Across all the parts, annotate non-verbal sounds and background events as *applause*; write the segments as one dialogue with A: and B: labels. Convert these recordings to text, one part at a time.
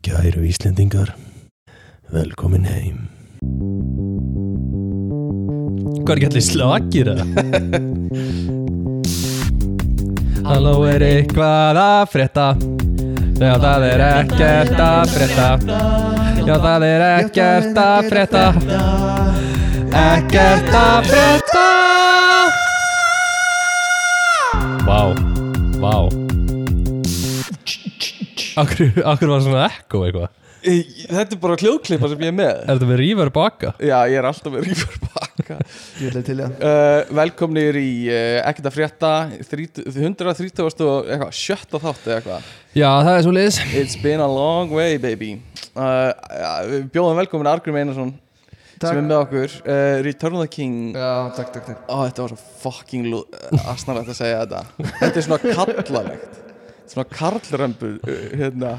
A: Kæru Íslendingar, velkomin heim.
B: Hvað er ekki allir slagir það? Halló er eitthvað að frétta Já það er ekkert að frétta Já það er ekkert að frétta Ekkert að frétta Vá, vá Akkur, akkur var svona ekko eitthvað
C: Ég- Þetta er bara hljóðklippa sem ég er með
B: Er þetta með rífur baka?
C: Já, ég er alltaf með rífur baka
D: Ég ætla til í það
C: uh, Velkomnir í uh, ekkert að frétta 30 130 og eitthvað, sjötta þátt eða eitthvað
B: Já það er svo liðs
C: It's been a long way baby uh, uh, Við bjóðum velkomin Argrim Einarsson
D: Takk.
C: sem er með okkur uh, Return of the King
D: Já, takk, takk, takk
C: Ó, þetta var svo fucking lú- eh, asnalegt að segja þetta Þetta er svona kallalegt Svona karlrömbur uh, hérna.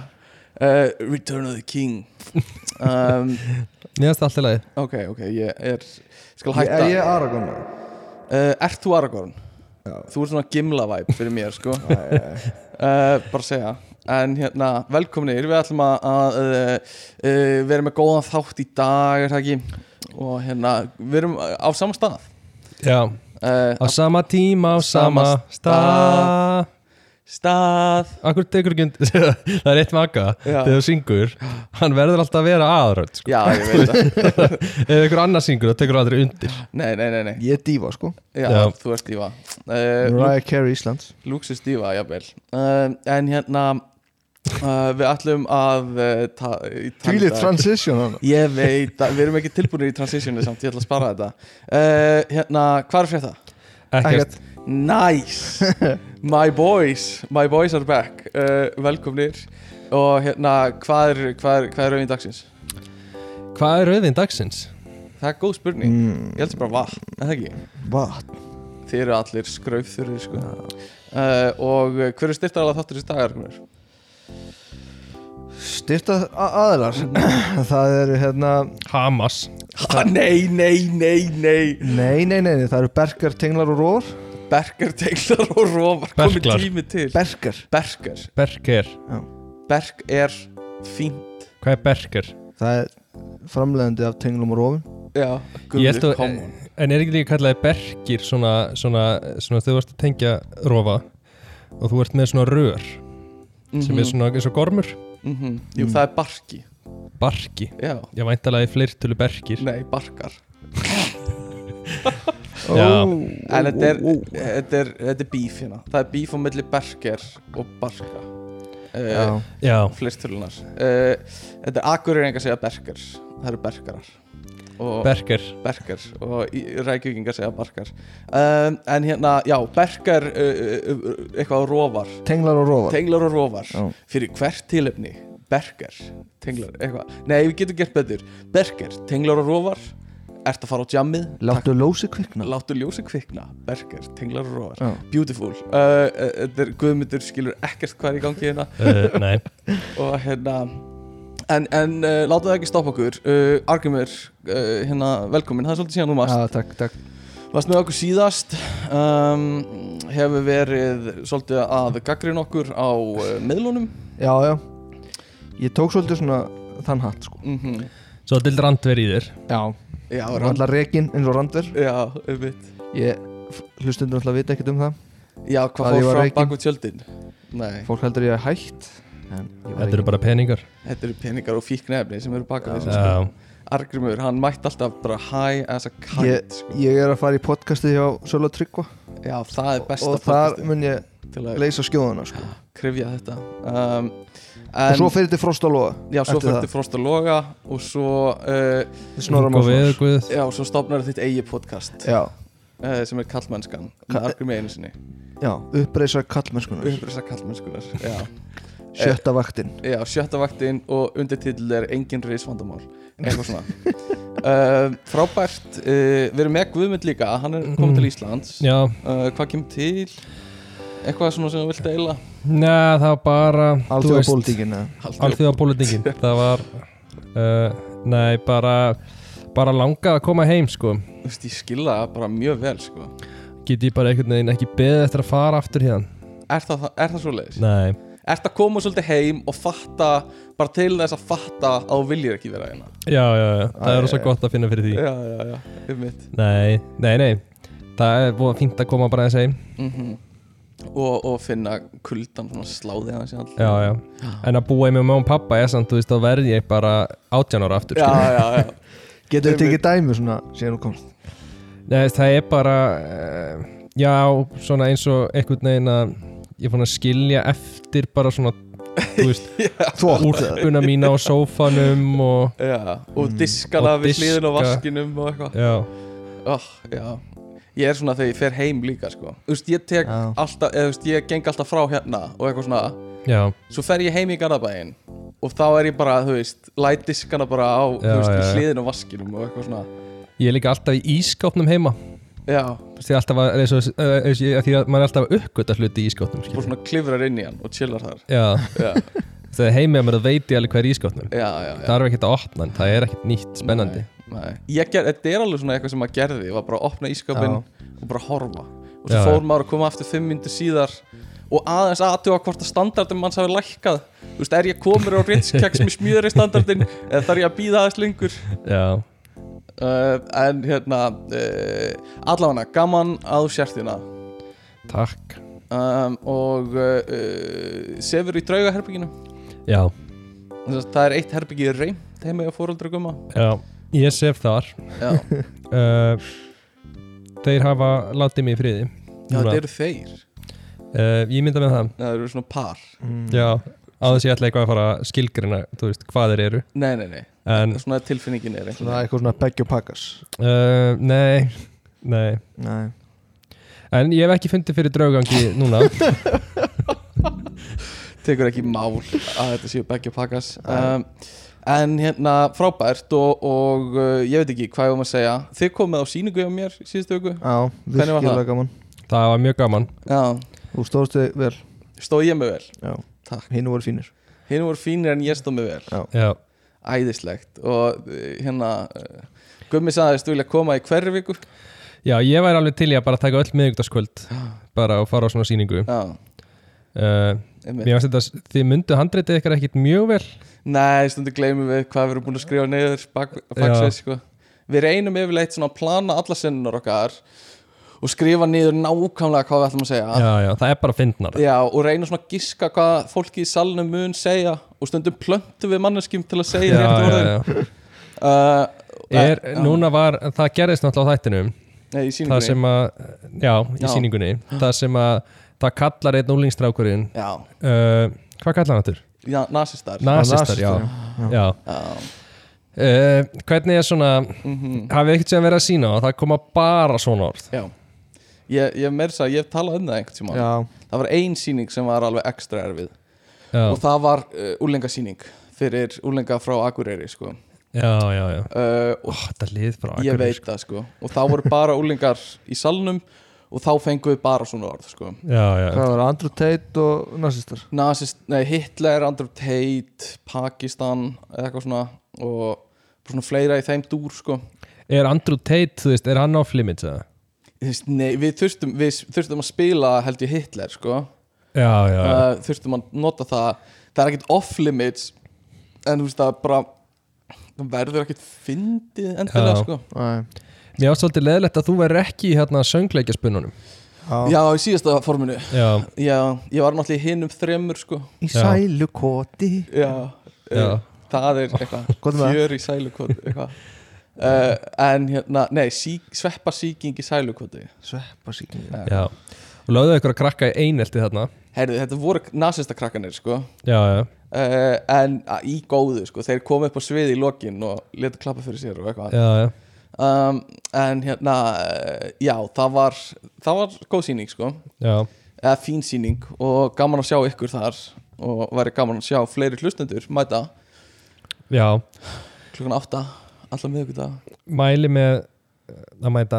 C: uh, Return of the King um,
B: Mér finnst allt í lagi
C: Ok, ok, ég er Skal
D: Ég,
C: hætta
D: ég er Aragorn maður.
C: uh, Ert þú Aragorn?
D: Já.
C: Þú ert svona gimla-væp fyrir mér, sko *laughs* uh, Bara segja En hérna, velkominir, við ætlum að, að uh, uh, vera með góðan þátt í dag, er það ekki? Og hérna, við erum á sama stað
B: Já
C: uh,
B: Á sama tíma, á
C: sama
B: sama
C: stað.
B: stað
C: Stað
B: Akkur tekur ekki undir *laughs* Það er eitt maka
C: Já.
B: Þegar þú syngur Hann verður alltaf að vera aðrönd sko.
C: Já, ég veit það
B: Ef einhver annar syngur þá tekur hann aldrei undir
C: Nei, nei, nei, nei
D: Ég er Díva sko
C: Já,
B: Já.
C: þú ert Díva uh,
D: Mariah Carey Íslands
C: Lúksus Díva, jafnvel uh, En hérna uh, Við ætlum að uh, ta- í- tala í
D: Tvílið
C: dag-
D: transition hann
C: Ég veit, að, við erum ekki tilbúinir í transitionu samt, ég ætla að spara þetta uh, Hérna, hvað er fyrir það?
B: Ekkert
C: Nice, *laughs* my boys, my boys are back uh, Velkomnir Og hérna, hvað er, hvað er, hvað er rauðin dagsins?
B: Hvað er rauðin dagsins?
C: Það er góð spurning,
D: mm,
C: ég held sér bara vatn, er það ekki?
D: Vatn
C: Þið eru allir skraufþurri, sko uh, Og uh, hver er styrtaðalega þáttur þessi dagar? Gunnar?
D: Styrta aðilar *clears throat* Það eru hérna
B: Hamas
C: Ha, nei, nei, nei, nei
D: Nei, nei, nei, nei, það eru berkar, tenglar og rór
C: Berkar, teglar og rófar komið
B: Berklar.
C: tími til
D: Berkar
C: Berkar,
B: Berker
C: berk er fínt
B: Hvað er berker?
D: Það er framlegandi af tenglum og rófum
C: Já,
B: Ég held
C: Gulli,
B: að-
C: come on
B: En er ekki líka kallaði berkir svona, svona, svona þegar þú ert að tengja rofa og þú ert með svona rör sem er
C: Mhm,
B: svona eins og gormur
C: mm Jú, það er barki
B: Barki
C: Já,
B: Ég væntalega í fleirtölu berkir
C: nei, barkar
B: Já.
C: En þetta er, þetta er, þetta er bíf hérna Það er bíf á milli berker og barka uh,
D: Já,
B: Já
C: Fleirtölunar uh, Þetta er akkurir enga segja berker Það eru berkarar og
B: *laughs* Berker
C: berkar og í- rækjúkingar segja barkar um, en hérna, já, berkar uh, uh, uh, eitthvað á rófar
D: tenglar og rófar
C: tenglar og rófar
D: Já.
C: fyrir hvert tilefni berkar, tenglar, eitthvað nei, við getum gert betur, berkar, tenglar og rófar ert að fara á jammið
D: Láttu lósi kvikna
C: láttu ljósi kvikna, berkar, tenglar og rófar
D: Já.
C: beautiful, uh, uh, þetta er guðmyndur skilur ekkert hvað er í gangi hérna
B: uh, Nei
C: og hérna en, en uh, láta það ekki stoppa okkur uh, Argrimur, uh, hérna, velkomin það er svolítið síðan þú mast
D: Já, takk, takk
C: Varst með okkur síðast um, hefur verið svolítið að gaggrin okkur á uh, miðlunum
D: Já, já Ég tók svolítið svona þann hatt sko
C: mm
B: Svo til randver í þér
D: Já
C: Já,
D: Það var
C: rann,
D: alltaf rekin eins og randur
C: já, einmitt.
D: Ég hlustundur alltaf vita ekkert um það
C: já,
D: Að
C: hvað
D: ég
C: fór
D: var
C: fram
D: rekinn.
C: bak við tjöldin Nei,
D: Fólk heldur ég að hætt en ég var
B: Þetta eru
D: rekinn.
B: bara peningar
C: þetta eru peningar og fíknefni sem eru bak við þessu sko.
B: Já
C: Argrimur, hann mætti alltaf bara high as a kite sko.
D: Ég er að fara í podcastið hjá Sölu og Tryggva
C: Já, það er besta
D: Og þar
C: podcastið
D: mun ég
C: til að
D: leysa skjóðuna sko.
C: krifja þetta um,
D: Og
C: en,
D: svo fyrir til Frost og Lóa
C: Já, svo
D: eftir
C: fyrir Frost og Loga og svo, uh,
D: Snorra
B: Ingo
D: Mássonar
B: Veðurguð.
C: já, svo stopnar þitt eigi podcast
D: Já,
C: uh, sem er kallmennskan með
D: Ka-
C: Argrimur einu sinni
D: já, uppreisa kallmennskunar
C: upprisa kallmennskunar já.
D: Sjötta vaktin
C: já, sjötta vaktin og undirtill er engin reisvandamál eitthvað svona
B: *laughs*
C: uh, frábært, uh, við erum með Guðmund líka hann er komið til Íslands uh,
B: Mhm. Já,
C: hvað kemur til eitthvað svona sem þú vilt deila
B: neða það var bara
D: Alþjóða pólitíkin eða?
B: Alþjóða
D: *laughs*
B: pólitingin Það var uh, Nei, bara bara langað að koma heim sko
C: Þú veist, ég skilða það bara mjög vel sko.
B: get ég bara einhvern veginn ekki beðið eftir að fara aftur hérna
C: er, það, er það svo leiðis?
B: Nei,
C: ert að koma svolítið heim og fatta bara til þess að fatta að þú viljir ekki vera hérna
B: Já, já, já, það
D: Æ,
B: er rosa
D: já,
B: gott að finna fyrir því
C: já, já, já, um mitt
B: Nei, nei, nei Það er búið fínt að koma bara að segja
C: Mhm. og, og finna kuldan svona sláði hans í all
B: Já, já
D: *gasps*
B: En að búa í mig með mamma og pappa er samt, þú veist, þá verð ég bara 18 ára aftur sko.
C: já,
B: skilur.
C: já, já.
D: Getur við tekið dæmi svona síðan þú komst
B: Nei, það er bara uh, Já, svona eins og einhvern veginn að ég er fann að skilja eftir bara svona, þú
C: *laughs*
B: veist,
D: Þvótt
B: úrpuna mína á sófanum og,
C: já. og diskana
B: Mm, Og
C: við hliðin
B: diska.
C: á vaskinum og eitthvað
B: já,
C: oh, já. ég er svona þegar ég fer heim líka sko. Þú veist, ég tek
D: Já.
C: alltaf eða, þú veist, ég geng alltaf frá hérna og eitthvað svona
B: já,
C: svo fer ég heim í Garðabæin og þá er ég bara, þú veist, læt diskana bara á þú
B: Já,
C: veist,
B: já, já.
C: hliðin á vaskinum og eitthvað svona
B: ég er líka alltaf í ískápnum heima
C: já,
B: Þú veist, ég er alltaf að, eins og, eh, eins og, ég- því að maður er alltaf að uppgöta hluti í ískápnum
C: bara
B: skilur.
C: svona klifrar inn í hann og chillar þar
B: Já,
C: já,
B: þegar heimið að mér þá veit ég alveg hvað er í ískápnum
C: já, já, já.
B: Það er ekkert að opna hann, það er ekkert nýtt, spennandi
C: Nei, nei. Ég ger, þetta er alveg svona eitthvað sem maður gerði ég var bara að opna ískapin og bara horfa og svo
B: Já,
C: fór maður að koma aftur fimm myndir síðar og aðeins aðtjóða hvort að standardin manns hafi lækkað þú veist, er ég komur á ritskeks með smjöri standardin eða þarf ég að býða aðeins lengur
B: Já,
C: uh, en hérna uh, allavega gaman að þú sért þína
B: takk
C: um, og uh, uh, sefur í draugaherbygginu
B: Já,
C: það er eitt herbyggi reymt heima hjá fóröldra gumma
B: já, ég sef þar
C: já,
B: *laughs* uh, Þeir hafa látið mig í friði
C: já
B: Núna.
C: þetta eru þeir
B: uh, Ég mynda með það
C: það eru svona par
D: Mm.
B: Já, á þess ég ætla eitthvað að fara að skilgrina, þú veist, hvað þeir eru
C: nei, nei, nei
B: En,
C: svona tilfinningin er einhvern
D: Svona eitthvað svona begge og pakkas
B: uh, nei, nei
D: Nei
B: En ég hef ekki fundið fyrir draugangi
C: *laughs*
B: núna
C: veginn tekur ekki mál að þetta séu begge pakkas um, en hérna frábært og, og uh, ég veit ekki hvað ég var að segja þið komið á síningu hjá mér síðustu viku
D: Já,
C: var það?
D: virkilega gaman
B: Það var mjög gaman
C: já,
D: Þú stóðst þig vel
C: stóð ég mig vel
D: Já
C: Takk.
D: Hinn voru fínir
C: hinn voru fínir en ég stóð mig vel
B: Já,
C: æðislegt og uh, hérna uh, Gummi sagðist vilja koma í hverju viku
B: já ég væri alveg til í að bara taka öll miðugdaskvöld bara og fara á svona sýningu
C: já,
B: uh,
C: einmitt.
B: Mér finnst þetta, þið myndu handreitið ykkar ekkert mjög vel
C: nei, stundu gleymum við hvað við erum búin að skrifa neyður baksveið sko. við reynum yfirleitt svona að plana alla sennunar okkar og skrifa niður nákvæmlega hvað við ætlum að segja
B: Já, já, það er bara fyndnar
C: Já, og reyna svona að giska hvað fólki í salinu mun segja og stundum plöntu við manneskjum til að segja
B: já,
C: rétt orðin
B: já, já.
C: Uh,
B: Er,
C: eh,
B: núna var, það gerðist náttúrulega á þættinum
C: Nei, í
B: það
C: síningunni
B: sem að, já, í
C: Já.
B: sýningunni það sem að, það kallar einn úlingstrákurinn
C: Já,
B: uh, hvað kallar hann þetta?
C: já nasistar
B: Nasistar, já, já.
C: Já,
B: Uh, hvernig er svona
C: Mhm.
B: hafið ekkert sem verið að sína og það koma bara svona orð
C: já Ég, ég meir þess að ég hef talað um það einhvern tíma
D: Já
C: Það var ein síning sem var alveg ekstra erfið
B: já,
C: og það var uh, úlengasíning fyrir úlenga frá Akureyri sko.
B: já, já, já.
C: uh, og
B: Ó, þetta er lið frá
C: ég
B: Akureyri,
C: veit það sko. og þá voru bara úlengar í salnum og þá fengum við bara svona orð sko.
B: sko. já, já,
D: Hvað var Andrew Tate og nazistar
C: Nasist, nei, Hitler, Andrew Tate, Pakistan eða eitthvað svona og bara svona fleira í þeim dúr sko.
B: er Andrew Tate, þú veist, er hann off limits eða?
C: Þú veist, nei, við, þurftum, við þurftum að spila held ég Hitler sko.
B: já, já, já,
C: uh, þurftum að nota það það er ekkert off-limits en þú veist það er bara það verður ekkert fyndið
B: Já.
C: endilega sko.
D: Nei
B: mér ást svolítið leðilegt að þú verður ekki í hérna söngleikjaspununum
D: Já
C: Já, í síðasta forminu
B: já,
C: Já, ég var náttúrulega í hinum þremur sko.
D: Í sælu koti
C: Já,
B: Já.
C: já. það er eitthvað
D: Hvað er það?
C: fjör í sælukoti eitthvað Uh, en hérna, nei, sí, sveppa síking í sælukoti
D: Sveppa síkni
C: Já.
B: já og lögðu ykkur að krakka í einelti þarna
C: Herðu, þetta voru nasista krakkanir, sko uh,
B: já, já,
C: En uh, í góðu, sko, þeir komu upp á sviði í lokin og letu klappa fyrir sér og eitthvað
B: já, já.
C: um, En hérna, uh, já, það var, það var góð sýning, sko
B: Já,
C: Eða fín sýning og gaman að sjá ykkur þar Og væri gaman að sjá fleiri hlustendur, mæta
B: já,
C: klukkan átta, allar miðvikudag
B: mæli með eh, að mæta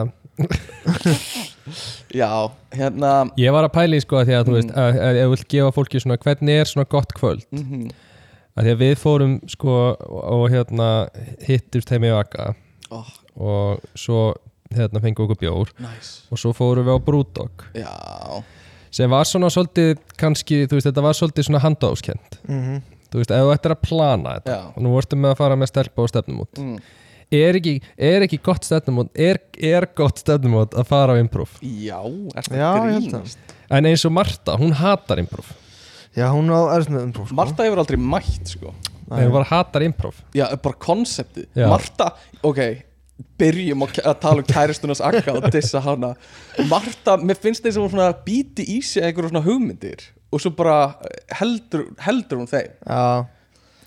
C: Já, hérna
B: Ég var að pæla í sko að því að
C: Mm.
B: þú veist að, að ég vil gefa fólki svona hvernig er svona gott kvöld mm
C: mhm.
B: að því að við fórum sko og, og hérna hittust heim í Vaka
C: oh,
B: og svo hérna fengum við okkur bjór
C: Nice
B: og svo fórum við á Brúdog
C: Já,
B: sem var svona svolítið kannski, þú veist, þetta var svolítið svona handóskend
D: Mhm.
B: þú veist, ef þú ættir að plana þetta
C: Mm. Já.
B: og nú vortum við að fara með stelpa og stefnumót
C: Mm.
B: er, ekki, er ekki gott stefnumót er, er gott stefnumót að fara á improv
C: Já, er
D: Já,
C: þetta
D: ég held
C: grínast
B: en eins og Marta, hún hatar improv
D: Já, hún á erst með umbrú sko.
C: Marta hefur aldrei mætt sko
B: Nei, hún bara hatar improv
C: Já, bara konseptið
B: Já.
C: Marta, ok byrjum að að tala um kæristunars akka og dissa hana Marta, mér finnst þeir sem hún svona býti í sig einhverjum svona hugmyndir og svo bara heldur, heldur hún þeim
D: Já,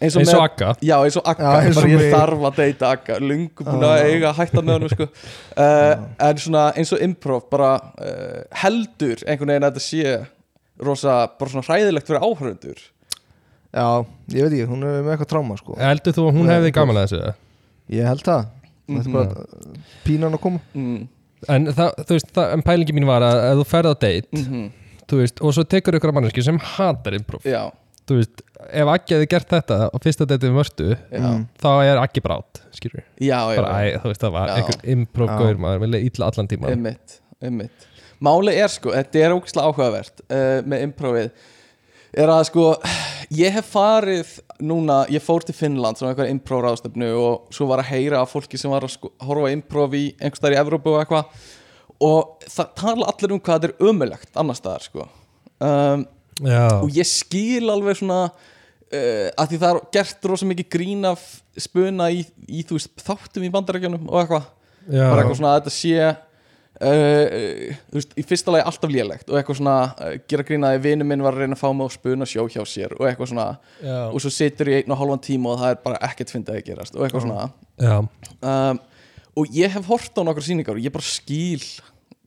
B: eins og
C: með-
B: Agga
C: Já, eins og Akka,
D: Já, eins og
C: bara ég
D: mig.
C: þarf að deyta Akka Lungu búin að eiga að hætta með honum sko. uh, En svona eins og improv bara uh, heldur einhvern veginn að þetta sé rosa, bara svona hræðilegt fyrir áhörundur
D: já, ég veit ekki, hún er með eitthvað tráma sko.
B: heldur þú að hún
D: Nei,
B: hefði
D: improv.
B: gaman að þessu eða?
D: Ég held það Þetta er
C: Mhm.
D: bara uh, pínan að koma
C: mm,
B: en það, þú veist, það, en pælingi mín var að ef þú ferð á date,
C: mhm,
B: þú veist og svo tekur ykkur að manneski sem hatar improv
C: Já,
B: þú veist, ef Aggi hefði gert þetta á fyrsta date við mörtu,
C: já,
D: Mm.
B: þá er Aggi brát skilur við,
C: já, já
B: bara, æ, þú veist, það var
C: Já.
B: einhver improv
D: Já.
B: gaur maður, vilja illa allan tíma
C: Einmitt, einmitt Máli er sko, þetta er ógislega áhugavert uh, með improvið er að sko, ég hef farið núna, ég fór til Finnland sem einhver improv ráðstöfnu og svo var að heyra af fólki sem var að sko, horfa á improv í einhvers staðar í Evrópu og eitthvað og það tala allir um hvað þetta er ömulegt annars staðar sko um,
B: já,
C: og ég skil alveg svona uh, að því það er gert rosa mikið grín af spuna í, í þú veist, þáttum í bandarækjunum og eitthvað
B: já,
C: bara eitthvað svona að þetta sé uh, þú veist, í fyrsta lagi alltaf lélegt og eitthvað svona, uh, gera grín að vinnu minn var að reyna að fá mig á spuna sjó hjá sér og eitthvað svona,
B: já,
C: og svo situr ég einn og halvan tíma og það er bara ekkert fyndið að gerast og eitthvað
B: já,
C: svona um, og ég hef hort á nokkra sýningar og ég bara skil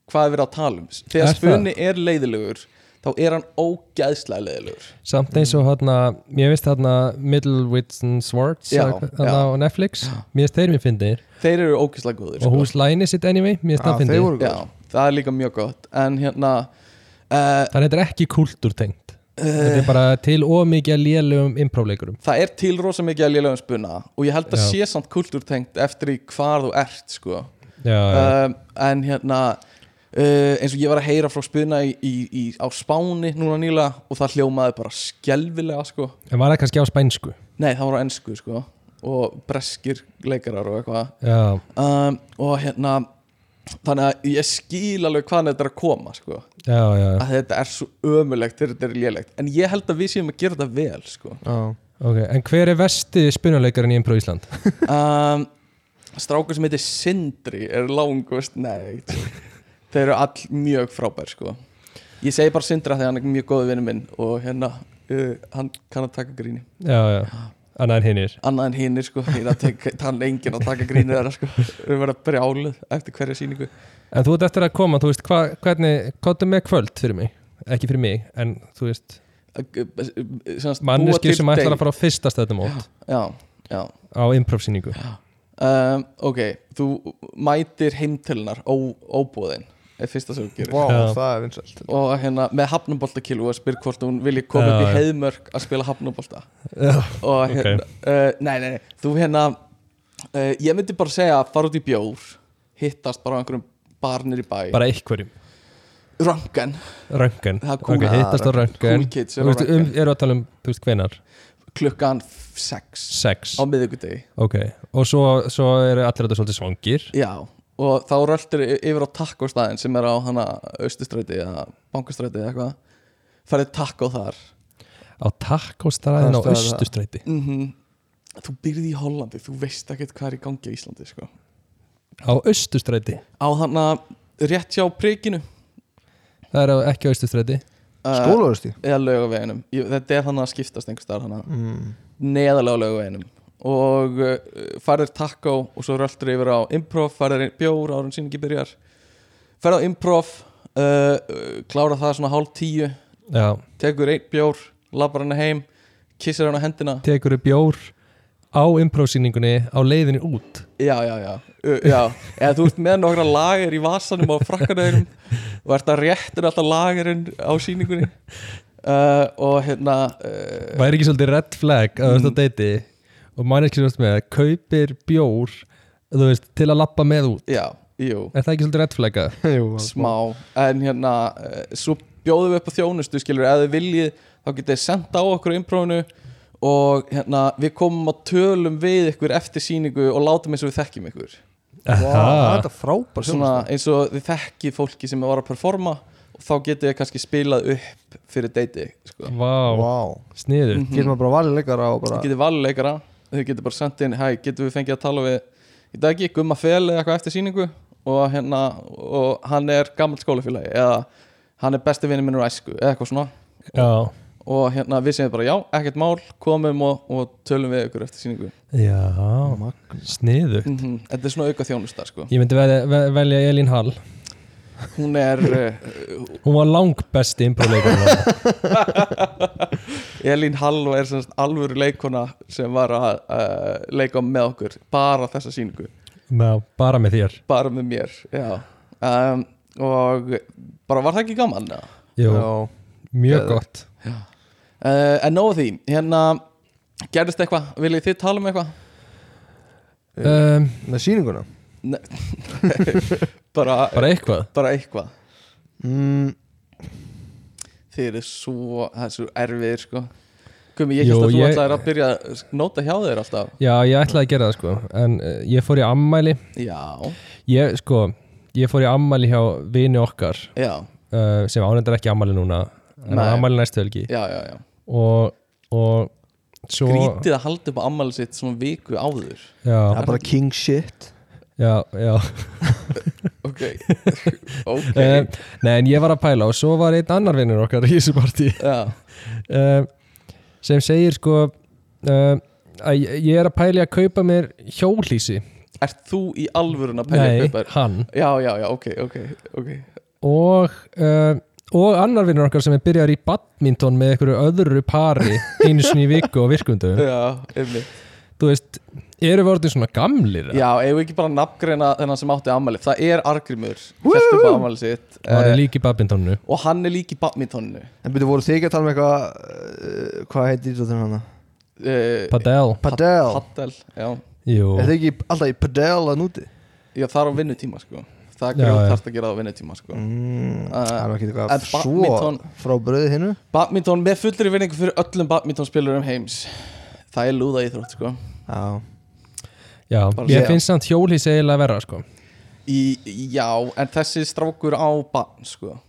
C: hvað er verið að tala um þegar
B: Er það?
C: spuni er leiðilegur þá er hann ógæðslega leiðilegur
B: samt eins og hérna ég veist hérna Middlewits and Swartz
C: Já,
B: hérna
C: já.
B: á Netflix mér veist þeir mér fyndir
C: þeir eru ógæðslega góðir sko.
B: og hús Læni sitt anyway, mér veist
D: Já,
B: það
D: þeir
B: fyndir
D: voru góð
C: Já, það er líka mjög gott en hérna uh,
B: þannig að þetta er ekki kultúrtengt þetta er bara til ómikið að lélum improvleikurum
C: það er til rosa mikið að lélega um spuna og ég held að
B: Já.
C: sé samt kultúrtengt eftir í hvar þú ert sko.
B: já, já,
C: um, en hérna uh, eins og ég var að heyra frá spuna í, í, í, á Spáni núna nýla og það hljómaði bara skelvilega sko.
B: en var það kannski á spænsku
C: nei það var á ennsku sko, og breskir leikarar og eitthvað
B: já,
C: um, og hérna þannig að ég skil alveg hvaðan þetta er að koma sko.
B: já, já,
C: að þetta er svo ömulegt þegar þetta er lélegt en ég held að við séum að gera þetta vel sko.
D: Já,
B: ok en hver er vesti spunuleikarinn í improv Ísland?
C: um, strákur sem heitir Sindri er langust, nei þeir eru all mjög frábær sko. ég segi bara Sindra þegar hann er mjög góði vinnu minn og hérna uh, hann kann að taka gríni
B: já, já, annað en hinnir
C: annað en hinnir sko, hinn að tek- *laughs* hann enginn að taka gríni þeirra sko, þau verða brjáluð eftir hverja sýningu
B: en þú ert eftir að koma, þú veist, hva, hvernig kóttu með kvöld fyrir mig, ekki fyrir mig en þú veist, manneski sem ætlar að fara á fyrsta stöðumót
C: já, já
B: á improvsýningu
C: um, ok, þú mætir heimtölunar ó, óbúðin er fyrsta sem þú gerir
D: Vá,
B: Já.
D: það er vinsælt
C: og hérna með hafnaboltakilu og spyr hvort hún vilji koma
B: Já,
C: upp í
B: já.
C: heiðmörk að spila hafnabolta
B: Já,
C: og hérna, uh, nei, nei, nei, þú hérna uh, ég myndi bara segja að fara út í bjór hittast bara á einhverjum barnir í bæ
B: bara einhverjum,
C: rangan,
B: röngan
C: Það er kúl-
B: ok, hittast á röngan
C: cool kids
B: Þú
C: eru á
B: veist, um,
C: Röntgen.
B: eru að tala um, þú veist, hvenar
C: klukkan 6
B: sex,
C: á miðvikudegi,
B: ok og svo, svo eru allir þetta svolítið svangir
C: já og þá röltir yfir á takkostæðin sem er á hana austustræti eða bankastræti eða eitthvað farið takkó þar
B: á takkóstaræðin á
D: Það er staðar-
B: Östustræti
C: mm þú byrði í Hollandi, þú veist ekkert hvað er í gangi á Íslandi sko.
B: á Östustræti,
C: á þarna rétt hjá prikinu
B: það er á, ekki á Östustræti
C: uh,
D: Skólaðursti
C: eða laugaveginum Ég- þetta er þannig að skiptast einhvers staðar þannig
D: mm.
C: neðalega á laugaveginum og uh, farðir takkó og svo röldur yfir á improv farðir í bjór árun síningi byrjar farðir á improv uh, uh, klára það svona hálf tíu
B: já,
C: tekur einn bjór, labbar hana heim kissir hana á hendina
B: tekur upp bjór á improvsýningunni á leiðinni út
C: já, já, já, uh, já. eða þú ert með nokkra lager í vasanum á frakkanauðurum og ert að réttur alltaf lagerinn á síningunni uh, og hérna uh,
B: væri ekki svolítið red flag að þú ert á deiti og manneskið svolítið með kaupir bjór þú veist, til að lappa með út
C: já, jú
B: er það ekki svolítið red flag að
D: Jú,
C: smá en hérna uh, svo bjóðum við upp á þjónustu skilur, ef þið viljið þá getið þið senda á okkur imprófinu og hérna, við komum að tölum við ykkur eftir síningu og látum eins og við þekkjum ykkur
B: Aha.
D: þetta er frábær
C: svona
D: þjónusta.
C: eins og þið þekkið fólki sem var að performa og þá getið þið kannski spilað upp fyrir deiti sko.
B: Vá,
D: Vá,
B: sniður
C: Mhm.
D: getur maður bara valið leikara og bara
C: þið getið valið leikara þið getið bara sendt inn, hæ, getum við fengið að tala við í dag ekki, Gumma Fel eða eitthvað eftir síningu og hérna, og hann er gammal skólafélagi eða hann er besti vinur minn úr æsku eða eitthvað svona
B: Já,
C: og hérna við segjum bara já, ekkert mál komum og, og tölum við ykkur eftir síningu
B: já,
D: Magn.
B: sniður
C: mm þetta er svona auka þjónusta sko
B: Ég myndi velja, ve- velja Elín Hall
C: hún er, uh,
B: Hún var langbesti impróleikur
C: Elín Hall og er semst alvöru leikona sem var að uh, leika með okkur bara þessa síningu,
B: Bara með þér
C: bara með mér já um, og bara var það ekki gaman eða?
B: Jú,
D: Já.
B: mjög
D: geðveikt.
B: gott
C: uh, en nóg af því, hérna gerðist eitthvað, viljið þið tala um eitthvað
B: um,
D: með síninguna
C: bara,
B: Bara eitthvað
C: bara eitthvað
D: mm,
C: þið eru svo, það er svo erfiðir sko Gumi, ég
B: Jú,
C: held að þú
B: ég-
C: ætlaðir að byrja að nota hjá þér alltaf
B: Já, ég ætlaði að gera það sko En uh, ég fór í ammæli
C: Já,
B: Ég, sko, ég fór í ammæli hjá vini okkar
C: já,
B: uh, Sem ánendar ekki ammæli núna En
C: Nei.
B: ammæli næstu helgi
C: já, já, já.
B: Og, og svo
C: Grítið að halda upp á ammali sitt svona viku áður
D: það
B: Já,
D: er bara king shit
B: já, já
C: Ok,
B: *laughs*
C: ok
B: um, Nei, en ég var að pæla Og svo var einn annar vinnur okkar í þessu partí
C: Já,
B: um, Sem segir sko um, að ég- Ég er að pæli að kaupa mér hjólísi
C: ert þú í alvörun að pæla
B: Nei,
C: í kaupar?
B: hann
C: Já, já, já, ok, ok, ok
B: og, uh, og annar vinnur okkar sem er byrjar í badminton með einhverju öðru pari einu sinni í viku og virkundum
C: Já, einmitt
B: þú veist, eru við orðin svona gamlir eða?
C: Já, eigum við ekki bara að nafngreina þennan sem átti ammali Það er argrimur, held upp á ammali sitt
B: hann
C: eh,
B: er líka í badmintonu
C: Og hann er lík í badmintoninu
D: en byrju voru þið ekki að tala um eitthvað uh, hvað heitir þetta hana?
C: eh,
B: Padel,
D: Padel,
C: Paddel, já
B: jú
D: er þið ekki alltaf í Padel að núti?
C: Já, það er á vinnutíma, sko Það er
B: Já,
C: grjótt
B: já.
C: þarft að gera það á vinnutíma, sko
D: Mm,
C: Eh,
D: það er ekki
C: en
D: eitthvað svo
C: badminton-
D: frá bröði hinnu
C: Badminton með fullri vinningu fyrir öllum badmintonspilurum heims Það er lúða íþrótt sko
D: já,
B: já,
C: Bara
B: ég
C: segja.
B: finnst samt hjólís eiginlega verra sko
C: Í, Já, en þessi strákur á barn sko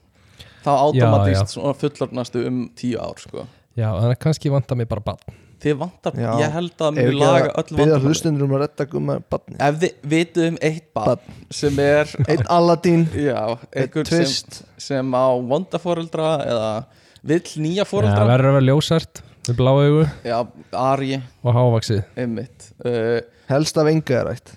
B: Já,
C: Þá
B: já.
C: automatist svona fullornastu um tíu ár sko
B: já, þannig að kannski vantar mig bara badn
C: Þið vantar,
D: Já.
C: ég held að
D: Ef
C: mjög
D: ekki
C: laga
D: að
C: öll
D: byrja
C: vandamál
D: hlustundur um að redda gumma badni
C: Ef þið vitið um eitt barn sem er
D: einn Aladdin,
C: Já,
D: einn
C: einhver sem,
D: Twist
C: sem á vondaforeldra eða vill nýja
B: það
C: foreldra
B: verður að vera ljósart með blá augu
C: Já, Ari,
B: og hávaksið
C: einmitt uh,
D: helst af enga er rætt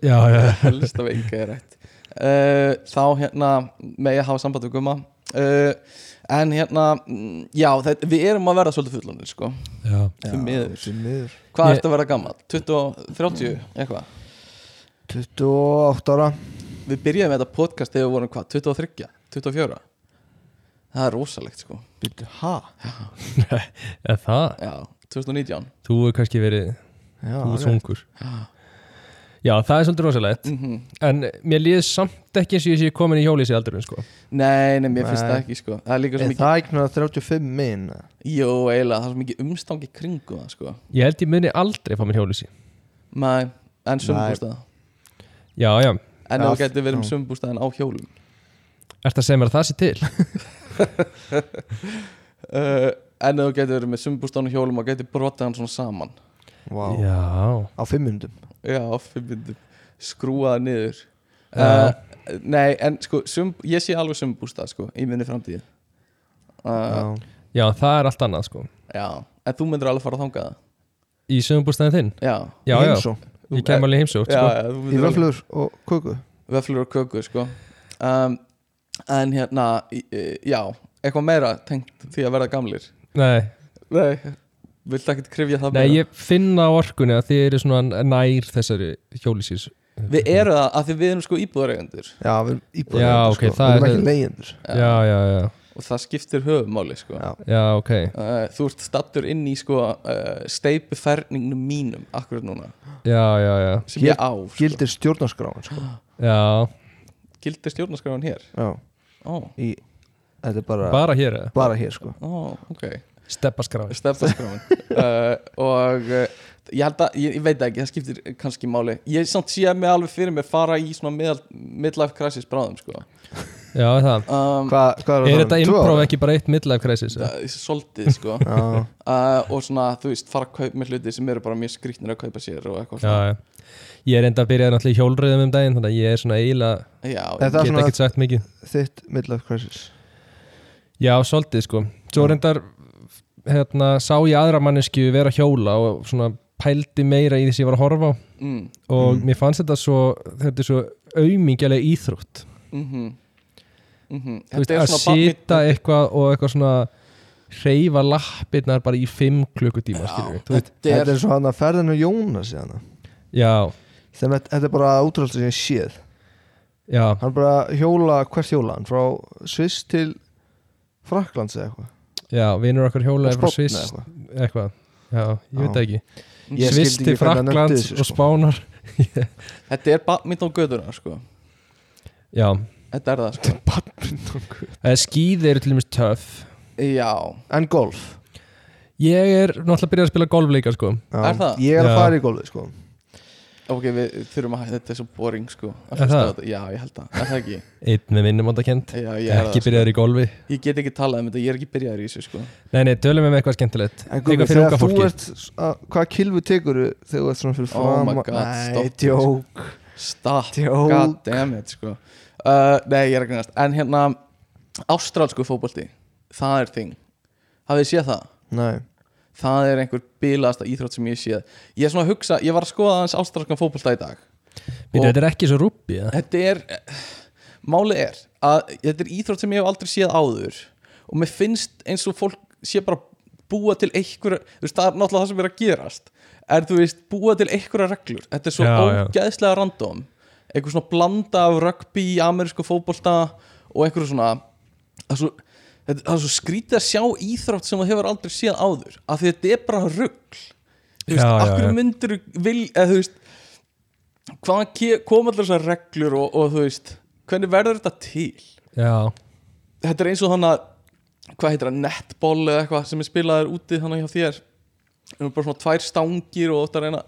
B: já, já,
C: helst af enga Eh, er rétt uh, þá hérna með ég hafa samband við gumma uh, en hérna mm, já, það, við erum að verða svolítið fullonir sko.
B: já.
C: Því miður.
D: því miður.
C: hvað
B: Ég-
C: ertu að verða gammal? 20, 30, eitthvað
D: 28 ára
C: við byrjuðum með þetta podcast þegar við vorum hvað 23, 24 það er rosalegt sko
D: Býttu, ha?
B: eða það,
C: já, 2019
B: þú er kannski verið
D: Já,
B: þú er
D: rétt.
B: sungur já, það er svolítið rosalegt
C: mm
B: en mér líður samt ekki eins og ég sé komin í hjólísi aldrei sko.
C: nei, nei, mér finnst
D: Nei.
C: það ekki sko það er líka svo
D: Er
C: mikið,
D: það ekki náttúrulega 35 minn?
C: jú, eiginlega það er svo mikið umstangi kringu það sko
B: ég held ég muni aldrei fá mér hjólísi
C: nei, en
D: Nei.
C: sömbústað
B: já, já,
C: en ef
D: Já,
C: þú getur verið um
D: já.
C: sömbústaðin á hjólum
B: ert að segja mér að það sé til
C: uh, en ef þú getur verið með sumbústánu hjólum og getur brotið hann svona saman
D: Vá,
B: já,
D: á 5 minnum
C: já, fimmindum, skrúaða niður uh, nei, en sko sum, ég sé alveg sumbústað sko, í minni framtíð uh,
B: já, það er allt annað sko.
C: já. en þú myndir alveg fara þangað
B: í sögumbústæðin þinn
C: já,
B: já, já,
C: Þú-
B: ég kem alveg í heimsótt
C: já,
B: sko.
C: já þú
D: Í
C: myndir alveg
D: vöflur og köku
C: veflur og köku sko. um, en hérna í- í- já, eitthvað meira tengt því að verða gamlir
B: nei,
C: nei, viltu ekkert krifja það
B: nei,
C: meira?
B: ég finna á orkunni að þið eru svona nær þessari hjólísis
C: við erum það að því við erum sko íbúðareigendur
D: Já, við erum íbúðar
B: Já, ok,
D: sko.
B: það
D: Við erum
B: er-
D: ekki leyendur
B: já, já, já,
C: og það skiptir höfumáli sko.
D: Já.
B: já, ok
C: uh, þú ert stattur inn í sko uh, steipuferningnum mínum akkurat núna
B: já, já, já,
C: sem ég á sko.
D: Gildir stjórnarskráin sko.
B: já,
C: gildir stjórnarskráin hér
D: Já,
C: Ó,
D: í þetta er bara, bara,
B: Bara hér eða?
D: hér sko
C: Ó, ok
B: Steppaskráin *laughs*
C: stefnarskráin uh, og uh, ég held að, ég, ég veit það ekki, það skiptir kannski máli ég samt sé mig alveg fyrir mér fara í svona middle, midlife crisis bráðum sko.
B: Já, er það
C: um,
D: Hva, hvað
B: Er
D: er
B: þetta improv ekki bara eitt midlife crisis? eða?
C: það er svolítið sko.
D: Já,
C: uh, og svona, þú veist, fara að kaupa með hluti sem eru bara mjög skrýtnir að kaupa sér og eitthvað
B: Já, já Ég er enda að byrja náttúrulega í hjólriðum um daginn Þannig að ég er svona eiginlega
C: svona. já,
D: Er það
B: Get
D: svona-
B: ekkert sagt mikið
D: þitt midlife crisis
B: Já, svolítið sko Svo reyndar hérna, sá ég aðra mannesku vera að hjóla og svona pældi meira í því sem ég var að horfa á
C: mm,
B: og mér fannst þetta svo þetta er svo aumingjalega íþrótt
C: mm -hmm, mm -hmm.
B: Þú veist, að sita eitthvað og eitthvað svona hreyfa lappirnar bara í fimm klukkutíma skilur við
C: þetta er
D: Þetta er svo hann að ferðinu Jónas í hana
B: Já,
D: Þegar þetta þetta er bara útráldur sem ég séð
B: já,
D: Hann bara hjóla, hvert hjóla hann? Frá Sviss til Fraklands eða eitthvað
B: já, vinnur okkar hjóla
D: Og
B: frá
D: Spánn eða
B: Sviss
D: eitthvað.
B: eitthvað Já, ég veit
D: Já.
B: það ekki
D: Ég
B: Sviss
D: skildi
B: til
D: ekki hvernig hann nefndi
B: Fraklands
D: þessu,
B: og
D: sko.
B: Spánar
C: þetta er badminton göðuna sko.
B: Já,
C: þetta er það
B: *laughs*
C: sko.
B: Eh, skíði eru til dæmis töff
C: já,
D: En golf
B: Ég er náttúrulega byrjað að spila golf líka sko
D: Já,
C: Er það?
D: Ég er
B: Já.
D: að fara í golfið sko
C: ok, við þurfum að hætta þetta er svo boring sko. að
B: Er
C: hlusta
B: það?
C: á þetta. já, ég held það, er það ekki
B: Einn með minnum ándakent
C: Já, ég, er
B: Ekki
C: það,
B: byrjaður í golfi
C: sko. ég get ekki talað um þetta, ég er ekki byrjaður í þessu sko.
B: Nei, nei, tölum við með eitthvað skemmtilegt
D: En Gumi,
B: Eitthvað fyrir
D: þegar
B: unga
D: þú
B: fólki
D: ert, að, hvaða kilfu tekur þegar þú ert svona fyrir
C: Oh my
D: fram
C: God,
D: Nei,
C: stopp.
D: djók
C: Stop,
D: Djók.
C: goddammit sko. uh, Nei, ég er ekki næst En hérna, ástrálsku fótbolti Það er þing Hafið þið séð það?
D: Nei,
C: Það er einhver bilaðasta íþrótt sem ég séð Ég er svona að hugsa, ég var að skoða aðeins ástrálskan fótbolta í dag
B: Býtu, Þetta er ekki svo rúbbi eða?
C: Þetta er, máli er að Þetta er íþrótt sem ég hef aldrei séð áður Og mér finnst eins og fólk sé bara búa til einhverja Þú veist, það er náttúrulega það sem er að gerast Er þú veist, búa til einhverja reglur Þetta er svo
B: Já, já.
C: ógeðslega random einhver svona blanda af rugby, amerísku fótbolta og einhverju svona það er svo, þetta- það er svo skrítið að sjá íþrótt sem þú hefur aldrei séð áður af því þetta er bara rugl þú veist,
B: Já, já,
C: af hverju
B: já.
C: myndir vil, eða þú veist hvaðan ke- koma allar þessar reglur og, og þú veist, hvernig verður þetta til
B: Já,
C: þetta er eins og þannig að hvað heitir það, netball eða eitthvað sem er spilaður úti þannig hjá þér það eru bara svona tvær stangir og þetta reyna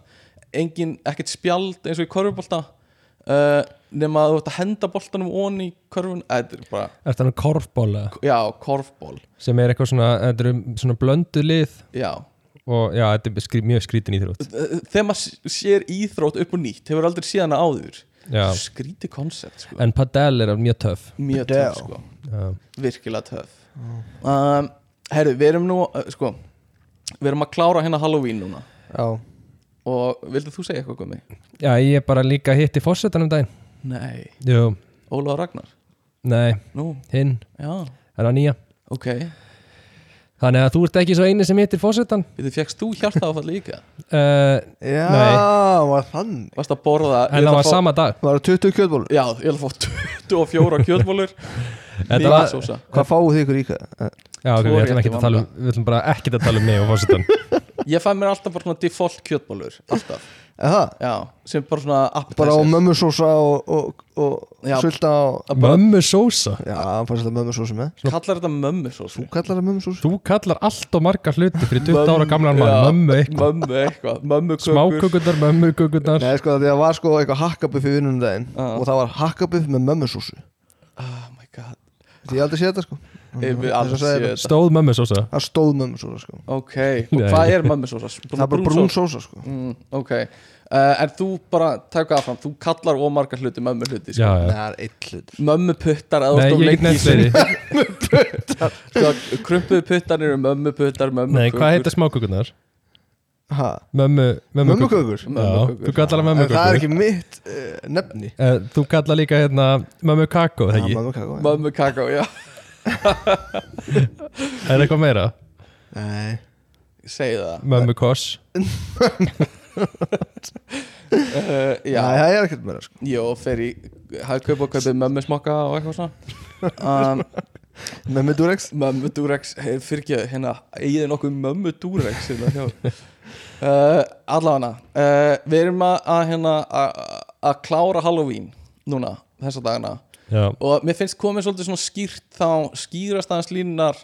C: engin, ekkert spjald eins og í korfubolta uh, nema að þú ætti að henda boltanum onni í korfun, Eh, þetta er bara
B: Er það nú korfbóla
C: já, korfból,
B: um sem er eitthvað svona, þetta eru svona blöndu lið
C: já
B: og já, þetta er skrí, mjög skrítin íþrótt
C: Eh, þegar maður sér íþrótt upp og nýtt hefur aldrei séð hana áður
B: Já.
C: skríti koncept sko.
B: en padel er mjög töff
C: mjög
D: Bedell.
C: töf sko.
B: Já,
C: virkilega töf um, herru, við erum nú uh, sko, við erum að klára hérna Halloween núna
D: já
C: og vildu þú segja eitthvað Gumi?
B: já ég er bara líka hitti fórsetan um daginn
C: Nei,
B: Jú,
C: Ólaður Ragnar
B: nei,
C: Nú,
B: hinn,
C: já,
B: hann er nýja
C: ok
B: Þannig að þú ert ekki svo eini sem hittir fórsetan
C: Þú fjækst þú hjarta áfall líka
B: uh,
D: Já,
B: Nei.
D: var þannig
C: Varst að
B: en
C: borða ég
B: það
C: ætla að
B: var
C: fá-
B: sama dag
D: Var það 20 kjötbólur?
C: Já, ég ætla að fá 24 kjötmólur
B: *laughs* Þetta
C: Líka
B: var-
C: sósa
D: Hvað fáið þið ykkur í hvað? Eh,
B: Já, ok,
C: Tvo
B: við ætlum
C: rétti
B: ekki að tala um, við ætlum bara ekki að tala um mig og fórsetan
C: Ég fæ mér alltaf bara svona default kjötmólur Alltaf,
D: er Það,
C: já, sem bara svona appetizer
D: bara á mömmusósa og, og, og
C: Já.
D: sulta og
B: Mömmu sósa
D: Já, hann fannst þetta mömmusósa með
C: Kallar þetta mömmu svo
D: Þú kallar það mömmusósa?
B: Þú kallar allt og marga hluti fyrir 20 ára gamlan mann Mömmu eitthvað,
C: Mömmu eitthvað, mömmu kökur
B: smákökundar, mömmu kökundar
D: Nei, sko, því að það var sko eitthvað hakkabuf í vinnunum daginn
C: Já.
D: og það var hakkabuf með mömmusósu
C: Oh my god,
D: Því ég aldrei sé þetta sko
C: ég vil
D: Þess að
C: alls sé
D: segja
C: þetta
B: Stóð mömmu sósa
D: Það stóð mömmusósa sko
C: Ok, og hvað er mömmu sósa?
D: Það var bara brún sósa sko
C: Mm, ok, uh, en þú bara taka það fram, þú kallar ómarga hluti mömmu hluti,
B: Já,
C: sko.
D: Nei,
B: já
D: það er eitt hlut
C: mömmu puttar að
B: Nei,
C: þú
B: ég get nefnt
C: sinni
B: fleiri
D: *laughs*
C: sko, krumpuð puttar eru mömmu puttar, mömmu
B: Nei, hvað heitir smákökunar?
D: Ha,
B: Mömmu, mömmu
D: Mömmukökur?
B: Já,
C: Mömmukökur.
B: þú kallar það
D: en
B: mömmu
D: það er ekki mitt uh, nefni
B: Þú kallar líka hérna mömmu kakó, það ekki?
D: Mömmukakó já.
C: mömmu kakó, já,
B: Er það eitthvað meira?
D: Nei
C: segi það
B: Mömmu koss
C: uh,
D: Já,
C: já,
D: það er ekkert meira sko
C: jú, fer í hagkaup og kaupið mömmu smokka og eitthvað
D: *laughs*
C: svona um,
D: Mömmu Durex
C: mömmu dúrex, hey, fyrir ekki hérna, eigið þið nokkuð mömmu dúrex hérna hjá
D: *laughs*
C: uh, allavega eh, uh, við erum að, að hérna að- að klára Halloween núna, þessa dagana
B: já,
C: og mér finnst komið svolítið svona skýrt þá skýrast aðeins línunar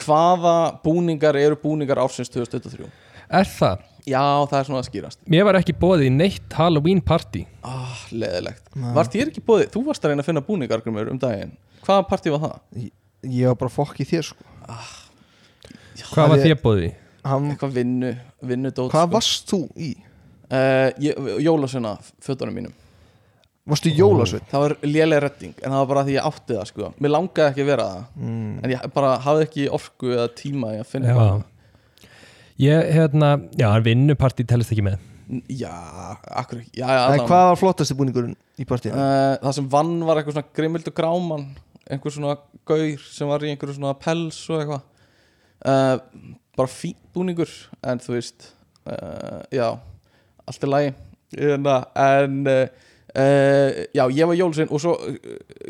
C: hvaða búningar eru búningar ársins 2023
B: er það
C: já það er svona að skýrast
B: Mér var ekki bóðið í neitt Halloween party
C: ah, leðilegt, vart ég ekki bóðið þú varst að reyna að finna búningar Grímur, um daginn hvaða partí var það?
D: ég, ég var bara fokk í þér sko
B: Hvað var
D: Hafði-
B: þér bóðið í?
D: Hann,
C: eitthvað sko. vinnu, vinnudót
D: Mm. Hvað varst þú í?
C: uh, jólasuna fötunum mínum
D: Varstu jólasveit?
C: það var léleg redding en það var bara því ég átti það sko mér langaði ekki að vera það en ég bara hafði ekki orku eða tíma í að finna
B: Já
C: eitthvað.
B: Ég, hérna, já, vinnupartí telist ekki með
C: N- já, akkur ekki já, já,
D: En
C: allan.
D: hvað var flottasti búningurinn í partíinu?
C: Eh, það sem vann var eitthvað svona grimmild og gráman einhver svona gaur sem var í einhverju svona pels og eitthvað uh, bara fínt búningur en þú veist uh, já, allt er lægi en, en uh, uh, já, ég var jólusinn og svo uh,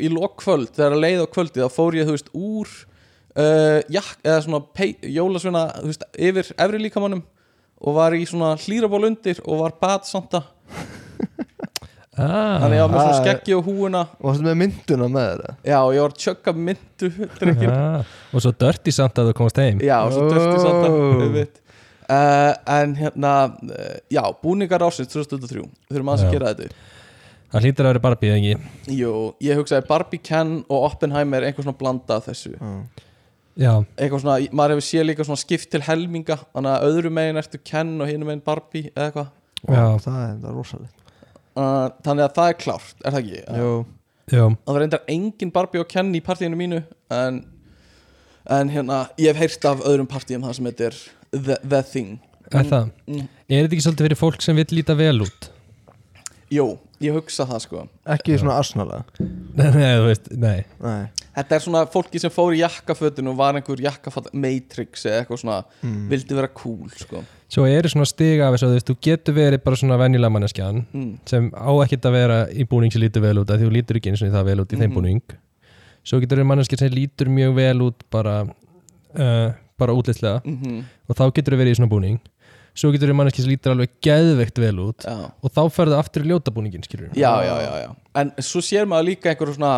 C: í lokkvöld, þegar að leið á kvöldi þá fór ég, þú veist, úr uh, jakk, eða svona pey, jólasvina, þú veist, yfir efri líkamannum og var í svona hlýraból undir og var badsanda
B: ah,
C: þannig ég var með svona
D: Ah.
C: skeggi og húuna
D: Og varstu með mynduna með þeirra?
C: Já, ég var að tjögga myndu drikkin.
B: ah, Og svo dörti samt að þú komast heim
C: Já, og svo döfti
D: Oh.
C: samt að uh, En hérna uh, Já, búningar ásins 2023 Þurfum aðeins
B: Já.
C: að gera þetta upp.
B: Það hlýtur að vera barbið, ekki?
C: Jú, ég hugsaði Barbie Ken og Oppenheimer einhver svona blanda af þessu
B: Já,
C: Eitthvað svona, maður hefur séð líka svona skipt til helminga Þannig að öðru megin ertu Ken og hinu megin Barbie eða eitthvað
B: Já.
D: Það er, það er rosalegt
C: uh, Þannig að það er klárt, er það ekki? Eh,
D: Jó
B: já,
C: Það var reyndar engin Barbie og Ken í partíinu mínu En, en hérna, ég hef heyrt af öðrum partíum það sem þetta er The, the Thing
B: er það
C: mm.
B: Er þetta ekki svolítið fyrir fólk sem vil líta vel út?
C: Jú, ég hugsa það sko
D: Ekki svona asnalega
B: *laughs* Nei, nei, þú veist, nei
D: Nei
C: Þetta er svona fólki sem fór í jakkafötun og var einhver jakkafat Matrix eða eitthvað svona vildi vera cool sko
B: Svo eru svona stiga af þessu, þú veist, þú getur verið bara svona venjulega manneskjan
C: mm.
B: sem á ekkert að vera í búning sem lítur vel út af því þú lítur ekki eins og það vel út í þeim
C: Mhm.
B: búning Svo getur verið manneskja sem lítur mjög vel út bara, uh, bara útlitslega
C: Mm
B: og þá getur verið í svona búning Svo getur verið manneskja sem lítur alveg geðveikt vel út
C: já.
B: og þá ferðu aftur í ljóta búningin, skilur
C: já, já, já, já En svo sér maður líka einhver svona,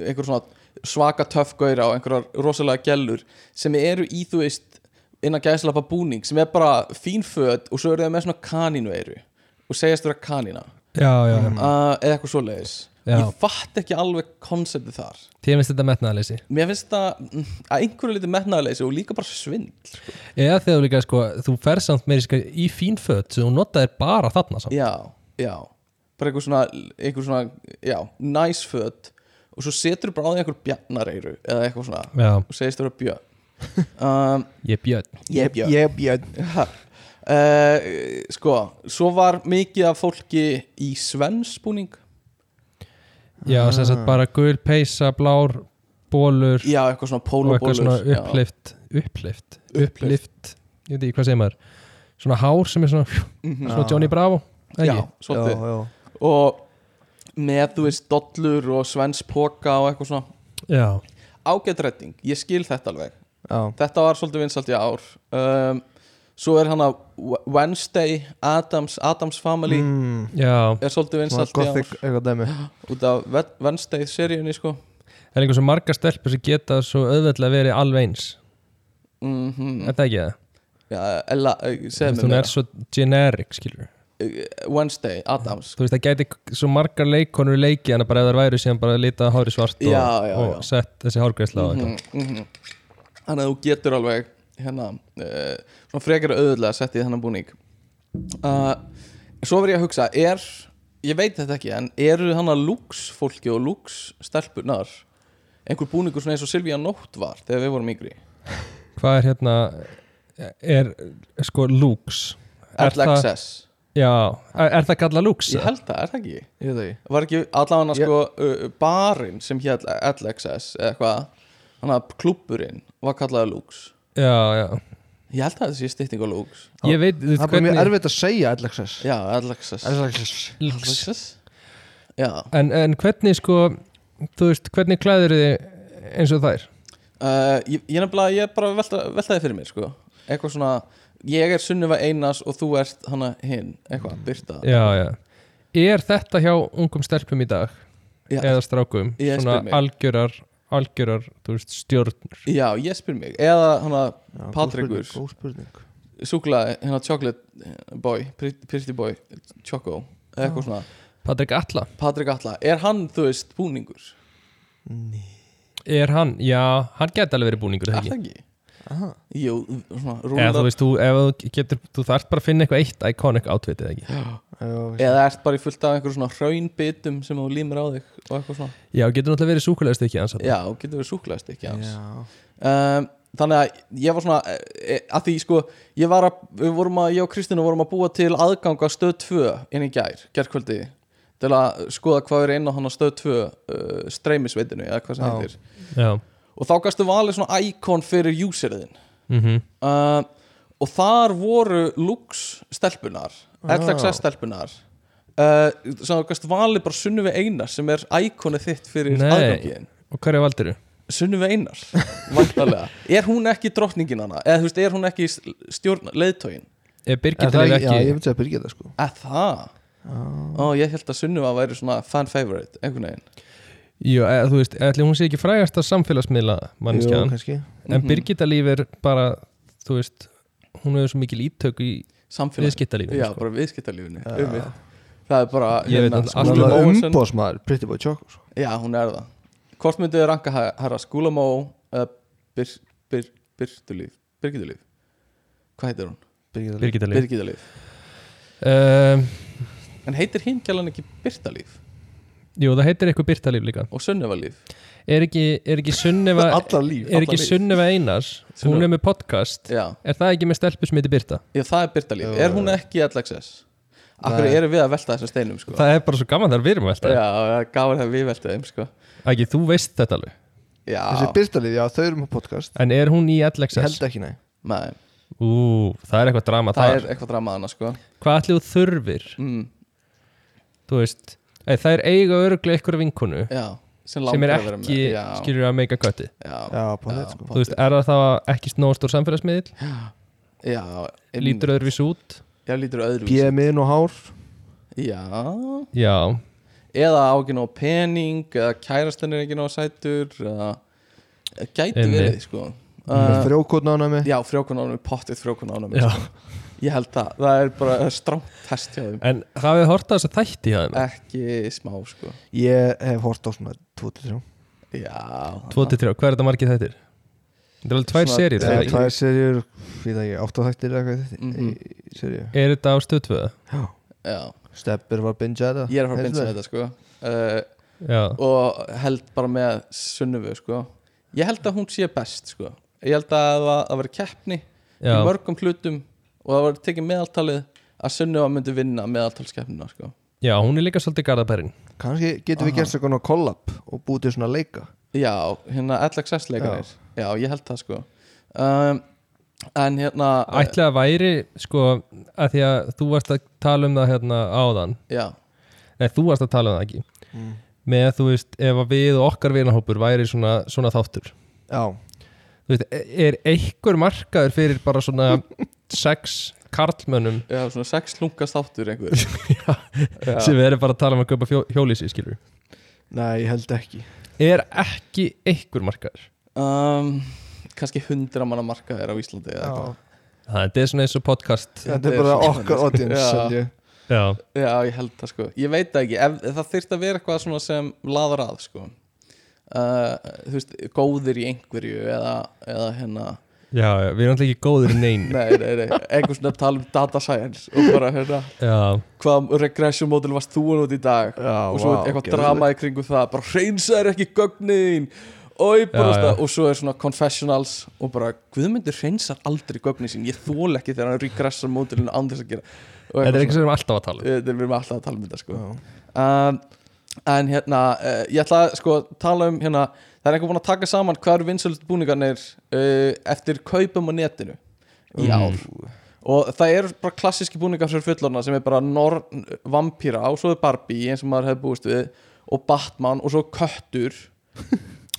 C: einhver svona svaka töffgöyra og einhverjar rosalega gellur sem eru í þú veist innan gæðslapa búning sem er bara fín föt og svo eru þeir með svona kanínveiru og segjast vera kanína
B: já, já, já.
C: uh, eða eitthvað svoleiðis
B: Hmm. Já.
C: Ég fatt ekki alveg konseptið þar
B: Þér finnst þetta metnaðleysi
C: Mér finnst það mm, að einhverju liti metnaðarleysi og líka bara svindl
B: Eða þegar þú líka, sko, þú ferð samt meiri sko, í fín fött sem þú notaðir bara þarna samt
C: Já, já Bara einhver svona, einhver svona já, nice föt og svo setur bara á því einhver bjarnareiru eða eitthvað svona
B: Já,
C: og segist þú vera *laughs* björn um,
B: ég er björn
C: Ég er björn
D: Ég er björn
C: yeah. Sko, svo var mikið af fólki í svensbúning
B: Já, sem sagt bara gul peysa, blár, bólur
C: Ah. Já, eitthvað svona
B: og eitthvað
C: pólabólur
B: svona
C: já.
B: uppleift uppleift, uppleift ég veit ekki hvað segir maður svona hár sem er svona, svona Johnny Bravo eða
C: Mhm. Ah, Já,
B: ekki?
C: svolítið
D: Já, já
C: Og með, þú veist, dollur og svenspoka og eitthvað svona
B: já,
C: Ágætt redding, ég skil þetta alveg
D: Já
C: þetta var svolítið vinsalt í ár um, svo er hann að Wednesday, Adams, Adams Family
D: Mm,
B: já
C: er svolítið
D: Svona
C: vinsalt í ár
D: gothic eitthvað dæmi
C: út af Wed- Wednesday seríunni sko
B: það er einhver svo margar stelpur sem geta svo auðveldlega verið alveg eins
C: mm
B: er það ekki það?
C: ja, Ella, eh,
B: Þú
C: segðu
B: veist, hún
C: mér
B: er svo generic skilur
C: meira. Wednesday, Adams
B: þú veist það gæti svo margar leikonur í leiki en bara ef þær væri síðan bara litað hári svart og,
C: Já, já, já.
B: og sett þessi hárgreisla á þetta
C: Mhm, mhm. þannig að þú getur alveg hérna uh, svona frekar auðvitað að setja í þennan búning uh, svo verð ég að hugsa er, ég veit þetta ekki en eru hann að lúks fólki og lúks stelpunar einhver búningur svona eins og Silvíja Nótt var þegar við vorum yngri
B: hvað er hérna er sko looks Er
C: All
B: það-
C: Access
B: já, er, er það kallað looks?
C: ég held það, er það ekki
D: Ég veit ekki
C: var ekki allavega
D: Ég-
C: sko uh, barinn sem hér All Access eða eitthvað hann að klúpurinn var kallaða Lux
B: já, já
C: ég held að það sé stytting á Lux
B: Ég veit, þú
D: Það
B: veist
D: er bara mjög
B: hvernig
D: erfitt að segja LXS
C: já, All Access All
D: LXS
B: Looks.
C: Access já
B: en, en hvernig sko Þú veist, hvernig klæður þið eins og þær?
C: uh, ég, ég nefnilega, ég bara velta, veltaði fyrir mér sko eitthvað svona ég er Sunnuva Einars og þú ert hana hinn eitthvað, Byrta
B: Já, já Er þetta hjá ungum stelpum í dag?
C: Já.
B: eða strákum
C: Ég spyr
B: svona
C: mig.
B: algjörar, algjörar þú veist, stjórnur
C: já, ég spyr mig eða hana
D: Já, góð
C: Patrekur.
D: spurning, góð spurning.
C: súklaði hérna chocolate boy pretty boy, choco eða eitthvað svona,
B: Patrik Atla,
C: Patrik Atla er hann, þú veist, búningur?
D: Ný.
B: er hann já, hann geti alveg verið búningur
C: Er
B: er
C: það
B: það ekki?
C: ekki?
D: Aha.
C: Jú, svona
B: eða þú
C: rúlar
B: veist, þú, ef þú getur, þú þarft bara að finna eitthvað eitt iconic outfitið ekki
D: Já, veist.
C: eða ert bara í fullt af einhverjum svona hraunbitum sem þú límir á þig og eitthvað svona
B: já, getur náttúrulega verið súkulegast ekki hans
C: já, getur verið súklaðist ekki hans
D: Já.
C: um, þannig að ég var svona eh, eh, að því sko, ég var að við vorum að, ég og Kristina vorum að búa til aðgang að stöð 2 inn í gær, gærkvöldi til að skoða hvað er inn á hann að stöð 2 uh, streymisveitinu eða hvað sem
D: Já.
C: heitir
B: já.
C: og þá gastu valið svona íkon fyrir userðin
B: Mm
C: uh, og þar voru Lux stelpunar LXS stelpunar uh, sem þú gæst valið bara Sunnuvi Einar sem er íkonið þitt fyrir
B: Nei.
C: aðgangiðin
B: og hverja valdiru?
C: Sunnuvi Einar vantarlega, er hún ekki drottningin hana eða þú veist, er hún ekki stjórn leiðtógin,
B: er
D: Er
B: Birgit
D: það
B: Leif
D: ekki- Já, ég
B: ekki
D: myndi að byrja það sko
C: eða það ó, ég held að Sunnuva væri svona fan favorite, einhvern veginn
B: Jú, eða, þú veist, ætli hún sé ekki frægast að samfélagsmiðla
D: Jú,
B: mannskjaðan,
D: kannski
B: en
C: Mhm.
B: Birgitta líf er bara, þú veist hún hefur svo mikil ítök í
C: samfélag,
B: viðskiptalífinu
C: já,
B: sko.
C: bara viðskiptalífinu
D: Já.
C: um það er bara hérna,
B: Ég veit um náttúrulega
C: Skúla
D: Hún var
C: Mogensen-
D: umbóðsmaður, Pretty Boy Choco sko.
C: já, hún er það hvort myndið ranka hæ- herra Skúlamó eða byr, byr, Byrgitulíf Byrgitulíf, hvað heitir hún?
D: Birgitta Líf.
B: Birgitta líf
C: Byrgitulíf,
B: um,
C: en heitir hinn gælan ekki Byrtalíf
B: Jú, það heitir eitthvað Birta líf líka
C: og Sunnevalíf
B: Er ekki, er ekki Sunnefa
D: Allar líf
B: Er ekki
C: *laughs* Alla líf.
B: Sunnefa Einars Hún
C: Sunnefa.
B: er með podcast
C: já,
B: Er það ekki með stelpu sem heitir Birta?
C: já, það er Byrtalíf,
D: Jú,
C: er
D: jú,
C: hún
D: jú.
C: ekki LXS? Akkur
D: Nei.
C: erum við að velta þessum steinum sko?
B: Það er bara svo gaman þar við erum
C: Já,
B: alltaf
C: það er gafur það við velta þeim sko.
B: Ekki, þú veist þetta alveg
C: Já,
D: Þessi Birgitta Líf, já þau eru með podcast
B: En er hún í
D: Ég
B: LXS?
D: held ekki, nei
C: nei,
B: Ú, það er eitthvað drama
C: það
B: þar
C: er eitthvað dramaðana sko.
B: Hvað ætli þú þurfir?
C: mm,
B: Þú veist, eða, það er eiga örglega einhverja vinkonu
C: Já, sem,
B: sem er
C: langar að vera
B: ekki,
C: með. já,
B: skilur að meika kötti
C: já,
D: Já, pán
C: já,
D: þetta sko
B: Þú veist, er það þá ekki nóg stór samfélagsmiðil?
C: já, einmitt.
B: Lítur öðruvís út?
C: Já, lítur öðru
D: Bjömiðin og hár
C: Já,
B: Já,
C: eða á ekki nóg pening eða kærastan er ekki nóg sætur eða eða gæti
B: Einmitt.
C: verið sko
D: uh,
C: uh,
D: Frjókotna hana með
C: já, frjókunánum, pottið frjókunánum
B: já.
C: sko. ég held það, það er bara strámt test hjá þeim
B: En hafið hortað þess að þætti hjá þeim?
C: Eh. ekki smá sko
D: Ég hef hort á svona 2-3
C: já,
B: 23, hvað er þetta margið þættir? Þetta er alveg tvær
C: Svona
B: serið
C: Þetta
D: Það
C: er
D: er
C: ekki-
D: tvær serjur, ég það ekki, áttaþættir eða eitthvað þetta
C: Mhm.
D: í serju
B: Er þetta á stöðtvöða?
C: já,
D: Steppur var binge að það
C: ég er að fara að binsa þetta sko uh,
B: Já,
C: og held bara með sunnufu sko ég held að hún sé best sko ég held að það að vera keppni
B: já,
C: í mörgum hlutum og það var tekið meðaltalið að sunnufa myndi vinna meðaltalskeppnina sko
B: já, hún er líka svolítið garðabærin
D: Kanski getum við
C: Aha.
D: gert svona kollab og búið til svona leika
C: Já, hérna LXS leikarnir Já, ég held það sko um, En hérna
B: Ætli að væri, sko, að því að þú varst að tala um það hérna áðan
C: Já,
B: Nei, þú varst að tala um það ekki
C: Mm.
B: Með, þú veist, ef að við og okkar vinahópur væri svona, svona þáttur
D: Já,
B: Þú veist, e- er einhver markaður fyrir bara
C: *laughs*
B: svona sex karlmönnum
C: já svona sex lungast áttur einhver Já.
B: sem við erum bara að tala um að köpa hjólísi, skilur
D: nei, ég held ekki
B: Er ekki einhver markaður?
C: um, Kannski hundra manna markaðir á Íslandi eða
D: Já.
C: eitthvað.
B: Það er svona eins og podcast
D: Þetta er bara okkar audience
C: Já.
D: held ég.
B: Já,
C: Já, ég held það sko Ég veit það ekki, ef, það þyrfti að vera eitthvað svona sem laðar að sko Uh, þú veist, góðir í einhverju eða, eða hérna
B: já, já, við erum alltaf ekki góður í neinu
C: nei, nei, nei, einhvers svona tala um data science og bara hérna,
B: Já,
C: hvað regression model varst þú að nota í dag
D: Já,
C: og svo
D: vá,
C: eitthvað
D: geðveikt.
C: drama í kringum það bara hreinsaður ekki gögnin Oi,
B: Já,
C: já,
B: já.
C: og svo er svona confessionals og bara Guðmundur hreinsar aldrei gögnin sín ég þól ekki þegar hann regressar mótilinu án þess að gera
B: þetta
C: Og
B: er
C: eitthvað
B: eitthvað sem við erum alltaf að tala um
C: svona, eh, við erum alltaf að tala um þetta sko.
D: Já.
C: um, en hérna uh, ég ætla að sko, tala um hérna, það er einhver búin að taka saman hvað eru vinsöld búningarnir uh, eftir kaupum á netinu í ár og það eru bara klassíski búningar fyrir fullorna sem er bara norn vampíra og svo er Barbie eins og maður hefði búist við og Batman og svo köttur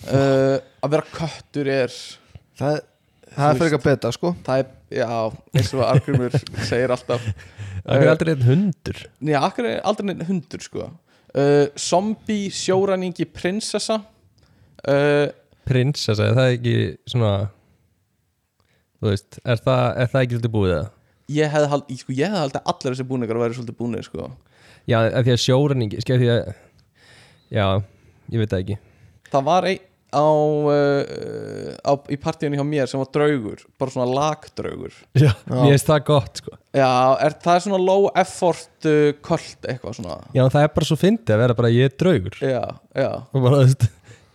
C: uh, að vera köttur er
D: Það, það er fyrir eitthvað beta sko
C: það er, já, eins og Argrymur segir alltaf
B: Það er aldrei einn hundur
C: Nei, akkur er aldrei neinn hundur sko uh, Zombie sjóræningi prinsessa uh,
B: Prinsessa, er það ekki svona Þú veist, er það, er það ekki svolítið búið það?
C: Ég hefði haldið sko, hef hald að allir þessi búningar væri svolítið búnir sko.
B: Já, af því að sjórenningi, skil því að Já, ég veit það ekki
C: Það var einn á, uh, á, í partíunni hjá mér sem var draugur bara svona lagdraugur
B: Já, mér finnst það gott, sko
C: Já, er, það er svona low effort uh, kvöld eitthvað svona
B: Já, það er bara svo fyndið að vera bara ég er draugur
C: Já, já,
B: Og bara, þú veist,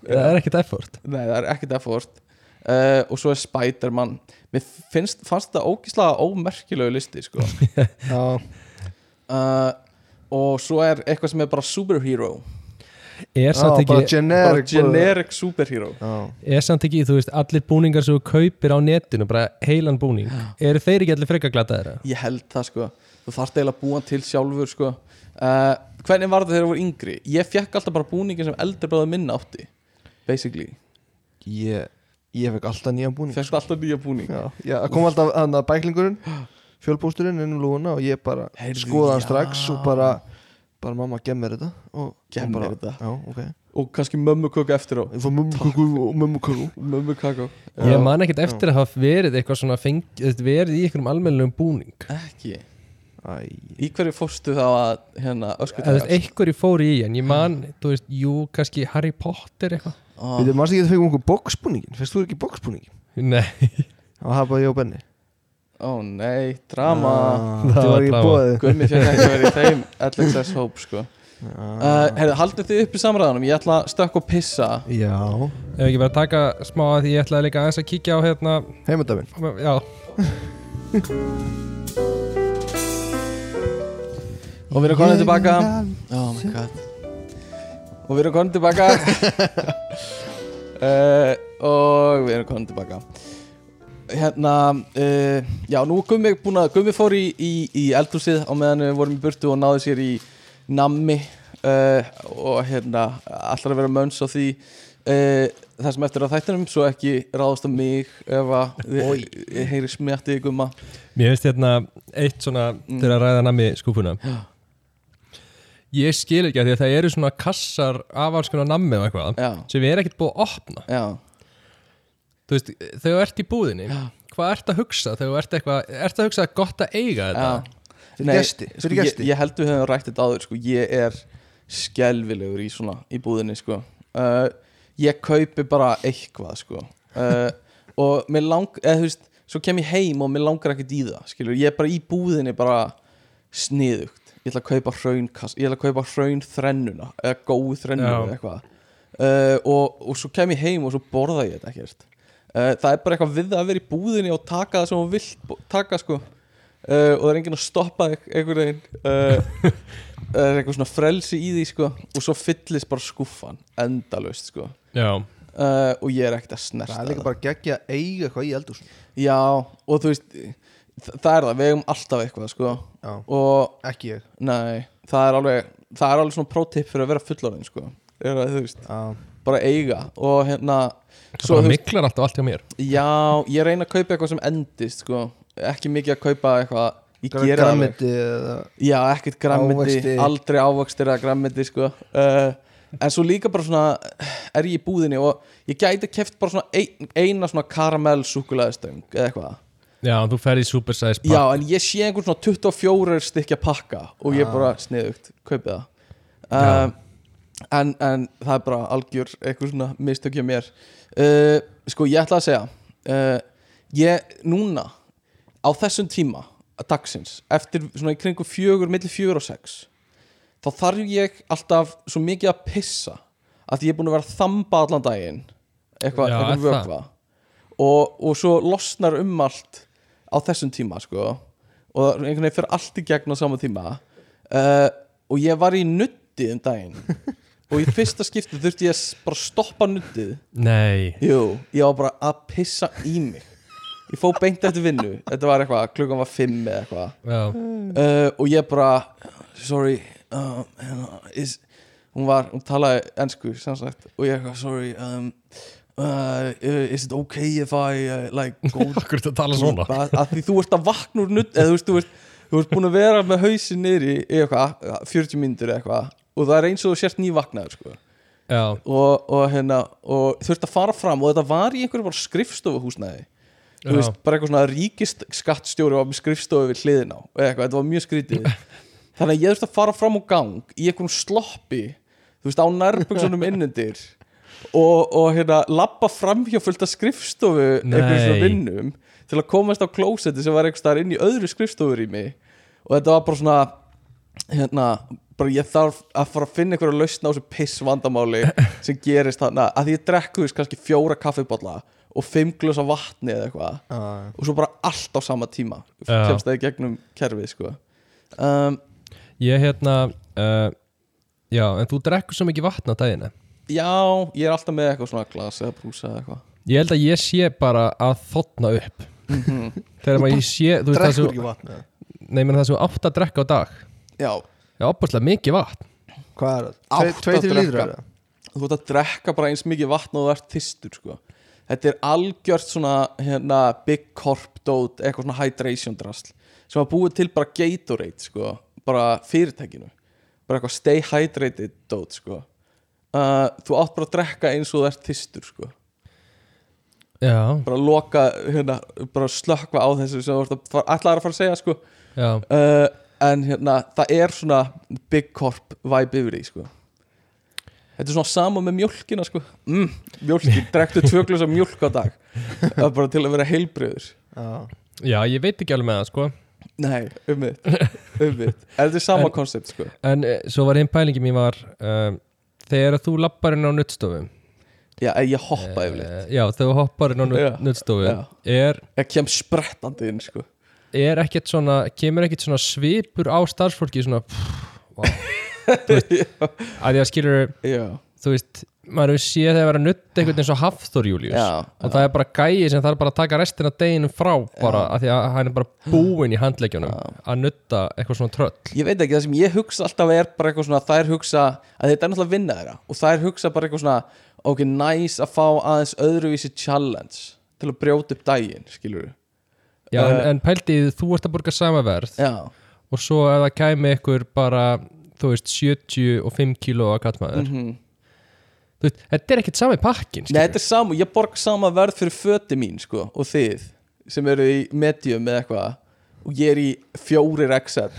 B: það er ekkert effort
C: nei það er ekkert effort uh, og svo er Spiderman Mér finnst, fannst þetta ógíslega ómerkilegu listi sko
D: Já,
C: uh, og svo er eitthvað sem er bara superhero
B: Er
D: já
B: samt
D: bara
B: ekki,
C: bara
D: generic
C: generic superhero
D: Já,
B: er samt ekki, þú veist, allir búningar sem þú kaupir á netinu, bara heilan búning Eru þeir ekki allir frekar glataðir? eða?
C: ég held það sko þú þarft eiginlega að búa hann til sjálfur sko uh, hvernig var það þegar þú voru yngri ég fekk alltaf bara búningin sem eldri bróður minn átti basically,
D: ég, ég fekk alltaf nýjan búning
C: fekk alltaf nýja búning
D: Já, já, það kom alltaf hann að bæklingurinn Fjölbústurinn inn um lúguna og ég bara
C: Heyrðu,
D: skoða hann
C: já.
D: strax og bara bara mamma gem mér þetta og,
C: Gef
D: og bara,
C: mér þetta.
D: Já, ok
C: og kannski mömmu köku eftir á
D: Ég fór mömmu kukku og mömmu kukku
C: mömmu kakó,
B: Ég man ekkert eftir að hafa verið eitthvað svona feng, þú veist, verið í einhverjum almennlegum búning
C: ekki
D: Æ,
C: í hverju fórstu þá að
B: Eða,
C: hérna,
B: þú veist,
C: öskutæðast
B: einhverju fór í en ég man, þú veist, jú, kannski Harry Potter eitthvað
D: við þið mannst ekki að fengum okkur boxbúningin Fyrst þú ekki boxbúningin?
B: *laughs* Nei,
D: Það var bara ég og Benni
C: ó nei, drama
D: Ah,
B: Það
D: Það
B: var
D: var ekki
B: drama.
D: bóðið
C: Gummi fekk ekki verið í þeim LXS hóp sko uh, Herðu, haldið þið upp í samræðanum Ég ætla að stökk og pissa
D: Já,
B: ef ekki bara taka smá að því ég ætlaði líka aðeins að kíkja á hérna
D: heimundafinn
B: Já,
C: Og við erum konið tilbaka Oh my god Og við erum konið *laughs* tilbaka uh, Og við erum konið tilbaka Hérna uh, Já, nú er Gummi búin að Gummi fór í, í, í eldhúsið á meðan við vorum í burtu og náði sér í nammi uh, og hérna allar að vera mönns á því uh, það sem eftir á þættinum svo ekki ráðast á mig ef að þið- ég heyri smjætti í Gumma
B: mér veist hérna eitt svona
C: Hmm.
B: mm. til að ræða nami skúfuna Ég skil ekki að því að það eru svona kassar af alls konar nammi og eitthvað
C: Já.
B: sem við erum ekkert búið að opna
C: Já,
B: Þú veist, þegar þú ert í búðinni Hvað ert að hugsa þegar þú ert eitthvað Ert að hugsa að gott að eiga þetta?
C: já
D: Fyrir gesti,
C: sko,
D: fyrir
C: ég,
D: gesti.
C: ég held við höfum rætt þetta áður sko. ég er skelvilegur í svona í búðinni sko. uh, ég kaupi bara eitthvað sko. uh, og mér lang eða, þú veist, svo kem ég heim og mér langar ekkert í það skilur. ég er bara í búðinni bara sniðugt ég ætla að kaupa hraunkass ég ætla að kaupa hraun þrennuna eða góð þrennuna
B: Já.
C: eða eitthvað uh, og, og svo kem ég heim og svo borða ég þetta ekkert uh, það er bara eitthvað við það að vera í búðinni og taka það sem hún vilt bú- taka sko uh, og það er enginn að stoppa þig einhvern veginn uh, það er eitthvað svona frelsi í því sko og svo fyllist bara skúffan endalaust sko
B: Já.
C: uh, og ég er ekkert að
D: Það
C: snerta
D: er líka bara geggja að eiga eitthvað í eldur
C: já og þú veist þa- það er það, við eigum alltaf eitthvað sko
D: Já,
C: og
D: ekki ég
C: nei, það er alveg það er alveg svona prótipp fyrir að vera fullorðin sko er að þú veist,
D: Já,
C: bara eiga og hérna
B: Það
C: þú
B: bara
C: veist,
B: miklar alltaf allt hjá mér
C: já, ég reyna að kaupa eitthvað sem endist sko, ekki mikið að kaupa eitthvað ég gera það alveg
D: græmiti eða
C: Já, ekkert grammindi,
D: Ávexti.
C: aldrei ávakstir eða grammindi sko uh, En svo líka bara svona er ég í búðinni og ég gæti keft bara svona ein, eina svona karamell súkulaðistöng eða eitthvað
B: Já, þú ferð í super size pack
C: Já, en ég sé einhvern svona 24 stykja pakka og ég bara sniðugt kaupið það um, en, en það er bara algjör eitthvað svona mistökja mér uh, Sko, ég ætla að segja uh, Ég, núna á þessum tíma dagsins, eftir svona í kringum fjögur, milli fjögur og sex þá þarf ég alltaf svo mikið að pissa að ég er búin að vera að þamba allan daginn eitthvað,
B: Já,
C: eitthvað
B: er það?
C: vökva og, og svo losnar um allt á þessum tíma sko og það einhvern veginn fyrir allt í gegn á sama tíma uh, og ég var í nutti um
B: *laughs*
C: daginn og í fyrsta skipti þurfti ég að s- bara stoppa nuttið
B: Nei
C: Jú, ég var bara að pissa í mig Ég fó beint eftir vinnu Þetta var eitthvað, klukkan var fimm eða eitthvað
B: Já,
C: uh, Og ég bara Sorry um, hérna, is, Hún var, hún talaði ennsku sem sagt, Og ég eitthvað, sorry um, uh, Is it okay if I uh, Like go
B: okkur þetta tala
C: Bara að því þú ert að vakna úr nutt eða þú veist, þú ert, þú ert búin að vera með hausin niður í í eitthvað, 40 myndur eitthvað og það er eins og þú sért nývagnaður sko.
B: já,
C: og, og, hérna, og þurft að fara fram og þetta var í einhverjum bara skrifstofuhúsnæði
B: Já.
C: þú veist, bara eitthvað svona ríkist skattstjóri var með skrifstofu við hliðin á eða eitthvað, þetta var mjög
B: *laughs*
C: skrítið þannig að ég þurfti að fara fram og gang í einhverjum sloppi þú veist, á
B: *laughs*
C: nærböksunum innundir og, og hérna, labba fram hjá fullt af skrifstofu einhverjum svona
B: Nei.
C: vinnum til að komast á klósetti sem var einhvers staðar inn í öðru skrifstofurími og þetta var bara svona hérna, bara ég þarf að fara að finna einhverja lausna á þessu piss vandamáli sem gerist þarna, að því ég drekku þess kannski fjóra kaffiballa og fimm glösa vatni eða eitthvað
D: Já,
C: og svo bara allt á sama tíma
B: Já.
C: kemst það í gegnum kerfið sko um,
B: ég hérna uh, já, en þú drekkur svo mikið vatn á eh? dagina
C: já, ég er alltaf með eitthvað svona glas eða brúsa eða eitthvað
B: ég held að ég sé bara að þotna upp þegar maður ég sé þú veist það
D: Drekkur
B: sem,
D: ekki vatn eða?
B: nei, menn það sem átt að drekka á dag
C: já,
B: já, opaslega mikið vatn
D: Hvað er
C: Átta
D: það? Tvei til
C: drekka.
D: lítra er það?
C: þú ert að drekka bara eins mikið vatn og þú ert þystur sko þetta er algjört svona hérna, big corp dót, eitthvað svona hydration drasl sem að búið til bara Gatorade sko, bara fyrirtækinu bara eitthvað stay hydrated dót sko uh, þú átt bara að drekka eins og þú ert þystur sko
B: já,
C: bara loka, hérna, bara slökva á þessu sem þú ert að fara, allar að fara að segja sko
B: já,
C: uh, en hérna, það er svona big corp vibe yfir því sko. þetta er svona sama með mjölkina sko. mm, mjölkin, drektu tvöglus af mjölk á dag það er bara til að vera heilbröður
D: Já
B: já, ég veit ekki alveg með það sko
C: nei, um mitt, um mitt. en þetta er sama koncept sko.
B: En eh, svo var hinn pælingi mín var uh, Þegar þú lappar inn á nuttstofu
C: já, en ég hoppa yfir
B: Eh, Já, þegar þú hoppar inn á
C: Já,
B: nutt, nuttstofu
C: já.
B: er,
C: ég kem sprettandi inn sko.
B: er ekkert svona Kemur ekkert svona svipur á starfsfólki Svona pff, vá. Þú veist, Að því að skilur
C: já,
B: Þú veist, maður hefur séð þegar að vera nutt Einhvern eins og Hafþór Július
C: Já,
B: Og það er bara gæi sem þarf bara að taka restina af deginum frá Bara, að því að hann er bara búinn í handleikjunum Að nutta eitthvað svona tröll
C: ég veit ekki, það sem ég hugsa alltaf er bara eitthvað svona, þær hugsa að þetta er náttúrulega vinna þeirra og þær hugsa bara eitthvað svona ok, næs að fá aðeins öðruvísi challenge til að brjóta upp daginn skilur
B: Já, en,
C: Eh.
B: en pæltið, þú ert að borga sama verð
C: já,
B: og svo ef það kæmi ykkur bara, þú veist, 75 kíló að kallmaður mm veist, þetta er ekkert sami pakkin
C: Mhm. Nei, þetta er sama, ég borg sama verð fyrir föti mín sko, og þið sem eru í medium eða eitthvað og ég er í fjórir XL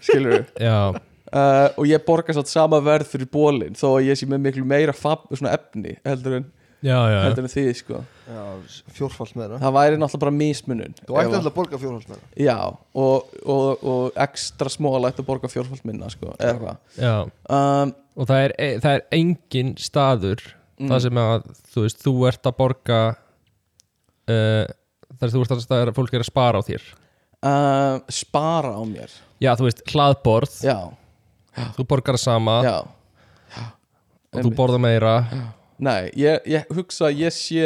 C: skilur við
B: já,
C: uh, og ég borga satt sama verð fyrir bólin þó að ég sé með miklu meira fab, svona efni heldur en,
B: já, já,
C: heldur en þið sko.
D: Já, fjórfald með það
C: það væri náttúrulega bara mismunun
D: Þú
C: Ef
D: ætti
C: að-
D: alltaf að borga fjórfald með það
C: Já, og, og, og ekstra smóla ætti að borga fjórfald minna sko, eða eitthvað
B: já.
C: um,
B: og það er, e- það er engin staður
C: Mm.
B: það sem að, þú veist, þú ert að borga uh, þar sem þú ert að staður að fólk er að spara á þér
C: uh, spara á mér
B: já, þú veist, hlaðborð,
C: Já,
B: þú borgar það sama
C: já
B: og þú borðar meira
C: Nei, ég, ég hugsa að ég sé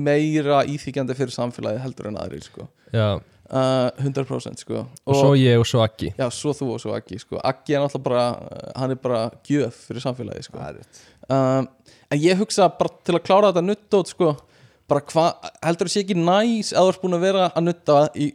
C: meira íþykjandi fyrir samfélagi heldur en aðrir sko.
B: já. og,
C: uh, 100% sko. og,
B: svo ég og svo ekki
C: já, svo þú og svo Aggi sko. Aggi er náttúrulega bara, uh, hann er bara gjöf fyrir samfélagi sko.
D: Það er rétt
C: um, en ég hugsa bara til að klára þetta nuttót sko, bara hva, heldur það sé ekki næs að þú ert búin að vera að nutta í,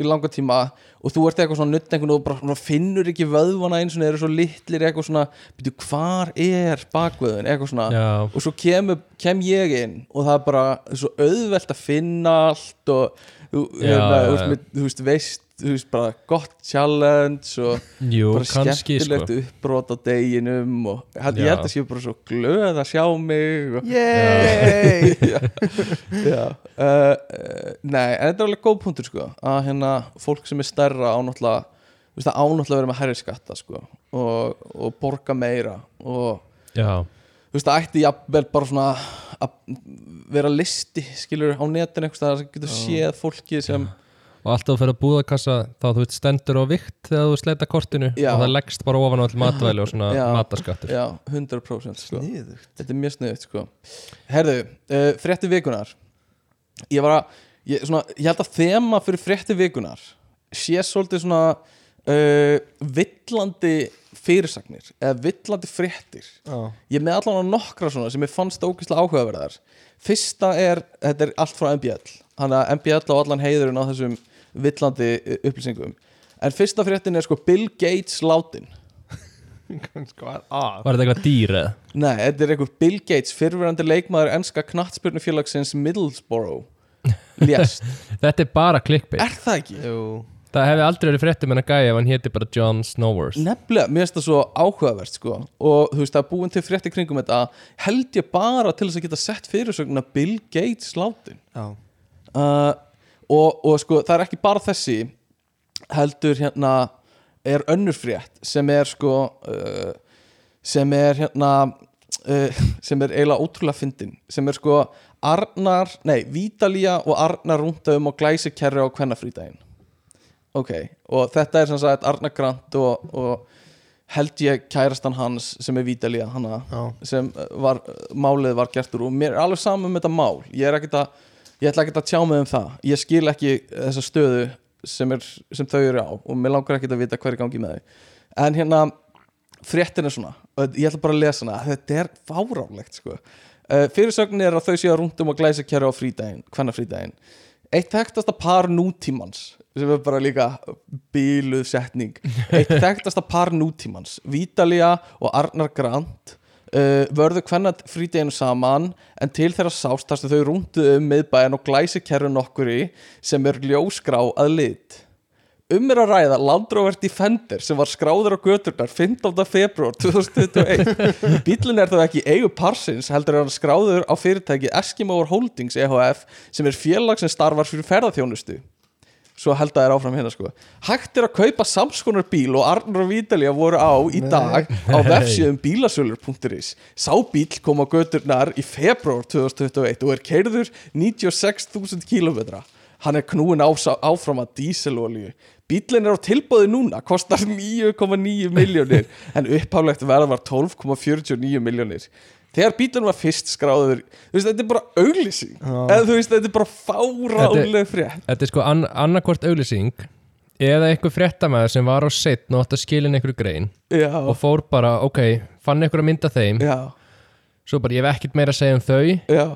C: í langa tíma og þú ert eitthvað svona að nutta einhvern og þú bara svona, finnur ekki vöðvana eins og eru svo litlir eitthvað svona, byrju, hvar er bakvöðun, eitthvað svona
B: já,
C: og svo kem, kem ég inn og það er bara svo auðvelt að finna allt og þú,
B: Já,
C: hérna,
B: já,
C: þú, veist,
B: já.
C: með, þú veist veist þú veist bara gott challenge og
B: jú,
C: bara
B: kannski sko.
C: skemmtilegt uppbrot á deginum og ég, ég
B: Já.
C: held að sé bara svo glöð að sjá mig og,
D: Yey
C: *laughs* já, já, uh, uh, nei, en þetta er alveg góð punktur sko, að hérna fólk sem er stærra á náttúrulega þú veist, það á náttúrulega að vera með herri skatta sko, og, og borga meira og
B: já,
C: þú veist, það ætti jafnvel bara svona að vera listi, skilur, á netinu einhvers staðar sem getur séð fólki sem
B: og alltaf þú fyrir að búðakassa þá þú veit stendur á vikt þegar þú sleta kortinu
C: Já.
B: og það leggst bara ofan á all matvæli og svona
C: Já.
B: mataskattur
C: já, 100% sko.
D: Niður
C: þetta er mjög sniðut, sko herðu, uh, frétti vikunar ég var að, ég, svona, ég held að þema fyrir frétti vikunar sé svolítið svona uh, villandi fyrirsagnir eða villandi fréttir
D: Já *laughs*
C: ég er með allan á nokkra svona sem ég fannst ógeðslega áhugaverðar fyrsta er, þetta er allt frá MBL hann að MBL á allan heiðurinn á þessum uh, villandi eh, upplýsingum en fyrsta fréttin er sko Bill Gates látin
D: Hvað er að?
B: Var þetta eitthvað dýr eða?
C: Nei, þetta er einhver Bill Gates, fyrirverandi leikmaður enska knattspyrnufélagsins Middlesbrough Lést,
B: Þetta er bara clickbait
C: er það ekki?
D: Jú,
B: Það hefði aldrei verið fréttum en að gæja ef hann héti bara John Snowers
C: Nefnilega, mér finnst það svo áhugavert sko og þú veist það er búin til frétti kringum þetta held ég bara til þess að geta sett fyrirsögnuna Bill Gates látin
D: já
C: uh, og, og sko það er ekki bara þessi heldur hérna er önnur frétt sem er sko uh, sem er hérna uh, sem er eiginlega ótrúlega fyndin sem er sko Arnar, nei, Vítalía og Arnar rúnda um og glæsi kerri á kvennafrídaginn ok, og þetta er sem sagt Arnar Grant og, og held ég kærastan hans sem er Vítalía hana
D: Já,
C: sem eh, var, málið var gert úr og mér er alveg saman um þetta mál ég er ekkert að, ég ætla ekkert að tjá mig um það ég skil ekki þessa stöðu sem, er, sem þau eru á og mér langar ekkert að vita hverju gangi með þau en hérna, fréttin er svona og ég ætla bara að lesa hana, þetta er fáránlegt sko. uh, fyrirsögnin er að þau séu að rúndum og glæsa kæra á frídægin hvernig frídægin eitt þekktasta par nútímans sem er bara líka bíluð setning eitt þekktasta par nútímans Vítalía og Arnar Grant uh, vörðu hvenna fríteginu saman en til þeirra sástast að þau rúnduðu um miðbæjan og glæsi kerru nokkuri sem er ljósgrá að lit um er að ræða Land Rover Defender sem var skráður á göturnar 15. februar 2021 bílun er þá ekki í eigu parsins heldur er hann skráður á fyrirtæki Eskimo Holdings EHF sem er félag sem starfar fyrir ferðaþjónustu svo held að það er áfram hérna sko hægt er að kaupa samskonar bíl og Arnur og Vítalía voru á í dag á vefsíðum bílasölur.is sá bíl kom á göturnar í februar 2021 og er keirður 96.000 km hann er knúin ásá, áfram að díselolíu bílinn er á tilbóði núna kostar 9,9 miljónir en upphálegt verð var 12,49 miljónir þegar bílinn var fyrst skráður þú veist þetta er bara auglýsing
D: Já.
C: eða þú veist þetta er bara fáránleg frétt
B: Þetta er sko an annarkvort auglýsing eða einhver fréttamaður sem var á setn og átt að skilja inn einhver grein
C: Já.
B: og fór bara, ok, fann einhver að mynda þeim
C: Já,
B: svo bara ég hef ekkert meira að segja um þau
C: já,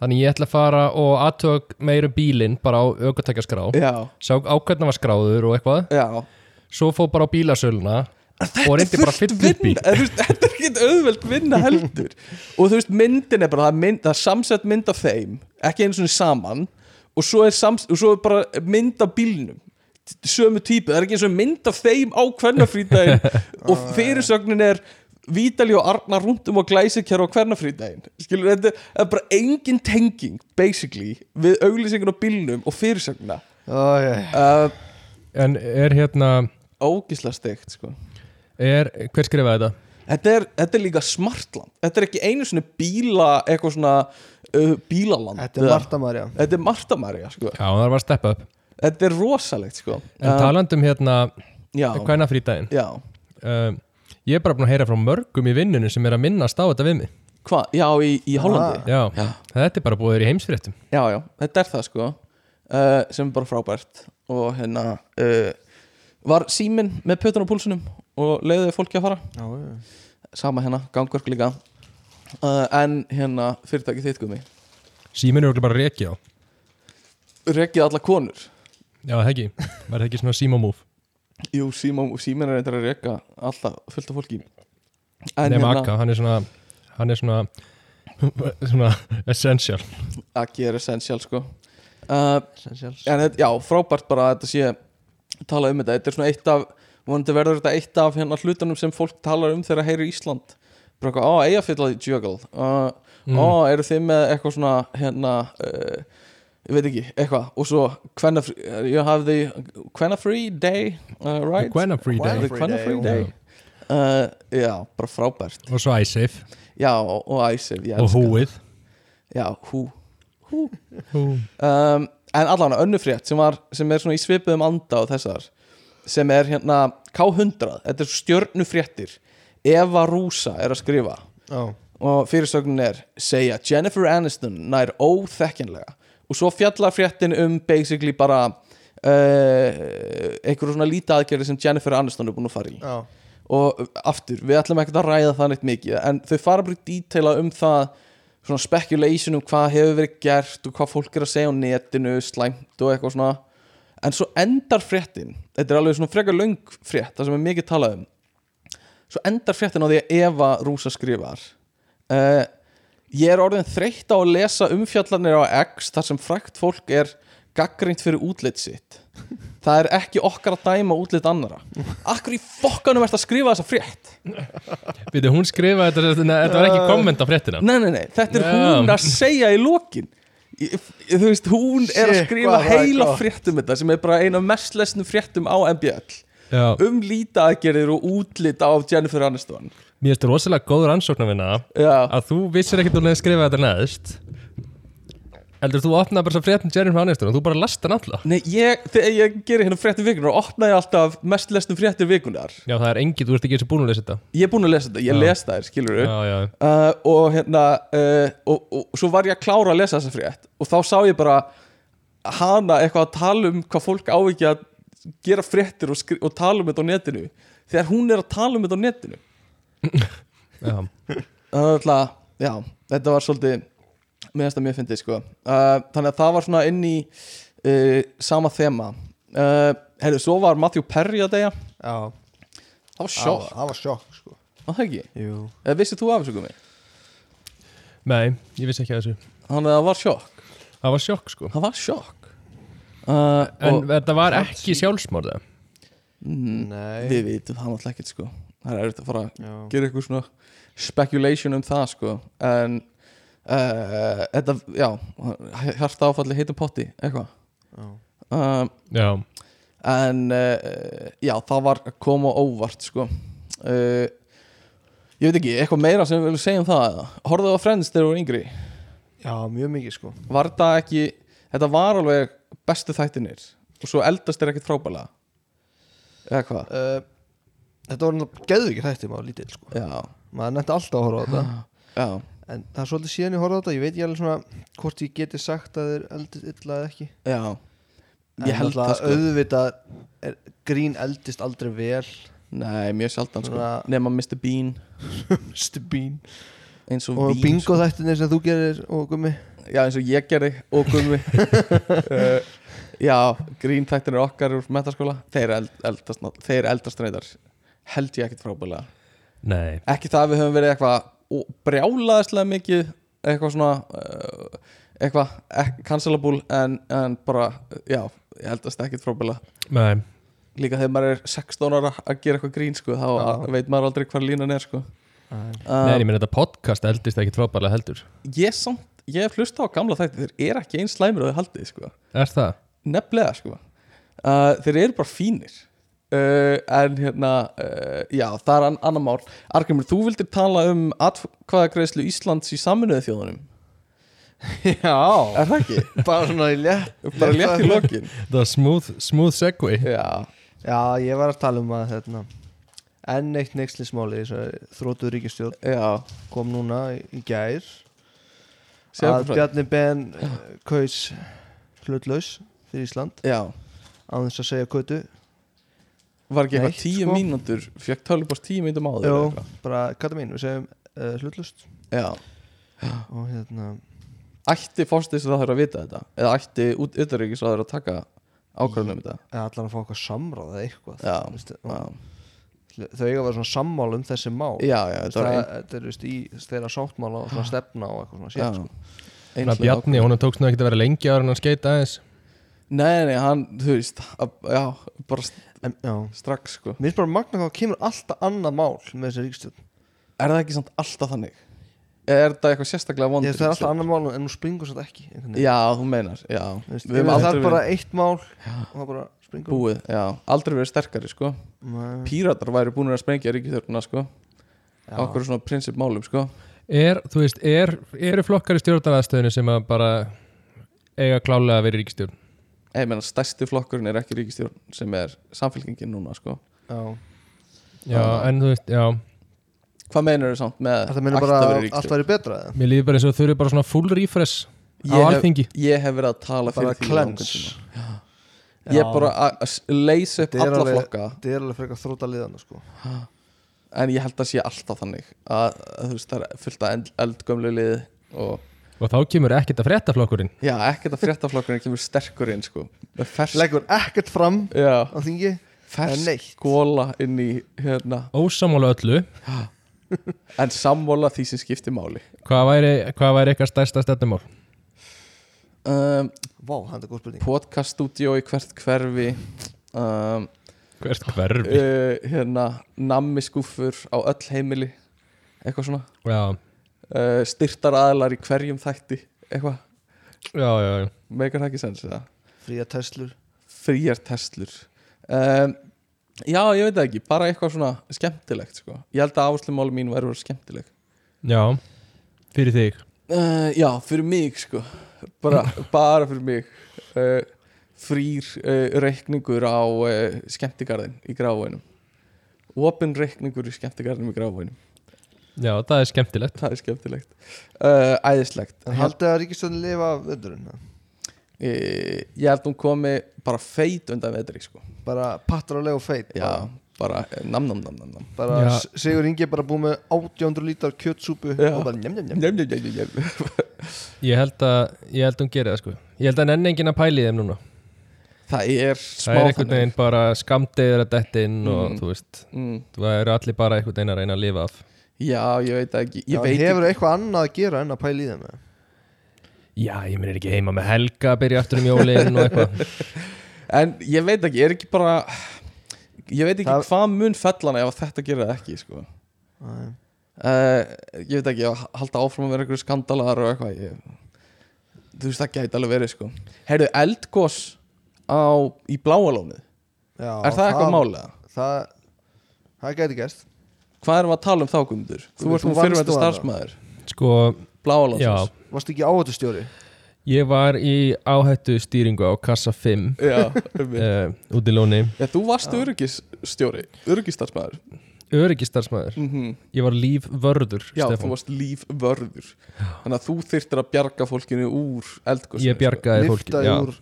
B: þannig ég ætla að fara og aðtök meira um bílinn bara á aukertækjaskrá
C: já,
B: sá ákveðna var skráður og eitthvað
C: já
B: svo fór bara á bílasöluna og reyndi bara að
C: Fullt
B: fylla upp í
C: vinna, eða þú veist, Þetta er ekkert auðveld vinna heldur Og þú veist, myndin er bara Það er, mynd, það er samsett mynd af þeim Ekki einu svona saman Og svo er, sams, og svo er bara mynd af bílnum Sömu típu, það er ekki eins og mynd af þeim Á hvernafrídaginn Og fyrirsögnin er Vítali og Arnar rúndum og glæsikjara á hvernafrídaginn Skilur, þetta þetta er bara engin tenging Basically, við auglýsingun á bílnum Og fyrirsögnina
D: já, já
C: uh,
B: en er hérna
C: Ógislega steikt, sko
B: er, hver skrifaði þetta?
C: Þetta er, þetta er líka smartland Þetta er ekki einu svona bíla eitthvað svona uh, bílaland
D: Þetta er Marta Marja
C: Þetta er Marta Maria sko.
B: Já, það var að steppa upp
C: Þetta er rosalegt sko.
B: en taland um hérna
C: Já,
B: hvæna frítaginn
C: já,
B: uh, ég er bara búin að heyra frá mörgum í vinnunni sem er að minnast á þetta við mig
C: hva, já í, í
D: Ah.
C: Hollandi
B: já,
C: Já.
B: þetta er bara búið að vera í heimsfréttum
C: já, já, þetta er það sko uh, sem er bara frábært og hérna uh, var síminn með pötun á púlsunum og leiðið fólki að fara
D: Já, já
C: sama hérna, gangverk líka uh, en hérna fyrirtækið þitt gumi
B: síminn er örugglega bara reiki á
C: rekkið alla konur
B: já, það ekki, var það ekki svona símamúf
C: Jú, símum, símin er reyndar að reka alltaf fullt af fólki En
B: nema
C: hérna,
B: akka, hann er svona hann er svona svona essential
C: Akki er essential sko uh,
D: Essentials
C: En þetta, já, frábært bara að þetta sé tala um þetta, þetta er svona eitt af vonandi verður þetta eitt af hérna hlutunum sem fólk talar um þegar heyri Ísland bara eitthvað, á, eigafyllaði jökul uh,
B: Mm.
C: á, eru þið með eitthvað svona hérna, uh, ég veit ekki, eitthvað og svo, hvenna you have the hvenna free day uh, right?
B: hvæna
D: Hvenær-
B: frítaginn
C: The hvenna free
D: Free
C: day
D: day,
C: uh, já, bara frábært
B: og svo iSafe
C: já, og, og æsir, ég
B: og
C: elska
B: húið
C: já, hú
B: Hú.
C: um, en allan önnufrétt sem, var, sem er svona í svipuðum anda á þessar sem er hérna K100 þetta er stjörnufréttir Eva Rúsa er að skrifa
D: Já,
C: og fyrirsögnin er segja Jennifer Aniston nær óþekjanlega og svo fjallar fréttin um basically bara uh, einhverjum svona lítaðgerði sem Jennifer Aniston er búin að fara í
D: já
C: og aftur, við ætlum ekkert að ræða það neitt mikið en þau fara bara í detaila um það svona speculation um hvað hefur verið gert og hvað fólk er að segja á netinu slæmt og eitthvað svona en svo endar fréttin, þetta er alveg svona frekar löng frétt það sem er mikið talað um svo endar fréttin á því að Eva Rúsa skrifar uh, ég er orðin þreytt á að lesa umfjallanir á X þar sem frækt fólk er gaggrind fyrir útlit sitt það er ekki okkar að dæma útlit annara akkur í fokkanum ert að skrifa þessa frétt
B: Býtu, hún skrifaði þetta, þetta, þetta var
C: Uh.
B: ekki komment á fréttina
C: nei, nei, nei, þetta er
B: Já.
C: hún að segja í lokin Ég- þú veist, hún er að
D: Shit,
C: skrifa
D: hvað það er
C: heila
D: gott.
C: fréttum þetta sem er bara eina mest lesnum fréttum á MBL
B: Já,
C: um lítaaðgerðir og útlit á Jennifer Aniston
B: mér erstu rosalega góð rannsóknarvinna
C: Já,
B: að þú vissir ekkert hún hefði skrifað þetta neðst heldur þú opnaði bara svo fréttin Jennifer Aniston og þú bara lasta hann alla
C: nei, ég, þegar ég gerir hérna fréttir vikunar og opna ég alltaf mest lesnum fréttir vikunar
B: Já, það er engin, þú ert ekki eins og búin að lesa þetta
C: Ég er búin að lesa þetta, ég
B: Já.
C: les þær, skilur við
B: Já, já,
C: uh, Og hérna, uh, og, og, og svo var ég að klára að lesa þessa frétt Og þá sá ég bara hana eitthvað að tala um hvað fólk á ekki að gera fréttir og, skri, og tala um þetta á netinu Þegar hún er að tala um þetta á netinu
B: já
C: Það var alltaf, já, þetta var svolítið meðan það mér fyndið sko uh, Þannig að það var svona inn í uh, sama þema uh, Herðu, svo var Matthew Perry að deyja
D: Já,
C: Það var
D: það var-
C: sjokk,
D: það var sjokk sko.
C: var það ekki?
D: Jú.
C: Eða vissið þú af þessu komi?
B: Nei, ég vissi ekki að þessu
C: Þannig að það var sjokk
B: Það var sjokk, sko
C: Það var sjokk uh,
B: En
C: Og
B: þetta var ekki sjálfsmorða
D: Mm. Nei
C: við vitum það náttúrulega ekkert sko Það er erfitt að fara að
D: Já.
C: gera eitthvað svona speculation um það sko En uh, þetta, já, hjarta áfalli heitum potti, eitthvað
D: Já.
C: um,
B: Já,
C: en uh, já, það var að koma á óvart sko uh, ég veit ekki, eitthvað meira sem við viljum segja um það eða? horfðu á Friends þegar þú voru yngri
D: Já, mjög mikið sko
C: var þetta ekki, þetta var alveg bestu þættinir og svo eldast er ekkert frábælega eða hvað,
D: uh, Þetta var náttúrulega geðvikið þætti maður lítill sko
C: já,
D: Maður nefndi alltaf að horfa á þetta
C: já
D: En það er svolítið síðan ég horfa á þetta Ég veit ég alveg svona hvort ég geti sagt að þeir eldist illa eða ekki
C: já,
D: En
C: ég held það
D: náttúrulega
C: sko
D: Auðvitað er, grín eldist aldrei vel
C: nei, mjög sjaldan sko,
D: Svona-
C: nema Mr. Bean
D: Stubín
C: eins og,
D: Og
C: Bean,
D: bingo
C: sko.
D: þættinir sem þú gerir og gummi
C: já, eins og ég gerði og
D: *laughs*
C: gummi uh, já, grínþættinir okkar úr metaskóla, þeir eld, eldast nátt- þeir eldast reyndar, held ég ekkert frábælega
B: nei
C: ekki það að við höfum verið eitthvað brjálaðislega mikið eitthvað svona uh, eitthvað ek- cancelable en, en bara, uh, já, ég heldast ekkert frábælega
B: Nei,
C: líka þegar maður er 16 ára að gera eitthvað grín sko, þá
D: Já.
C: veit maður aldrei hvar línan er sko.
B: nei, ég
C: uh,
B: meina þetta podcast eldist ekkit frábælega heldur
C: ég samt, ég hef hlusta á gamla þætti þeir eru ekki eins slæmir að þau haldið sko.
B: Er það?
C: nefnilega sko uh, þeir eru bara fínir uh, en hérna uh, já, það er an annar mál Argrimur, þú vildir tala um atkvæðagreislu Íslands í saminuðu þjóðunum
D: Já
C: er það ekki?
D: *laughs* Bara svona í létt
C: bara létt í lokin
B: Það var smooth, smooth segway
C: já,
D: Já, ég var að tala um að hérna, enn eitt neykslismáli þrótuð ríkistjórn
C: já,
D: kom núna í- í gær
C: segðu
D: að
C: frá
D: Bjarni Ben eh, kaus hlutlaus fyrir Ísland
C: já,
D: á þess að segja kötu
C: var ekki
D: Neitt,
C: eitthvað tíu
D: sko.
C: mínútur fjökk tölubást tíu mínútur máður
D: Jó, bara kata mín, við segjum uh, hlutlust
C: já,
D: og hérna
C: ætti fórstis að það þurfa að vita þetta eða ætti út ytterrikis að það þurfa að taka ákvæðan um þetta
D: eða allan að fá eitthvað samráð eða eitthvað
C: Já,
D: þú veist,
C: já,
D: og þau eiga að vera svona sammál um þessi mál
C: já, já
D: Þú veist,
C: þetta var
D: það,
C: ein,
D: þetta er þú veist, í þeirra sáttmála og svona stefna og eitthvað svona
C: já,
D: sétt sko.
B: Þannig að Bjarni, hún tókst nú ekkert að vera lengi ára en hann skeita aðeins
C: Nei, nei, hann, þú veist að, Já, bara st-
D: en, já.
C: strax sko
D: Mér finnst bara magna hvað kemur alltaf annað mál með þessi ríkistjórn
C: Er það ekki samt alltaf þannig? Eða er það eitthvað sérstaklega
D: Ég
C: vondur?
D: veist það er alltaf annað mál en hún springur satt ekki einhvern veginn.
C: Já, þú meinar, já
D: Þú veist,
C: Við höfum
D: Það
C: aldrei
D: er bara
C: verið
D: eitt mál og það bara springur hún.
C: búið, já Aldrei verið sterkari, sko
D: Nei.
C: Píratar væri búin að sprengja ríkistjórnuna, sko
D: Mm. Já.
C: Á okkur svona prinsipmálum, sko
B: Er, þú veist, er, eru flokkar í stjórnarnaðstöðinu sem að bara eiga klálega að vera í ríkistjórn
C: Ég meina, stærsti flokkurinn er ekki ríkistjórn sem er samfélkingin núna, sko
D: Já.
B: Já, en þú veist, já
C: Hvað meinar þau samt með
D: Þetta meina
C: ætti að
D: bara að
C: vera
D: allt
C: ríkisstjórn?
D: væri betra eða?
B: Mér líður bara eins og þau eru bara svona full refresh á
C: Ég hef-
B: alþingi
C: Ég hef verið að tala
D: Bara
C: fyrir því í langan
D: cleanse.
C: tíma.
D: Já.
C: Ég er bara að- að leysa upp
D: Þetta er
C: alla
D: alveg-
C: flokka
D: Þetta er alveg frekar þróta liðana sko
C: en ég held að sé alltaf þannig að, að þú veist það er fullt af eld, eldgömlu lið og
B: Og þá kemur ekkert að frétta flokkurinn
C: já, ekkert að fréttaflokkurinn kemur sterkur inn sko með fersk
D: Leggur ekkert fram
C: já,
D: á þingi Það er
C: fersk
D: neitt
C: góla inn í hérna
B: Ósamála öllu
C: en sammála því sem skiptir máli
B: Hvað væri, hvað væri eitthvað stærsta stefnumál?
C: um,
D: Vá, hann er góð spurning
C: podcaststudió í hvert hverfi um,
B: Hvert hverfi?
C: uh, hérna nammi skúfur á öll heimili eitthvað svona
B: Já,
C: uh, styrtar aðlar í hverjum þætti eitthvað,
B: já, já, já.
C: megar það ekki sens eða?
D: Fría Teslur
C: fríjar testlur um, já, ég veit það ekki, bara eitthvað svona skemmtilegt sko, ég held að áherslumáli mín væri að vera skemmtileg
B: Já, fyrir þig
C: Uh, já, fyrir mig sko bara, *laughs* bara fyrir mig uh, frýr uh, reikningur á uh, skemmtigarðin í gráfænum opin reikningur í skemmtigarðinum í gráfænum
B: Já, það er skemmtilegt
C: það er skemmtilegt uh, æðislegt
D: En haldið að ríkistjónin lifa af veturinn ha?
C: ég, eh, ég held hún komi bara feit undan vetri sko
D: Bara patraleg og feit
C: já, bara eh, nam nam nam nam nam
D: Bara
B: Já.
D: S- Sigur Ingi er bara búið með 800 lítar kjötsúpu
C: Já.
D: Og bara njem njem njem
C: Njem, njem, njem, njem, njem.
B: Ég held að, ég held að hún gerir það sko Ég held að nenni enginn að pæli þeim núna
C: það er smá
B: Það er einhvern veginn bara skamdegður að detta inn og
C: Mm.
B: þú veist
C: mm,
B: Það eru allir bara einhvern veginn að reyna að lifa af
C: já, ég veit það ekki
D: Já,
C: ég veit
D: Hefur eitthvað annað að gera en að pæla í þeim eða?
B: Já, ég minn er ekki heima með helga að byrja aftur um jólin og eitthvað
C: En ég veit ekki, er ekki bara Ég veit ekki
D: Það-
C: hvað mun fellan ef að þetta gerir það ekki sko.
D: Nei.
C: uh, Ég veit ekki, að halda áfram að vera einhverju skandalar og eitthvað ég, Þú veist það gæti alveg verið sko. Heyrðu, eldgós á, í bláalónið
D: Já,
C: Er það eitthvað málega?
D: Það, það gæti gerst
C: Hvað erum við að tala um þá, Guðmundur? Þú ert nú
D: Guðmundur, þú vannst
C: fyrirvændi
D: þú hana.
C: starfsmæður
B: *laughs* Sko, já
C: Bláalónsins
D: Varstu ekki áhættustjóri?
B: Ég var í áhættu stýringu á kassa 5
C: Já,
B: *laughs*
C: um mig.
B: uh, út í lóni
C: Já, þú varst öryggisstjóri, öryggistarfsmæður
B: Öryggistarfsmæður
C: mm
D: Mhm.
B: Ég var lífvörður,
C: Já, þú
B: Stefán
C: varst lífvörður Þannig að þú þyrtir að bjarga fólkinu úr eldgósinu
B: Ég bjargaði fólki
D: Liftaði
B: já.
D: úr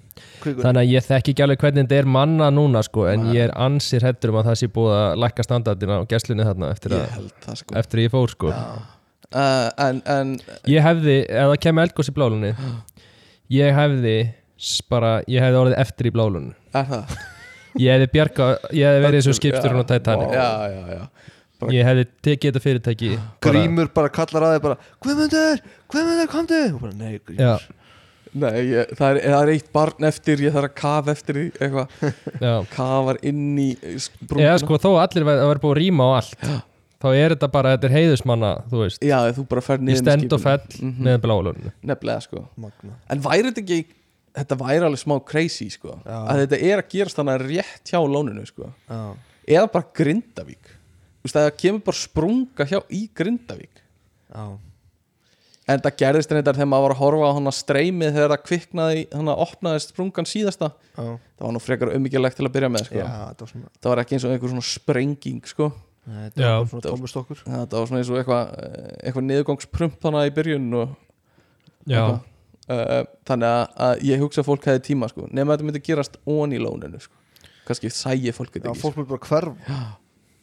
D: krigun
B: Þannig að ég þekki ekki alveg hvernig þetta er manna núna sko, en ég er ansir hættur um að það sé búið að lækka standardin á gæslunni þarna eftir
C: Ég
B: að,
C: held það sko
B: eftir að ég fór sko.
C: uh, en, en
B: Ég hefði, ef það kemur eldgóss í blálunni ég hefði s- bara, ég hefði orðið eftir í blálunni
C: er það?
B: Ég hefði bjarga, ég hefði verið eins og skipsturinn á
C: Já,
B: Titanic
C: Já, já, já bara-
B: Ég hefði tekið þetta fyrirtæki bara-
D: Grímur bara kallar að þig bara Guðmundur, Guðmundur, komdu Og bara nei,
B: Já,
D: Grímur
C: Nei, ég, það, er, það er eitt barn eftir, ég þarf að kafa eftir því eitthvað,
B: *laughs* já
C: kafar inn í eh, brúna
B: Eða sko þó að allir væri að vera búið að rýma á allt þá er þetta bara, þetta er heiðusmanna þú veist,
C: Já, þú bara fer
B: ég
C: niður með
B: stend og
C: skipinu. Mhm.
B: fell með blálunni
C: Nefnilega sko
D: Magna
C: En væri þetta ekki, þetta væri alveg smá crazy sko
D: Já.
C: Að þetta er að gerast þannig rétt hjá lóninu sko
D: Já,
C: Eða bara Grindavík Þú veist, það kemur bara sprunga hjá í Grindavík
D: já
C: En það gerðist reyndar þegar maður var að horfa á hana streymið þegar það kviknaði, hana opnaðist sprungan síðasta
D: Já,
C: það var nú frekar umíkjalegt til að byrja með sko.
D: já það var svona
C: það var ekki eins og einhver svona sprenging sko.
D: Nei, þetta
B: Já.
D: var bara svona tómustokkur
C: það var svona eins og eitthvað eh, eitthvað niðurgangsprump hana í byrjun og,
B: Já,
C: eitthvað. uh, þannig að, að ég hugsa að fólk hefði tíma sko. nema þetta myndi gerast on í lóninu sko. kannski sæi fólk
D: Já,
C: þetta ekki
D: fólk mér bara hverf
C: sko.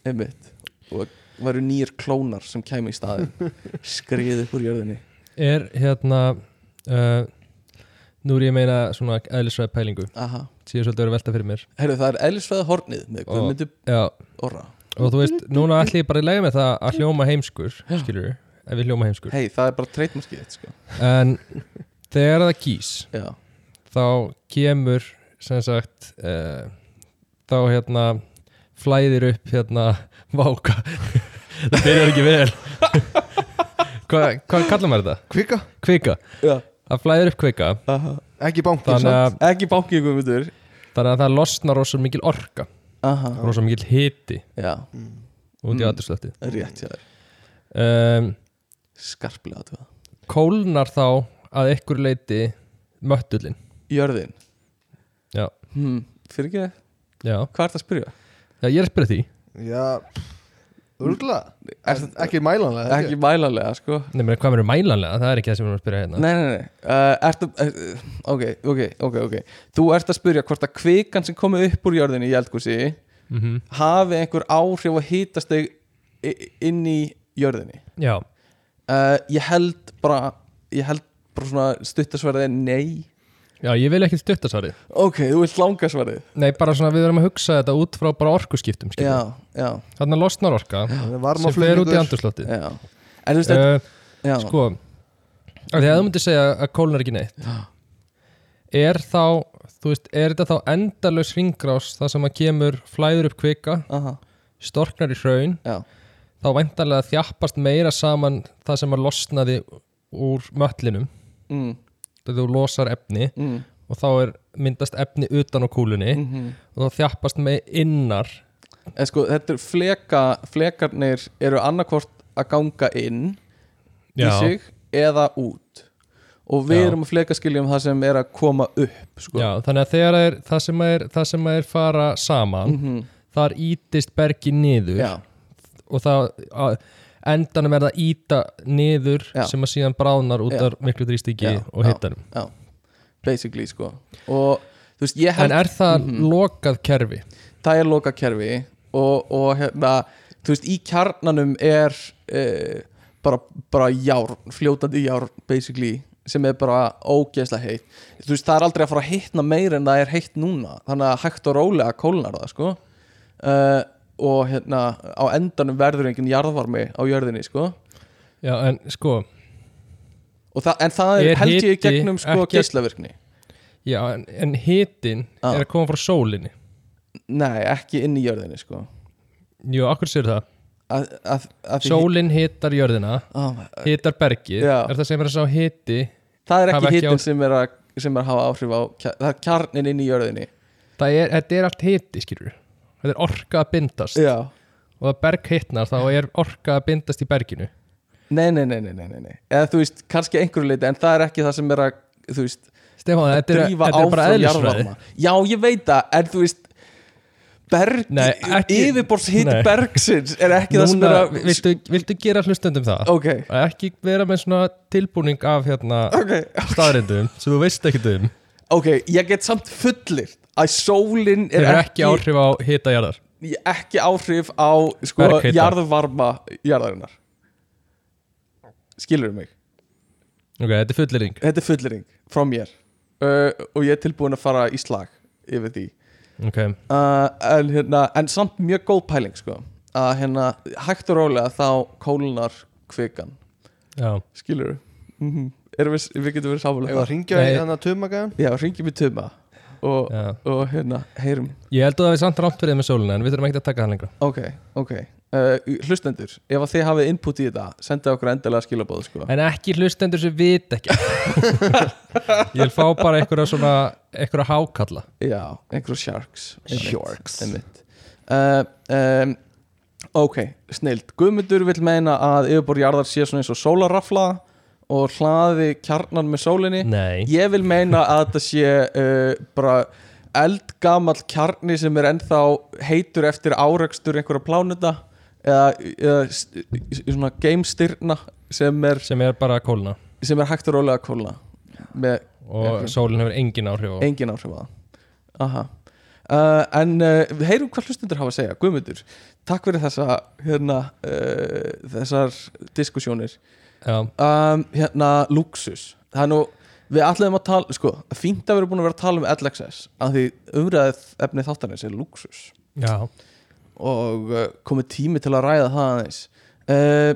C: einmitt og væru nýjir klónar sem kæmi í staðin *laughs* skriði upp úr jörðinni
B: er hérna uh, nú er ég að meina svona eðlisvæð pælingu
C: Aha.
B: síðan svolítið verið að velta fyrir mér
C: Heyrðu, það er ellisfæða hornið með Guðmundur
B: Já,
C: Orra
B: og þú veist, núna ætlum ég bara að lega með það að hljóma heimskur, skilur við ef við hljóma heimskur,
C: hei, það er bara treytmarskið þitt, sko.
B: en þegar það gís
C: Já.
B: þá kemur sem sagt uh, þá hérna flæðir upp hérna *laughs* váka það byrjar ekki vel *laughs* hvað hva kallar maður þetta?
D: Kvika,
B: kvika,
C: Já.
B: það flæðir upp kvika
C: Aha.
D: ekki bankin
B: þannig að,
C: ekki bankið Guðmundur
B: þannig að það losnar rosa mikil orka
C: Aha.
B: rosa mikil hiti
C: já,
B: út í
C: Mm.
B: aðurslöfti
C: rétt hjá þér
B: um,
C: skarplega aðtöða
B: kólnar þá að ykkur leiti möttullin
C: Jörðin
B: já,
C: hmm. Fyrir ekki,
B: já,
C: hvað ert að spyrja?
B: já ég er að spyrja því
D: Já, örgulega
C: Er
D: En Ekki mælanlega
C: Ekki mælanlega, sko
B: Nei, meni, hvað verður mælanlega, það er ekki það sem við erum að spyrja hérna
C: Nei, nei, nei uh, ertu, er, ok, ok, ok, ok Þú ert að spyrja hvort að kvikan sem komið upp úr jörðinni í eldgósi
B: mm
C: hafi einhver áhrif að hýtast þau inn í jörðinni
B: já,
C: Eh, uh, Ég held bara ég held bara svona stuttasverðið nei
B: Já, ég vil ekki stuttasvarið
C: ok, þú vilt langa svarið
B: Nei, bara svona við erum að hugsa þetta út frá bara orkuskiptum
C: já,
B: skilur.
C: já,
B: Þannig að losnar orka sem fer út í
D: varmaflutningur
B: andurslotti
C: já en þú veist þetta,
B: uh,
C: já,
B: Sko af Því að þú myndir segja að kólnar ekki neitt Er þá þú veist, er þetta þá endalaus ringrás það sem að kemur flæður upp kvika
C: aha,
B: storknar í hraun
C: já,
B: þá væntanlega þjappast meira saman það sem að losnaði úr mötlinum
C: mm,
B: þegar þú losar efni
C: mm,
B: og þá er myndast efni utan á kúlunni
C: mm -hmm.
B: og þá þjappast með innar
C: en sko þetta er fleka flekarnir eru annarkvort að ganga inn í sig eða út og við
B: Já.
C: erum að flekaskiljum það sem er að koma upp sko.
B: Já, þannig að þegar er, það, sem að er, það sem að er fara saman
C: Mhm.
B: þar ítist bergi niður
C: já,
B: og það að, endanum er það íta niður
C: Já.
B: sem að síðan bráðnar út
C: Já.
B: af miklu þrýstíki
C: Já,
B: og
C: já.
B: hittanum
C: já, basically sko. og þú veist, ég held
B: En er það
C: Mhm.
B: lokað kerfi?
C: það er loka kerfi og, og hérna, þú veist, í kjarnanum er uh, bara, bara járn, fljótandi járn basically, sem er bara ógeðslega heitt, þú veist, það er aldrei að fara að heitna meir en það er heitt núna þannig að hægt og rólega kólnar það, sko uh, og hérna á endanum verður engin jarðvarmi á jörðinni, sko
B: Já, en sko,
C: Og það, en það er,
B: Er
C: held ég í
B: hiti
C: gegnum sko
B: ekki-
C: geislavirkni
B: já, en, en hitin
C: Já.
B: er að koma frá sólinni
C: Nei, ekki inn í jörðinni sko
B: Jú, akkur sér það
C: að, að, að því-
B: Sólin hitar jörðina,
C: Á,
B: hitar bergið
C: Já.
B: er það sem er að sá hiti
C: Það er
B: hafa
C: ekki
B: ekki
C: hittin
B: áhrif.
C: sem er að sem er að hafa áhrif á, kja- það er kjarnin inn í jörðinni
B: það er, þetta er allt hiti, skilur þetta er orka að bindast
C: Já
B: og að berg hitnar þá er orka að bindast í berginu
C: Nei, nei, nei, nei, nei, nei, nei Eða þú veist, kannski einhverju leiti en það er ekki það sem er að, þú veist
B: Stefán, þetta er, þetta er
C: drífa
B: bara
C: áfram
B: eðlisfræði
C: jarðvarma Já, ég veit það, en þú veist berg,
B: Nei, ekki-
C: yfirborðs hitt
B: nei.
C: bergsins er ekki það sem
B: Núna,
C: er að
B: viltu, viltu gera hlustendum það?
C: Ok,
B: Að ekki vera með svona tilbúning af hérna
C: ok
B: staðrindum sem þú veist ekkert um
C: Ok, ég get samt fullir að sólin
B: Þeir
C: er
B: eru
C: ekki
B: ekki áhrif á hita jarðar
C: ekki áhrif á sko,
B: Berghita.
C: jarðvarma jarðarinnar Skilur mig
B: Ok, þetta er fullering
C: Þetta er fullering frá mér uh, og ég er tilbúin að fara í slag yfir því
B: Ok,
C: uh, en, hérna, en samt mjög góð pæling sko að hérna hægt og rólega þá kólunar kvikan
B: já
C: skilur mm -hmm. við, við getum verið
D: Ég var
C: sáfulega
D: að ringja í
B: Nei.
D: þannig að tumagaðan
C: já, ringjum í tuma og,
B: Já.
C: og hérna, heyrum
B: Ég held að það við samt rámt verið með sólina en við þurfum ekki að taka það lengra
C: ok, ok uh, hlustendur, ef að þið hafið input í þetta sendið okkur endilega skilabóð sko
B: En ekki hlustendur sem vit ekki *laughs* Ég vil fá bara einhverja svona einhverja hákalla
C: Já, einhverjum sharks einmitt,
D: Sharks.
C: einmitt. Uh, um, Ok, snilt Guðmundur vil meina að yfirborð jarðar sé svona eins og sólarrafla og hlaði kjarnan með sólinni
B: Nei
C: Ég vil meina að þetta sé uh, bara eldgamall kjarni sem er ennþá heitur eftir árekstur einhverja plánuta eða, eða s- s- svona gamestyrna sem er,
B: sem er bara kólna
C: sem er hægt og rólega að kólna með
B: og sólin hefur engin áhrif á
C: engin áhrif á það Aha. Uh, en uh, við heyrum hvað hlustundur hafa að segja Guðmundur, takk fyrir þessa hérna, uh, þessar diskusjónir
B: Já,
C: um, hérna, luxus það er nú, við ætlum að tala sko, fínt að vera búin að vera að tala um LXS af því umræðið efni þáttanins er luxus
B: já
C: og uh, komið tími til að ræða það aðeins uh,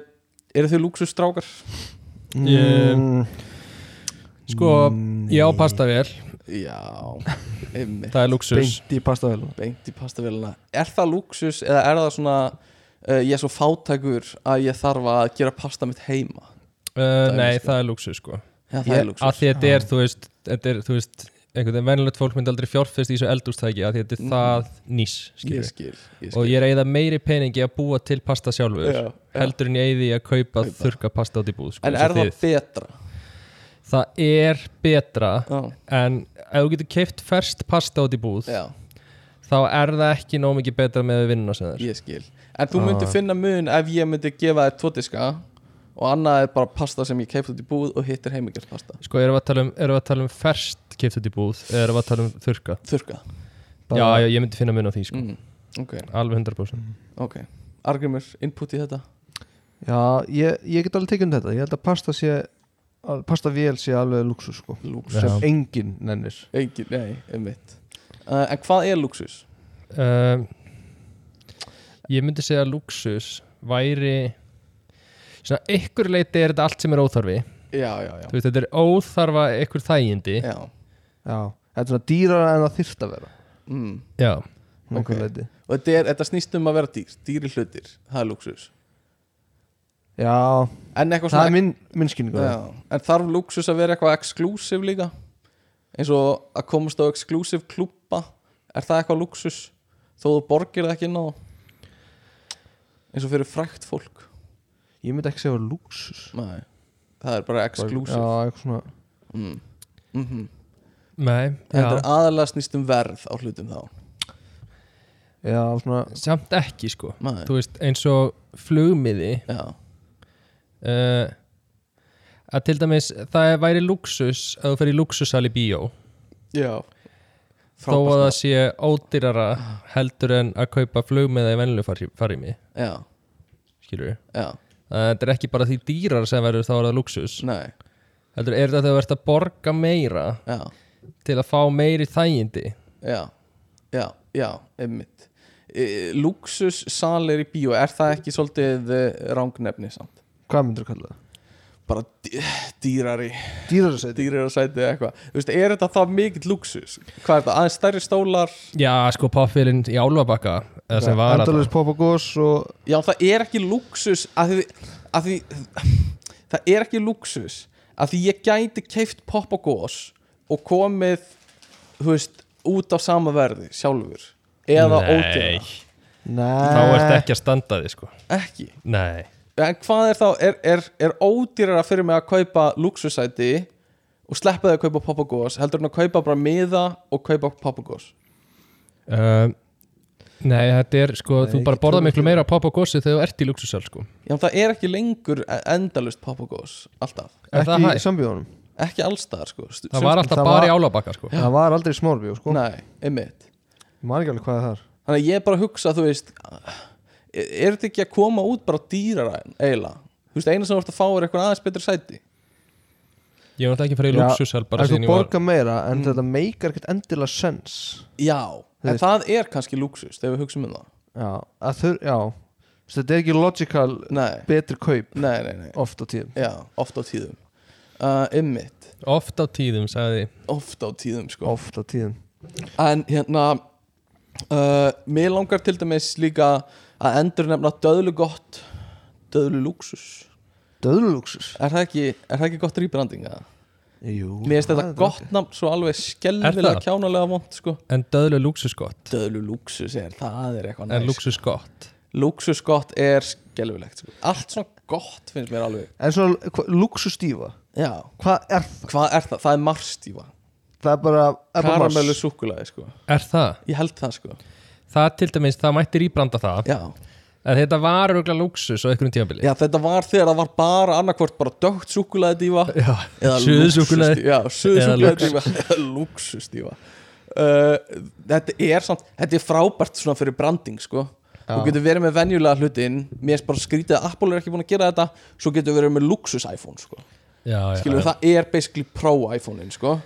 C: eru þið luxus strákar?
B: Ég-
D: Mm,
B: Sko, ég á pastavél,
C: *laughs* Já, einmitt
B: það er luxus
D: Beint í pastavel
C: beint í pastavélina er það luxus eða er það svona uh, ég er svo fátækur að ég þarf að gera pasta mitt heima
B: uh,
C: er
B: Nei,
C: luxus.
B: það er luxus sko
C: já, það
B: Ég-
C: er
B: að
C: luxus
B: því þetta er, þú veist, þetta er, þú veist einhvern veginn venjulegt fólk myndi aldrei fjárfest í þessu eldústæki að því þetta er
C: Mhm.
B: það nýs
C: ég
B: yes.
C: skil, ég
B: og
C: skil.
B: ég reyða meiri peningi að búa til pasta sjálfur
C: Já, já.
B: heldur en ég eyði í að kaupa,
C: Kaupa.
B: þurka pasta út í búð sko,
C: en
B: eins og
C: er það
B: þið.
C: betra
B: það er betra
C: já,
B: en ef þú getur keift ferskt pasta út í búð
C: já,
B: þá er það ekki nóg mikið betra með við vinnuna sem það er
C: ég skil en þú
B: Ah.
C: myndir finna mun ef ég myndi gefa þér tvo diska og annað er bara pasta sem ég keipt út í búð og hittir heimingjast pasta
B: sko, erum við að tala um, erum við að tala um ferskt keift út í búð eða erum við að tala um þurka
C: þurrkað
B: já, já, ég myndi finna mun á því sko.
C: mm. ok,
B: alveg
C: Mm.
B: 100%
C: ok Argrimur, input í þetta
D: Já, ég, ég get alveg tekið um þetta Ég held að pasta sé al- pasta vél sé alveg luxus sko
C: Lúksus
D: sem
B: Já.
D: enginn nennir
C: Engin, nei, einmitt uh, En hvað er lúksus?
B: um, ég myndi segja að luxus væri svona einhver leiti er þetta allt sem er óþarfi
C: Já, já, já
B: Þú veist, þetta er óþarfa einhver þægindi
C: Já,
D: Já, þetta er svona dýrara en það þyrft að vera
C: mm.
B: já,
D: Ok
C: Ok. Og þetta, er, þetta snýst um að vera dýr, dýri hlutir Það er lúksus
D: Já,
C: En eitthvað
D: það er
C: svona
D: minn, minn skynningu
C: já, En þarf lúksus að vera eitthvað exclusive líka? Eins og að komast á exclusive klúpa Er það eitthvað lúksus? Þó þú borgir það ekki ná Eins og fyrir frækt fólk
D: Ég myndi ekki segja luxus
C: Nei, það er bara
D: Já,
C: exclusive
D: eitthvað svona
C: mm. Mm -hmm.
B: nei,
C: Þetta
B: já
C: er aðalega snýst um verð á hlutum þá
D: Já, svona
B: samt ekki sko
C: Nei.
B: þú veist, eins og flugmiði
C: Já,
B: uh, að til dæmis það væri luxus að þú fer í luxusal í bíó
C: já.
B: þó að það sé ódýrara
C: Ah.
B: heldur en að kaupa flugmiða í venlu farimi,
C: Já,
B: skilur við
C: já,
B: Eh, þetta er ekki bara því dýrar sem verður þá er það luxus
C: nei
B: heldur er þetta þegar þú ert að borga meira
C: Já,
B: til að fá meiri þægindi
C: já, já, já, einmitt e, Luxus salir í bíó Er það ekki svolítið eh, rangnefni samt?
D: Hvað myndir að kalla það?
C: Bara dý- dýrari
D: Dýrara segja
C: Dýrari sæti eða eitthvað Þú veist, Er þetta það mikill luxus? Hvað er þetta? Aðeins stærri stólar
B: já sko popfilin í álfabakka eða sem var að
D: Endalus Popagos og
C: Já, það er ekki luxus að því, að því það er ekki luxus að því ég gæti keift popp og gós og komið þú veist, út á sama verði sjálfur eða
B: nei,
C: ódýra
D: Nei
B: þá ert ekki að standa því sko
C: ekki,
B: nei,
C: en hvað er þá er, er, er ódýrara fyrir mig að kaupa luxusæti og sleppa því að kaupa popp og gós heldur en að kaupa bara miða og kaupa popp og gós
B: um, nei þetta er sko
D: Eh, Nei,
B: þú bara
D: ekki
B: borða
D: trúi
B: miklu
D: því.
B: meira pop og gósi þegar þú ert í luxusal sko
C: já, það er ekki lengur endalust popp og gós alltaf,
B: er það
D: Ekki í
B: hægt?
D: sambjónum
C: ekki allstaðar sko Stu-
B: það var alltaf
D: það
B: bara
D: var-
B: í álfabakka sko
D: Það var aldrei í smárbjó sko
C: nei, einmitt
D: Ég man ekki alveg hvað það er
C: Þannig að ég er bara að hugsa, þú veist Er er þetta ekki að koma út bara dýrara en eiginlega? Þú veist, eina sem þú ert að fá er eitthvað aðeins betur sæti
B: ég var alltaf ekki að fara í Mm.
D: Já,
B: luxusal bara
D: En þú
B: síðan ég var
D: borga meira en þetta meikar ekkert endilega sens
C: Já,
D: Þú
C: en
D: veist.
C: það er kannski luxus þegar við hugsaum um það
D: Já, að þur, já Þessi, Þetta er ekki logical
C: Nei,
D: betri kaup
C: nei, nei, nei
D: oft á tíðum
C: Já, oft á tíðum uh, Ymmit,
B: oft á tíðum sagði
C: oft á tíðum sko
D: Oft á tíðum
C: En hérna uh, Mér langar til dæmis líka að endur nefna döðlu gott Döðlu luxus
D: Döðluluxus
C: Er það ekki, er það ekki gott rýbranding? eða?
D: Jú
C: Mér finnst þetta
D: það er
C: gott nafn svo alveg skelvilega
B: það?
C: kjánalega vond sko
B: en döðlu luxus gott
C: döðlu lúksus er, það er eitthvað
B: en
C: næs
B: luxus gott
C: lúksus gott er skelfilegt sko. allt svona gott finnst mér alveg
D: En svona hva, luxustífa
C: já,
D: Hvað er það?
C: hvað er það? Það er marstífa
D: Það er bara, er bara mars.
C: karamellu súkulaði sko
B: er það?
C: ég held það sko
B: það til dæmis, það mætti rýbranda það
C: já.
B: en þetta var auðvitað luxus á einhverjum tíðanbili
C: já, þetta var þegar það var bara annarkvort bara dögt súkulaði dífa
B: Suðusúkkulaði.
C: já,
B: Eða
C: suðsúkulaði dífa eða lúksus dífa uh, þetta er samt þetta er frábært svona fyrir branding sko Þú getur verið með venjulega hlutin Mér er bara skrítið að Apple er ekki búin að gera þetta Svo getur verið með luxus iPhone sko.
B: já, já,
C: skilur
B: já.
C: það er basically pro iPhone-in sko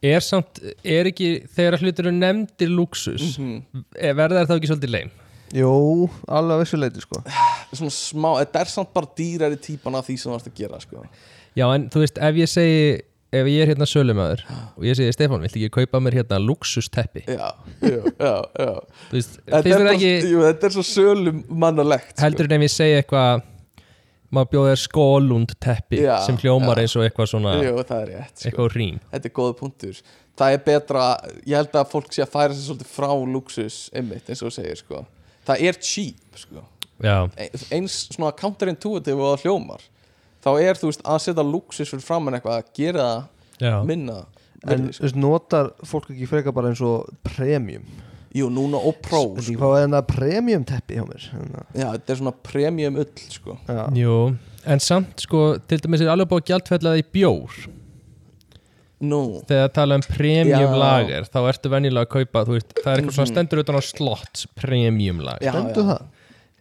B: er samt, er ekki þegar hlutur eru nefndir luxus mm
C: Mhm.
B: -hmm. verða það ekki svolítið leim
D: Jú, alveg að vissu leiti sko
C: svona smá, þetta er samt bara dýrari típan af því sem þú ert að gera sko
B: já en þú veist ef ég segi ef ég er hérna sölumæður og ég segi Stefán vill ekki kaupa mér hérna luxusteppi
C: já, já, já, já.
B: þú veist,
C: E, Þetta,
B: finnst þetta
C: er bara,
B: ekki
C: jú, þetta er svo sölum mannalegt sko.
B: heldur en ef ég segi eitthvað maður bjóðir skólund teppi
C: Já,
B: sem hljómar
C: já.
B: eins og eitthvað svona
C: jú, það er rétt sko.
B: eitthvað rým
C: þetta er góða punktur það er betra, ég held að fólk sé að færa sér svolítið frá luxus einmitt eins og þú segir sko það er cheap sko
B: já,
C: Ein- eins svona counterintuitive og það hljómar þá er þú veist að setja luxus fyrir framann eitthvað að gera
B: já.
C: það minna
D: En
C: virði,
D: þú veist, notar fólk ekki frekar bara eins og premium
C: sko. jú, núna og pro sko.
D: Þetta ekki hvað er þetta premium teppi hjá mér Þannig að-
C: Já, þetta er svona premium ull sko.
D: Já,
B: Jú, en samt sko til dæmis er alveg búið að gjaldfella í bjór
C: Nú,
B: þegar það tala um premium
C: Já.
B: lager þá
D: Mm.
B: ertu venjulega að kaupa, þú veist, það er eitthvað svona stendur utan á slots premium lager
C: já,
D: stendur
C: já.
D: það?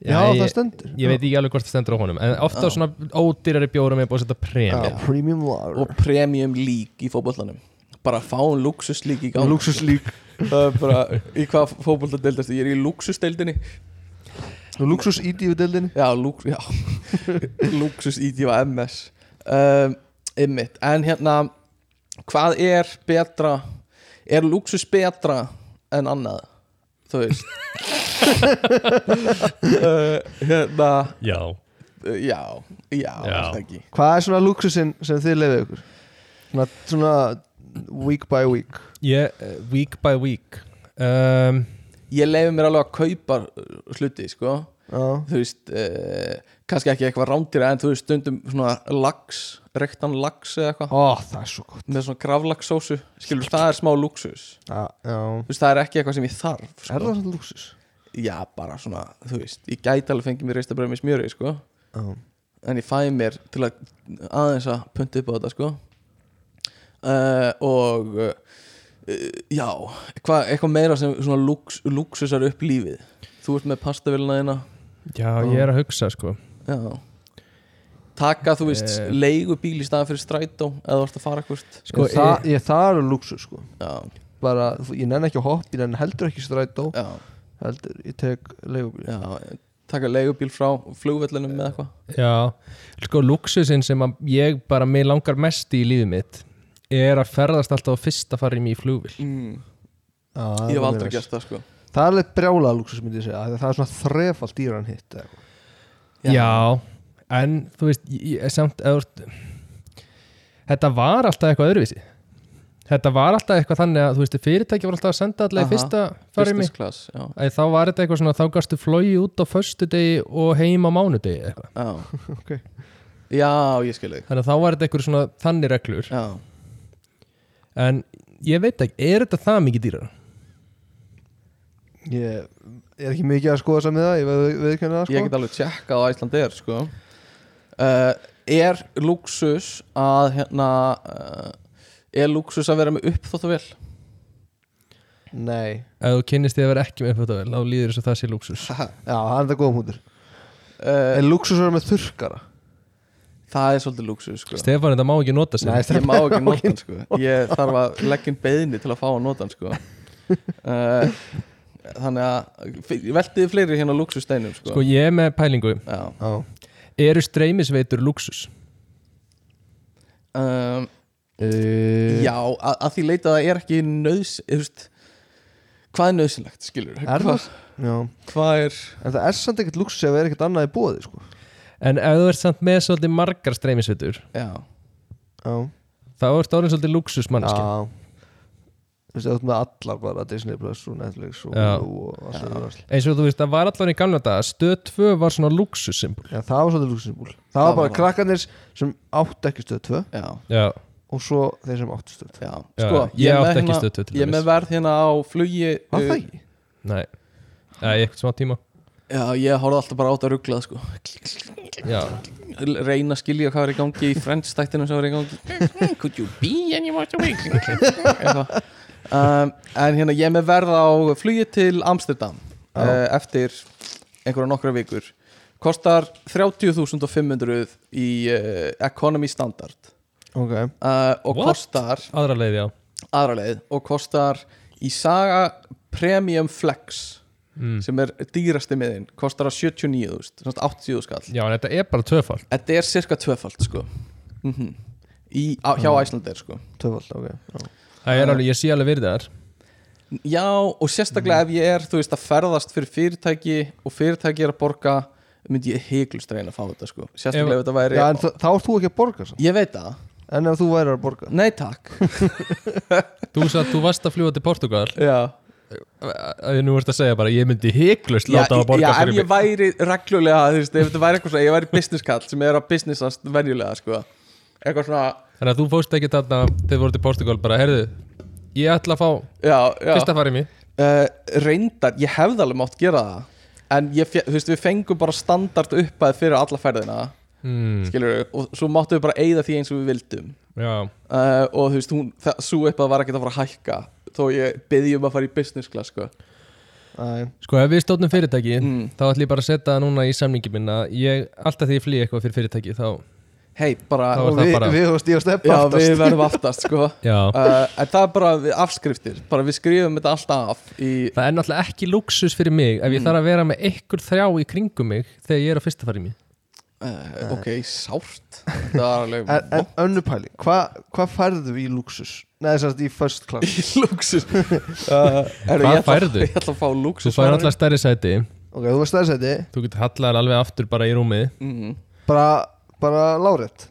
D: já,
B: ég,
D: það stendur
B: ég veit ekki alveg hvort það stendur á honum en ofta
D: Já.
B: á svona ódýrari bjórum er búið að setja
D: já,
B: premi
D: premium lager
C: og premium lík í fótbollanum bara fáum luxuslík í gang
D: luxuslík
C: það er bara í hvað fótboltadeildast ég er í luxusdeildinni
D: luxus ídíu deildinni
C: já, lúk, já. *laughs* luxus ídýfa MS um, einmitt, en hérna hvað er betra er luxus betra en annað þú veist uh, hérna
B: já,
C: uh, já, já,
B: Já.
C: já. ekki
D: hvað er svona luxusinn sem þið lefið ykkur svona, svona week by week
B: ég, eh, week by week um,
C: ég leiði mér alveg að kaupa uh, hluti, sko
D: já,
C: þú veist uh, kannski ekki eitthvað rándýra en þú veist stundum svona lax rektan lax eða eitthvað
D: ó, það er svo gott
C: með svona gravlaxsósu skilur það er smá luxus
D: já, já.
C: þú veist það er ekki eitthvað sem ég þarf
D: er það
C: sko.
D: svona luxus
C: já bara svona þú veist ég gæti alveg fengið mér reistabröð með smjöri sko
D: já,
C: en ég fæ mér til að aðeins að punta upp á þetta sko uh, og uh, já hva, eitthvað meira sem svona lux, luxusar upp lífið þú ert með pastavilina þína
B: já, ég er að hugsa sko
C: Já Taka, þú veist,
B: Eh.
C: leigu bíl í staðan fyrir strætó eða þú ert að fara hvort
B: Sko,
D: ég, það, ég, það er luxus sko
C: Já,
D: bara, þú- ég nenn ekki að hoppa, ég nenn heldur ekki strætó
C: já,
D: heldur, ég tek leigubíl
C: já Taka leigu bíl frá flugvellunum með eitthvað
B: Já, sko luxusinn sem að ég bara mig langar mest í lífið mitt er að ferðast alltaf á fyrsta farið mér í flugvill
C: mm.
D: Já,
C: Ég hef
D: það
C: aldrei
D: er-
C: gert það, sko
D: það er alveg brjála luxus myndi ég segja af því að það er svona þrefald dýran hitt eða eitthvað.
C: Já.
B: Já. en þú veist, ég, ég- samt eða, þú ert- þetta var alltaf eitthvað öðruvísi Þetta var alltaf eitthvað þannig að þú veist, fyrirtæki var alltaf að senda alltaf í
C: Aha,
B: fyrsta farið
C: Business
B: mér
C: class,
D: *laughs*
C: já,
B: Æ, Þá var þetta eitthvað svona, þá gastu flogi út á föstudegi og heim á mánudegi eða eitthvað.
C: já
D: Ok.
C: Já, ég skil þig
B: Þannig að þá var þetta eitthvað svona þannig reglur
C: Já,
B: En ég veit ekki, er þetta það mikið dýrar?
D: ég er ekki mikið að skoða saman með það ég veð, veðkenni það
C: ég
D: sko
C: get alveg tjekkað á Æslandeir, sko uh, Er luxus að, hérna uh, Er luxus að vera með uppþóttavél?
D: nei,
B: Ef þú kynnist því að vera ekki með uppfættavel, þá líður þess að það sé luxus
D: já, það er þetta góða mútur
C: Uh,
D: en luxus er með þurrkara
C: það er svolítið luxus, sko
B: Stefán, þetta má ekki nota sig
D: Nei,
C: Ég má ekki nota
D: *laughs*
C: hann sko Ég þarf að leggja inn beðinni til að fá að nota hann sko uh, Þannig að f- Veltiði fleiri hérna luxusteinum sko,
B: Sko ég er með pælingu
C: Já
D: já,
B: Eru streymisveitur luxus?
C: um,
D: uh,
C: Já,
B: Eh,
C: að, að því leita að það er ekki nöðs eða, þú veist, Hvað er nöðsynlegt skilur
D: Er
C: Hvað,
D: já.
C: hvað er
D: en það er samt ekkert luxus ef það er ekkert annað í bóði sko.
B: En ef þú ert samt með svolítið margar streymisveitur
C: Já,
D: já,
B: þá ert orðin svolítið luxus mannski
D: já þú veist, það er með allar bara Disney Plus og Netflix og,
B: Já.
D: og allt það drasl.
B: Eins og þú veist, það var allan í gamla daga Stöð 2 var svona luxussymbol
D: Já, það var svolítið luxussymbúl það var
C: var
D: bara
C: það.
D: krakkanir sem átt ekki stöð 2
C: já,
B: Já,
D: og svo þeir sem átt stöð 2
C: já
B: Já,
C: Sko,
B: ég
C: er
B: átti
C: með
B: ekki
C: hérna-
B: Stöð 2 til
C: Ég er
B: dæmis.
C: með verð hérna á flugi
D: var
C: uh,
D: það ekki?
B: nei Æ, í eitthvað smá tíma
C: eh, Já, ég horfði alltaf bara á þetta rugglað sko
B: *laughs* Já,
C: reyna að skilja hvað er í gangi í Friends þættinu sem var í gangi Hmm, Could you be any more to week um, En hérna ég er með verð á flugi til Amsterdam
D: Já.
C: uh, eftir einhverja nokkra vikur kostar 30.500 í uh, economy standard
D: ok,
C: uh, og
B: What?
C: kostar
B: aðra leið, já
C: aðra leið og kostar í Saga Premium Flex
B: mm.
C: sem er dýrasti miðin kostar að 79.000, sem sagt 80.000 skall
B: Já, en þetta er bara tvöfald
C: Þetta er cirka tvöfald sko mm í, á, Hjá Æslandeir sko
D: töfald ok já.
B: Það er alveg, ég sé alveg virðið þar
C: Já og sérstaklega ef ég er þú veist að ferðast fyrir fyrirtæki og fyrirtæki er að borga myndi ég heiklust reyna að fá þetta sko sérstaklega ef,
B: Ef-
C: þetta væri
D: Já, en þa þá ert þú ekki að borga samt.
C: Ég veit það,
D: En ef þú væri að borga
C: nei takk
B: Þú sagði, þú varst að fljúa til Portugal
C: Já,
B: Æ, Nú ert að segja bara, ég myndi hiklaust láta að
C: já
B: borga
C: ef
B: fyrir mig
C: ég væri reglulega þú veist, ef þetta væri eitthvað svona, ég væri business kall sem er að businessast venjulega sko eitthvað svona,
B: Þannig að þú fóst ekki þarna þegar þú voru til Portugal bara, heyrðu, ég ætla að fá
C: já, já
B: fyrsta farið mér
C: uh, reyndar, ég hefði alveg mátt gera það en ég, fe- þú veist, við fengum bara standard uppæð fyrir alla ferðina
B: mm.
C: skilur og svo máttum við bara eigða því eins og við vildum
B: Já,
C: uh, og þú veist, hún, það, svo uppæð var ekkert að fara að hækka þó ég byrði um að fara í business class sko.
D: Æ,
B: Sko ef við stóðnum fyrirtæki
C: mm.
B: þá ætlum ég bara að setja það núna í samningi minna ég, alltaf því ég flý eitthvað fyrir fyrirtæki þá,
C: hei, bara
B: Þá er
D: og
B: það
D: við,
B: bara-
D: við og Stíf og Stepp
C: já, við
D: aftast
C: verðum
B: *laughs*
C: aftast sko uh,
B: já
C: en það er bara við afskriftir bara við skrifum þetta alltaf af í,
B: Það er náttúrulega ekki luxus fyrir mig ef ég
C: Mm.
B: þarf að vera með einhver þrjá í kringum mig þegar ég er á fyrsta farið mér
C: uh, ok,
B: Eh.
C: sárt það er alveg
D: *laughs* En, en önnupæli, hvað hva færðu í luxus? Nei, þess að í first class
C: *laughs* í
B: *laughs*
C: luxus uh, er,
B: Hvað
C: ég ætla-
B: færðu?
C: ég ætla að fá
B: Svo
C: luxus
B: fær alltaf stærri sæti
D: Ok, þú veist þessæti,
B: Þú getur hallar alveg aftur bara í rúmið
C: mm.
D: bara, bara lárétt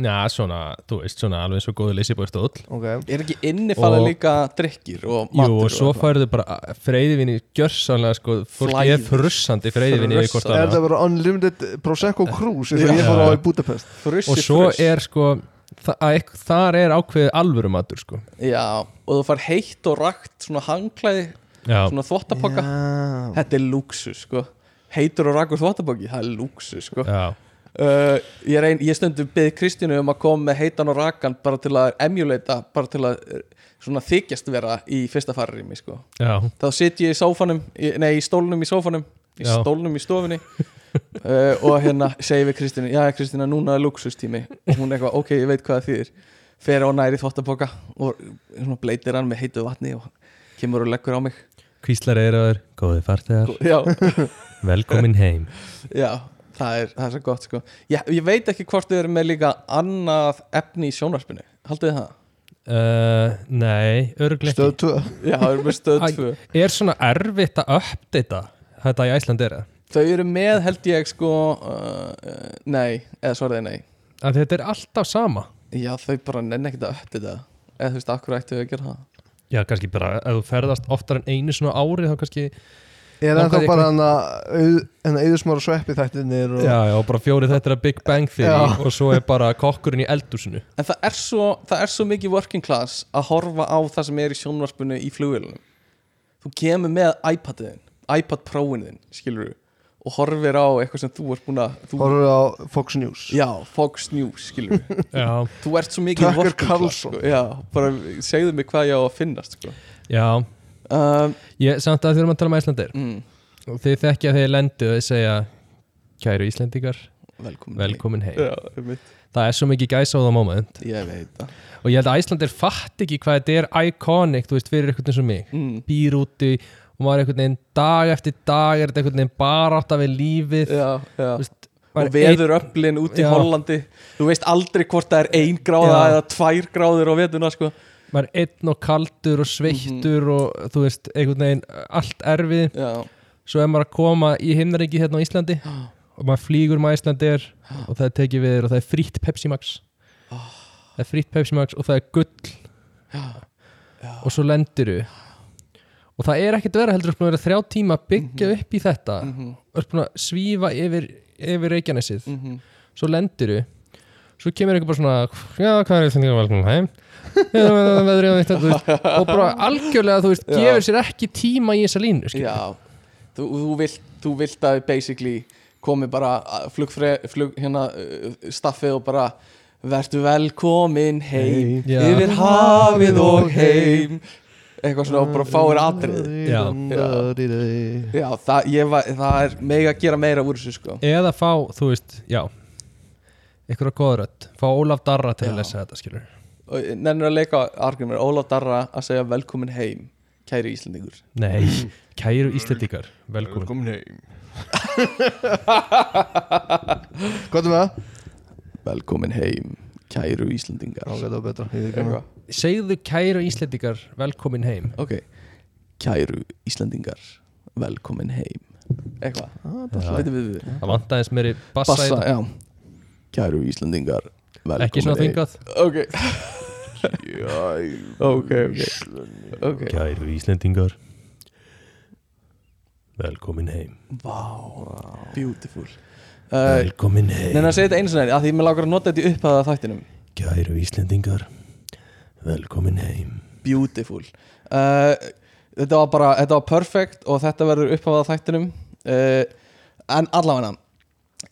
B: Já, svona, þú veist, svona alveg svo góðu leysibóðstóll
D: Ok,
C: er ekki innifalið
B: Og-
C: líka drikkir og
B: Jú,
C: matur
B: og svo
C: eitthvað?
B: færðu bara freyðivinni gjörsanlega, sko, fólk
C: Flæðir.
B: er frussandi freyðivinni við hvort
C: Frussandi.
D: er
B: annað
D: það bara unlimited Prosecco Cruise eins og
C: Já.
D: ég fór á í Budapest
C: Fruss
B: Og
C: í
B: svo
C: fruss.
B: er, sko, þa að ekk- þar er ákveðið alvöru matur, sko
C: Já, og þú fær heitt og rakt svona hangklæði,
B: Já,
C: svona þvottapokka
D: Já.
C: Þetta er lúksus, sko Heitur og rakur þvottapokki, það er lúksus, sko
B: já,
C: uh, Ég, er ein, ég stundum byggði Kristínu um að koma með heitan og rakan bara til að emulata, bara til að eh, svona þykjast vera í fyrsta farirými, sko
B: já
C: Þá sit ég í sófanum, í, nei, í stólnum í sófanum í
B: Já.
C: stólnum í stofunni uh, og hérna segi við Kristínu já Kristína núna er luxustími og hún eitthvað ok ég veit hvað það þýðir fer á næri þvottaboka og svona bleitir hann með heitu vatni og kemur og leggur á mig Sko,
B: Kvíslar er aður, góði fartegar,
C: já,
B: velkomin heim
C: já það er, það er svo gott sko ég, ég veit ekki hvort þau eru með líka annað efni í sjónvarpinu haldið þið það?
B: uh, Nei, örgleiki
D: Stöð 2
C: Já, þau eru með stöð
B: Æ.
C: 2
B: Er svona erfitt að uppdata þetta í Æsland er það?
C: Þau eru með held ég sko uh, uh, nei, eða svaraði nei
B: Þetta er alltaf sama
C: já þau bara nenni ekkert að ötti það eða þú veist, akkur ættu þau að gera það
B: Já, kannski bara, ef þú ferðast oftar en einu svona ári þá kannski
D: Ég er
B: Langar
D: ennþá
B: þig
D: bara hérna hann að auðsmára sveppi þættinir og
B: Já, já, bara fjórið þetta er að Big Bang Theory
D: Já.
B: og svo er bara kokkurinn í eldúsinu
C: En það er, svo, það er svo mikið working class að horfa á það sem er í sjónvarpinu í flugvélunum. Þú kemur með iPad-in, iPad Pro-in þinn, skilur þú, og horfir á eitthvað sem þú ert búin að... Þú,
D: horfður á Fox News
C: já, Fox News, skilur þú.
B: Já,
C: þú ert svo mikið
D: Tucker
C: working class.
D: Carlson.
C: Sko. Já, bara segðu mig hvað ég á að finnast, sko.
B: já
C: Um,
B: ég, Samt að þurfum að tala um Æslandir
C: mm,
B: og þið þekkja þegar lendu þau segja Kæru Íslendingar,
C: velkomin.
B: velkomin heim
C: Já, einmitt.
B: Það er svo mikið gæsa á það moment
C: ég veit það.
B: og ég held að Æslandir fatt ekki hvað þetta er iconic, þú veist, fyrir eitthvað eins og mig
C: Mm,
B: býr úti og maður er einhvern veginn dag eftir dag er þetta einhvern veginn barátt af lífið
C: já, já.
B: veist,
C: og
B: maður er
C: veður öflin út í
B: Já.
C: Hollandi þú veist aldrei hvort það er ein gráða
B: Já.
C: eða tvær gráður á vetuna sko.
B: einn- maður er einn og kaldur og sveittur
C: Mhm.
B: og þú veist, einhvern veginn allt erfið
C: já,
B: svo er maður að koma í himnaríki hérna á Íslandi
C: Ah.
B: og maður flýgur með Íslandir og það er tekið við þér og það er frítt Pepsi Max
C: Ah.
B: það er frítt Pepsi Max og það er gull og svo lendir og það er ekkert vera heldur þú ert búin að vera þrjá tíma að byggja
C: Mhm.
B: upp í þetta mm -hmm. og búin að svífa yfir, yfir Reykjanesið
C: Mhm.
B: svo lendir svo kemur eitthvað bara svona já, hvað er Íslandingar velkomin *laughs* heim Já, það er veðrið og þetta, þú veist, og bara algjörlega þú veist,
C: Já.
B: gefur sér ekki tíma í þessa línu skilur.
C: Já, þú, þú, vilt, þú vilt að basically komi bara að flugfre, flug, hérna, uh, staffið og bara Vertu velkomin
B: Heim.
C: heim,
B: Já.
C: yfir hafið og heim Eitthvað svona og bara fáir atrið
B: Já.
D: Já.
C: Já, það, ég var, það er mega að gera meira úr þessu sko
B: eða fá, þú veist, já ykkur á góðrödd, fá Ólaf Darra til
C: Já.
B: að lesa þetta, skilur
C: Og eh, Nennir að leika argumur, Ólaf Darra að segja velkomin heim, kæri Íslandingur
B: Nei, kæru Íslendingar, velkomin
D: Komin heim Hvað er með það?
C: Velkomin heim, kæru
D: Já,
C: Íslandingar
D: ok, það var betra Ég þykir
C: Eitthvað.
D: hana.
B: Segðu kæru Íslendingar, velkomin heim
C: Ok, kæru Íslandingar, velkomin heim Eitthvað
B: Ah, Já.
C: Þetta við við
B: Það vantaðis meiri bassa, í
C: Bassa,
B: þetta.
C: já Kæru Íslandingar velkomin
B: ekki svona
C: heim.
B: þingað
C: Ok,
D: Jæ,
C: ok, ok, okay.
A: Kæru Íslendingar Velkomin heim
C: Vá, beautiful uh,
A: Velkomin
C: Neina
A: heim
C: að segja þetta einu sinni af Því mér lágur að nota þetta í upphæða þættinum
A: Kæru Íslendingar Velkomin heim
C: Beautiful uh, Þetta var bara, þetta var perfect Og þetta verður upphæða þættinum uh, En allavega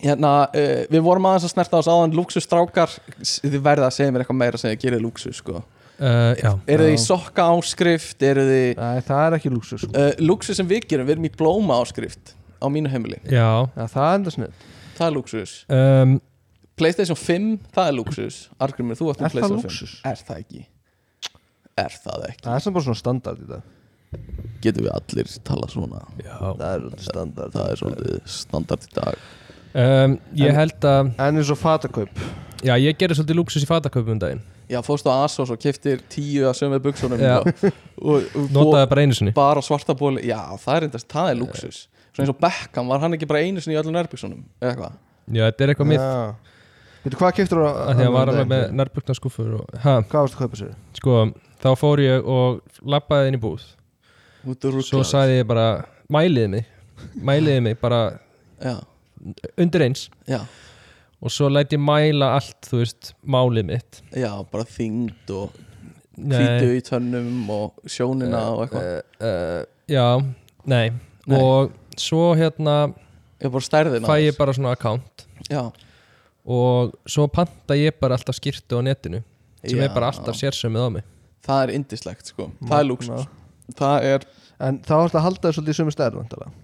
C: Hérna, uh, við vorum aðeins að snerta á þess aðan Luxus strákar, þið verða að segja mér eitthvað meira sem ég gerir luxus sko
B: uh, Já,
C: eru þið í
D: Já.
C: sokka áskrift eru þið
D: Æ, það er ekki lúksus sko.
C: uh, lúksus sem við gerum, við erum í blóma áskrift á mínu heimili,
B: já
D: Já, það er enda snið
C: það er lúksus
B: um,
C: Playstation 5, það er lúksus Argrimur, þú átt um
D: Er það
C: Playstation 5
D: lúksus?
C: Er það ekki? Er það ekki?
D: Það er sem bara svona standard í dag
C: Getum við allir talað svona?
B: Já
D: Það er alveg standard
C: Það er svolítið standard í dag
B: Um, ég
D: En-
B: held að,
D: En eins og fatakaup
B: já ég gerði svolítið lúksus í fataköpum um daginn
C: Já, fórstu á Asos og keftir tíu að sömu buksunum
B: Já.
C: og, og, og
B: Notaði bara Eh. einu sinni
C: bara svarta bóli Já, það er endast, það er lúksus Svo eins og Beckham, var hann ekki bara einu sinni í öllum nærbuksunum eða eitthvað?
B: Já, þetta er eitthvað mitt
D: Veitu hvað keftur á
B: að því að var alveg með nærbukna skúfur og, ha,
D: Hvað varstu að kaupa sér?
B: sko, þá fór ég og lappaði inn í búð
C: Út úr
B: Svo sagði ég bara, mæliði mig Mæliði mig, bara
C: Já,
B: undir eins
C: já,
B: Og svo læt ég mæla allt, þú veist, málið mitt
C: já, bara þyngd og
B: Nei, Eh,
C: hvítu í tönnum og sjónina og eitthvað
B: uh, Já, nei.
C: Nei.
B: Og svo hérna
C: Ég bara stærðina
B: fæ ég
C: þess.
B: bara svona account
C: Já,
B: Og svo panta ég bara alltaf skýrtu á netinu Sem
C: Já.
B: er bara alltaf sérsömið á mig
C: það er indislegt sko Það er lúksus Það er,
D: En þá varstu að halda þér svolítið í sömu stærð væntanlega.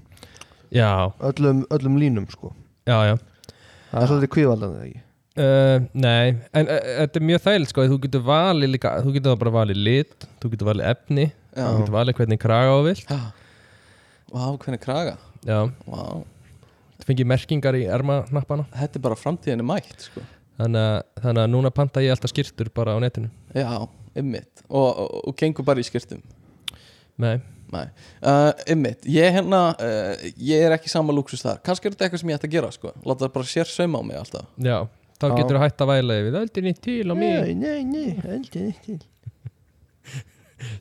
B: Já,
D: öllum, öllum línum sko
B: já, já
D: Það er svolítið kvíðvaldandi ekki
B: Uh, nei, en uh, þetta er mjög þægilegt sko, þú getur valið líka, þú getur þá bara valið lit, þú getur valið efni,
C: já,
B: þú getur valið hvernig kraga á þú vilt,
C: já. Vá, hvernig kraga
B: já,
C: Vá,
B: þú fengið merkingar í ermanappana,
C: þetta er bara framtíðinni mætt sko
B: þannig að, þannig að núna panta ég alltaf skýrtur bara á netinu,
C: Já, ymmit og, og, og gengur bara í skirtum
B: nei,
C: Nei, uh, ymmit Ég hérna, uh, ég er ekki sama lúksus þar Kannski er þetta eitthvað sem ég ætti að gera sko Láta það bara sér sauma á mig alltaf
B: já, þá
D: Já.
B: getur þú hætt að væla yfir, það er nýtt til á mig,
D: nei, nei, aldrei ekki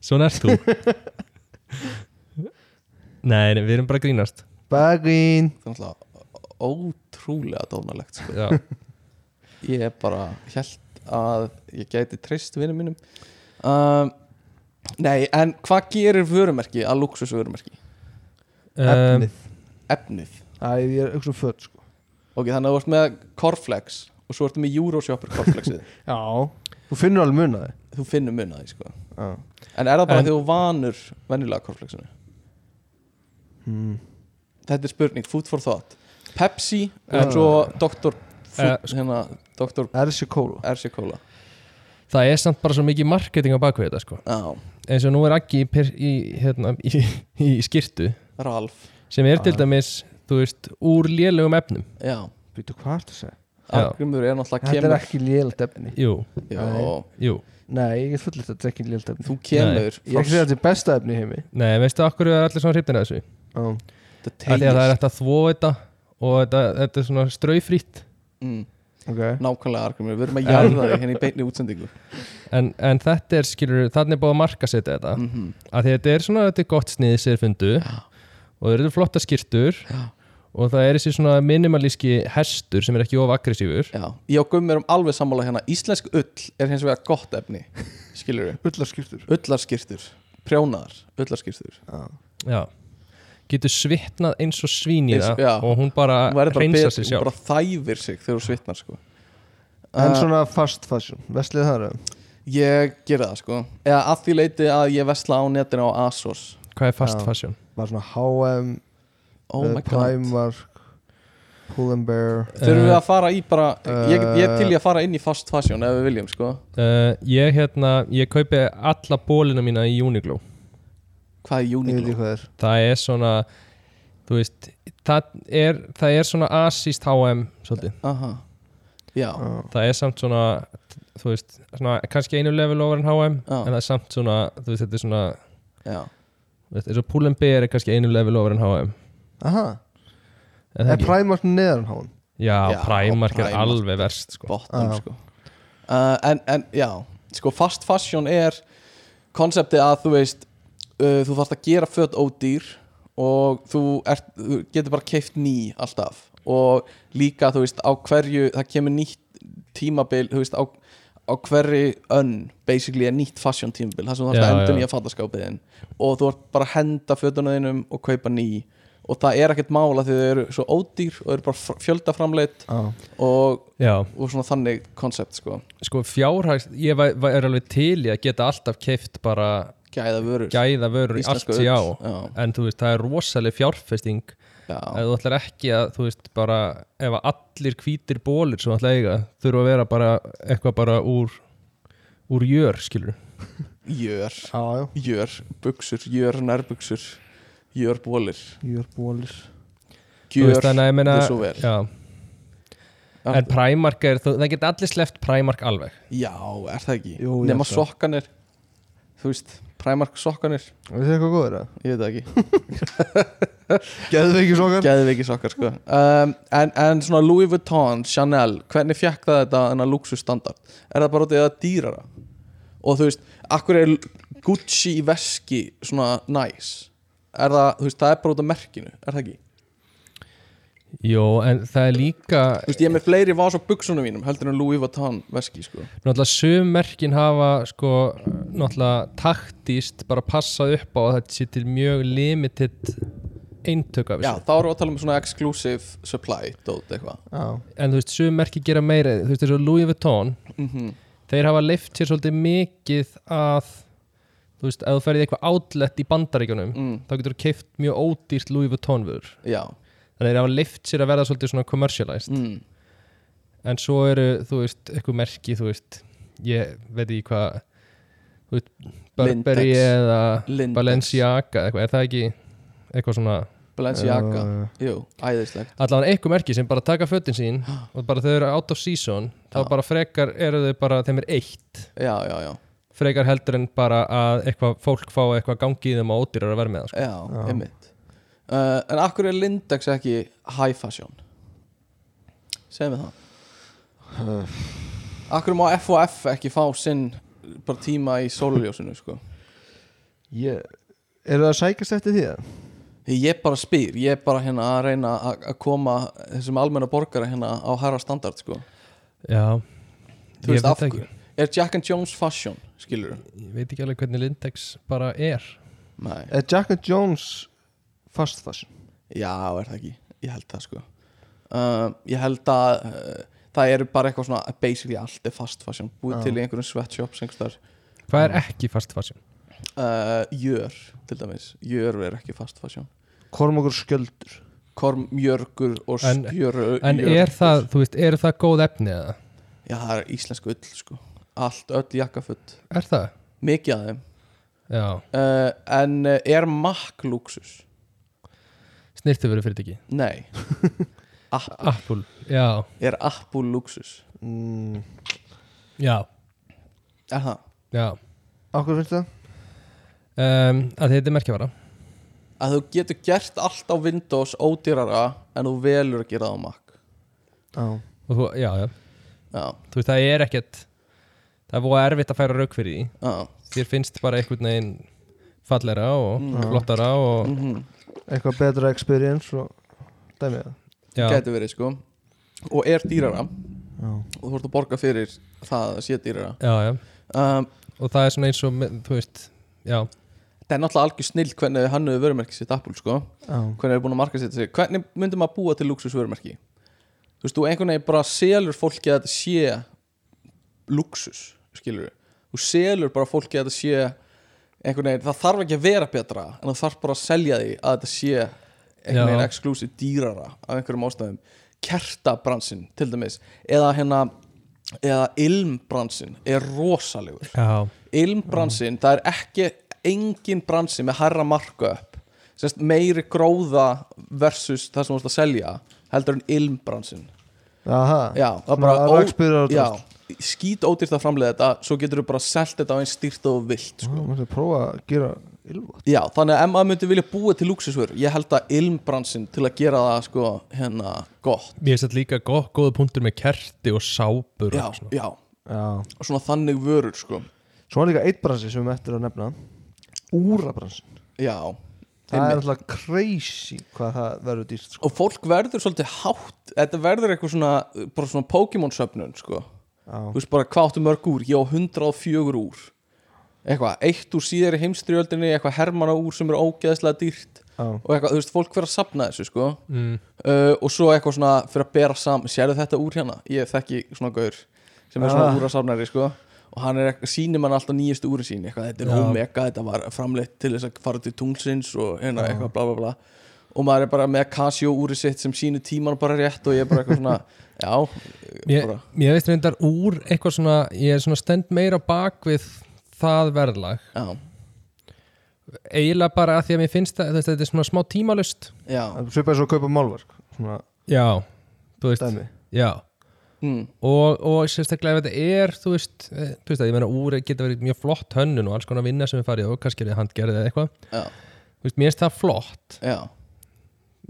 B: svona ert þú. nei, nei, við erum bara að grínast,
D: Bagvín
C: Það er náttúrulega ótrúlega dónalegt sko
D: *laughs*
B: já,
C: Ég er bara held að ég gæti treyst vinnum mínum um, Nei, en hvað gerir vörumerki að lúksus vörumerki?
B: um,
D: Efnið
C: Efnið
D: Æ, ég er auksum fött sko
C: Ok, þannig að þú ert með Corflex og svo ertu með Euroshopper Corflexið
D: Já Þú finnur alveg munaði
C: Þú finnur mun að því sko
D: Já
C: En er það bara
B: En-
C: því þú vanur venjulega Corflexinu?
D: hmm.
C: Þetta er spurning, food for thought Pepsi
D: Já.
C: og svo Dr.
B: Eh,
C: Food, hérna, Dr.
D: Ersi kóla
C: RC Cola
B: það er samt bara svo mikið marketing á bakvið þetta sko,
C: Já,
B: eins og nú er Aggi í, per- í, hérna, í, *laughs* í skýrtu,
C: Ralf
B: sem er til
D: Já.
B: dæmis þú veist, úr lélögum efnum
C: Já,
D: Býtu hvað ertu að segja?
B: Já.
C: Argrymur er náttúrulega
D: Þetta er
C: kemur
D: ekki lélægt efni
B: jú,
C: Já,
B: jú,
D: Nei, ég er fullið þetta er ekki lélægt efni
C: Þú kemur
D: Ég er ekki að segja þetta er besta efni í heimi
B: nei, veistu okkur er allir svona hrifnir að þessu,
D: Já
C: þetta
B: af því að það er
C: tegist
B: hægt að þvó þetta og þetta, þetta er svona straufrýtt
C: mm,
D: Ok
C: Nákvæmlega Argrymur, við erum að jarða þig hérna í beinni útsendingu
B: en, en þetta er, skilur, þannig er búið að marka setja þetta,
C: mm
B: af því að þetta er svona þetta er gott sniðið sér fundu og það eru flotta skýrtur
C: Já.
B: og það er þessi svona minimalíski hestur sem er ekki of aggressífur
C: Já, ég og Gummi erum alveg sammála hérna Íslensk ull er hins vegar gott efni Skilur við
D: Ullarskýrtur
C: Ullarskirtur, prjónaðar, ullarskirtur
D: Já
B: já, getur svitnað eins og svíniða
C: Eins- já.
B: og hún bara
C: Hún verður bara
B: reynsar
C: bet-
B: sig
C: hún
B: sjálf
C: bara þæfir sig þegar þú svitnar sko
D: En
C: Uh,
D: svona fast fashion Vestlið það er
C: Ég gera það sko Eða að því leiti að ég vesla á netinu á Asos
B: hvað er fast
D: Já.
B: fashion?
D: Var svona H&M
C: Oh
D: eh,
C: my god
D: Primark Pull&Bear
C: Þurfum við
B: Eh,
C: að fara í bara ég, ég er
D: Eh.
C: til í að fara inn í fast fashion ef við viljum sko
B: Uh, ég hérna, ég kaupi alla bólina mína í Uniqlo
C: Hvað er
D: Ég veit ekki
C: Uniqlo?
D: hvað er
B: það er svona þú veist, það er, það er svona asist H&M svolítið,
C: Aha Já,
D: Já.
B: það er samt svona þú veist, svona, kannski einu level over en H&M
C: Já.
B: en það er samt svona, þú veist, þetta er svona
C: já
B: þú veist, eins og Pull&B er kannski einu level over en H&M
D: Aha
B: En það
D: Er
B: ekki-
D: Primark H&M? neðan háum?
B: já,
C: Já,
B: Primark er
C: Primark.
B: alveg verst sko.
C: Bottom
D: Já.
C: sko uh, en, en já, sko fast fashion er konseptið að þú veist uh, þú þarfst að gera föt ódýr og þú, ert, þú getur bara keift ný alltaf og líka þú veist á hverju það kemur nýtt tímabil þú veist á, á hverju önn basically er nýtt fashion tímabil það sem þú þarfst
B: Já,
C: að endur
B: já.
C: nýja fataskápið þinn og þú ert bara að henda fötunum þínum og kaupa ný og það er ekkert mála því þau eru svo ódýr og eru bara fr- fjöldaframleitt og,
B: já,
C: og svona þannig koncept sko,
B: sko fjárhags ég væ- væ- er alveg til í að geta alltaf keift bara
C: gæða vörur
B: gæða vörur í allt
C: íslenska ull.
B: í á
C: já,
B: en þú veist, það er rosaleg fjárfesting
C: já,
B: ef þú ætlar ekki að, þú veist, bara ef að allir hvítir bólir sem þú ætlar að eiga þurfa að vera bara eitthvað bara úr úr jör, skilur
C: jör
D: já,
C: jör, buksur, jör nærbuksur jör bólir
D: jörbólir
B: Þú
C: gjör,
B: veist, þannig að ég meina
C: gjör svo vel
B: já, en Primark er, þú, það geta allir sleppt Primark alveg
C: já, er það ekki
D: Jú, ég
C: nema
D: held það.
C: sokkanir þú veist, Primark sokkanir
D: Er það eitthvað góður að?
C: ég veit það ekki,
D: Gæðu ekki sokar?
C: geðveiki sokkar sko um, en, en svona Louis Vuitton, Chanel hvernig fjekk það þetta en að luxustandard er það bara út í það dýrara og þú veist, akkur er Gucci í veski svona nice er það, þú veist, það er bara út af merkinu er það ekki?
B: Jó, en það er líka
C: Þú veist, ég er með fleiri vas á buksunum mínum heldur en Louis Vuitton veski sko
B: náttúrulega summerkin hafa sko, náttúrulega taktíst bara passað upp á að þetta sé til mjög limited eintök af
C: Já,
B: þessu,
C: þá erum við að tala um svona exclusive supply dót eitthvað
D: Já,
B: en þú veist, summerki gera meira, þú veist, þessu Louis Vuitton
C: mm -hmm.
B: þeir hafa leift sér svolítið mikið að þú veist, ef þú ferði eitthvað outlet í bandaríkjunum
C: mm,
B: þá getur þú keift mjög ódýrt Louis Vuitton vörur
C: Já,
B: þannig að þeir hafa leift sér að verða svolítið svona commercialized
C: mm,
B: en svo eru, þú veist, eitthvað merki þú veist, ég veit ekki hvað þú veist, Burberry
C: Lindex.
B: eða
C: Lindex.
B: Balenciaga eitthvað, er það ekki eitthvað svona
C: Balenciaga
D: Já,
C: Jú, æðislegt
B: allavega eitthvað merki sem bara taka fötin sín
C: *gasps*
B: og bara þau eru out of season þá
C: Já.
B: bara frekar eru þau bara, þeim er eitt
C: Já, já, já,
B: frekar heldur en bara að eitthvað fólk fá eitthvað gangi í þeim á ódýrar að vera með það sko.
C: já,
D: Já.
C: einmitt uh, En akkur er Lindex ekki high fashion? Segðu við það
D: Eh.
C: Akkur má F&F ekki fá sinn bara tíma í sóluljósinu sko
D: Ég Eru það að sækast eftir því að?
C: Ég bara spyr, ég er bara hérna að reyna að að koma þessum almenna borgara hérna á herra standard sko
B: já, ég
C: Þú veist,
B: veit
C: af
B: ekki
C: hverju? Er Jack and Jones fashion, skilur
B: ég veit ekki alveg hvernig Lindex bara er
C: Nei
D: Er Jack and Jones fast fashion?
C: Já, er það ekki, ég held það sko uh, Ég held að uh, það eru bara eitthvað svona basically allt er fast fashion, búið
D: Já.
C: til í einhverjum sweatshops einhverstaðar,
B: hvað er ekki fast fashion?
C: uh, jör til dæmis, jör er ekki fast fashion
D: Kormokur skjöldur
C: kormjörgur og
B: En-
C: spjöru
B: en er það, þú veist, er það góð efni eða?
C: Já, það er íslensku ull sko allt, öll jakkafutt,
B: er það?
C: mikið af þeim
B: já,
C: uh, en uh, er makk luxus?
B: snirtu verið fyrir ekki *laughs*
C: Nei App,
B: Apple, já,
C: er apple luxus?
D: mm,
B: já,
C: Er það?
B: já
D: Akkur finnst það?
B: um, að þetta er merkjavara
C: Að þú getur gert allt á Windows ódýrara en þú velur að gera það á makk
D: Já
B: og þú, já, já,
C: Já,
B: þú veist, það er ekkert það er búið erfitt að færa rauk fyrir því
C: já,
B: þér finnst bara einhvern veginn fallera og
C: Mm.
B: flottara og
C: mhm,
D: Eitthvað betra experience og dæmið það
B: já,
C: gæti verið sko og er dýrara
D: Já
C: og þú ert að borga fyrir það að sé dýrara
B: já, já
C: um,
B: og það er svona eins og með- þú veist, já,
C: það er náttúrulega algjör snill hvernig þau hannuðu vörumerki sitt Apple sko,
D: Já
C: hvernig er búin að marka sitt sig hvernig myndum maður búa til luxus vörumerki þú veist, þú einhvern veginn bara selur fólki að þetta sé luxus, skilur þú selur bara fólki að þetta sé einhvern veginn, það þarf ekki að vera betra en það þarf bara að selja því að þetta sé einhvern
B: Já.
C: veginn exclusive dýrara af einhverjum ástæðum, kertabransin til dæmis, eða hérna eða ilmbransin er rosalegur
B: já,
C: ilmbransin, það er ekki engin bransi með herra marka upp Sest, meiri gróða versus það sem þú ert að selja heldur en ilmbransin
D: Aha
C: já, það er
D: Ah. Svona
C: bara ó-
D: rakspyrður og
C: já,
D: drasl.
C: skít ódýrt að framleiða þetta svo getur þú bara selt þetta á einn stýrt og þú vilt
D: Sko, maður þetta prófa að gera ylvot
C: já, þannig að ef maður myndi vilja búa til luxusvör ég held að ilmbransin til að gera það sko, hérna, gott
B: Mér finnst þetta líka gó- góða punktur með kerti og sápur og
C: já,
D: sko.
B: eitthvað svona.
C: já,
D: Já
C: svona þannig vörur sko.
D: Svo er líka eitt bransi sem við erum eftir að nefna Úrabransin
C: já,
D: Það er alltaf crazy hvað það verður dýrt sko.
C: og fólk verður svolítið hátt þetta verður eitthvað svona, bara svona Pokémon söfnun sko
D: Já,
C: þú veist bara hvað áttu mörg úr, ég á 104 úr eitthvað, eitt úr síðari heimstriöldinni eitthvað hermana úr sem er ógeðslega dýrt
D: á,
C: og eitthvað, þú veist, fólk fyrir að sapna þessu sko
B: mm.
C: uh, og svo eitthvað svona fyrir að bera saman sérðu þetta úr hérna, ég þekki svona gaur sem er svona
D: Ah.
C: úr að sapnari sko og hann er eitthvað, sýnir mann alltaf nýjastu úri sín eitthvað, þetta er
B: Já.
C: omega, þetta var framleitt til þess að fara til tunglsins og hérna,
D: Já.
C: eitthvað bla bla bla og maður er bara með Casio úri sitt sem sýnir tíman bara rétt og ég er bara eitthvað svona *laughs* já,
B: Ég,
C: bara,
B: ég veist reyndar úr eitthvað svona ég er svona stend meira bak við það verðlag
C: já,
B: eiginlega bara að því að mér finnst það, þú veist, þetta er svona smá tímalust
C: já
D: svipaði svo að kaupa málverk svona
B: já, þú veist
D: dæmi
B: já.
C: mm,
B: og, og sérstaklega ef þetta er þú veist, eh, þú veist að ég meina úr geta verið mjög flott hönnun og alls konar vinna sem við farið og kannski er þið handgerðið eða eitthvað
C: já,
B: Þú veist, mér finnst það flott
C: já,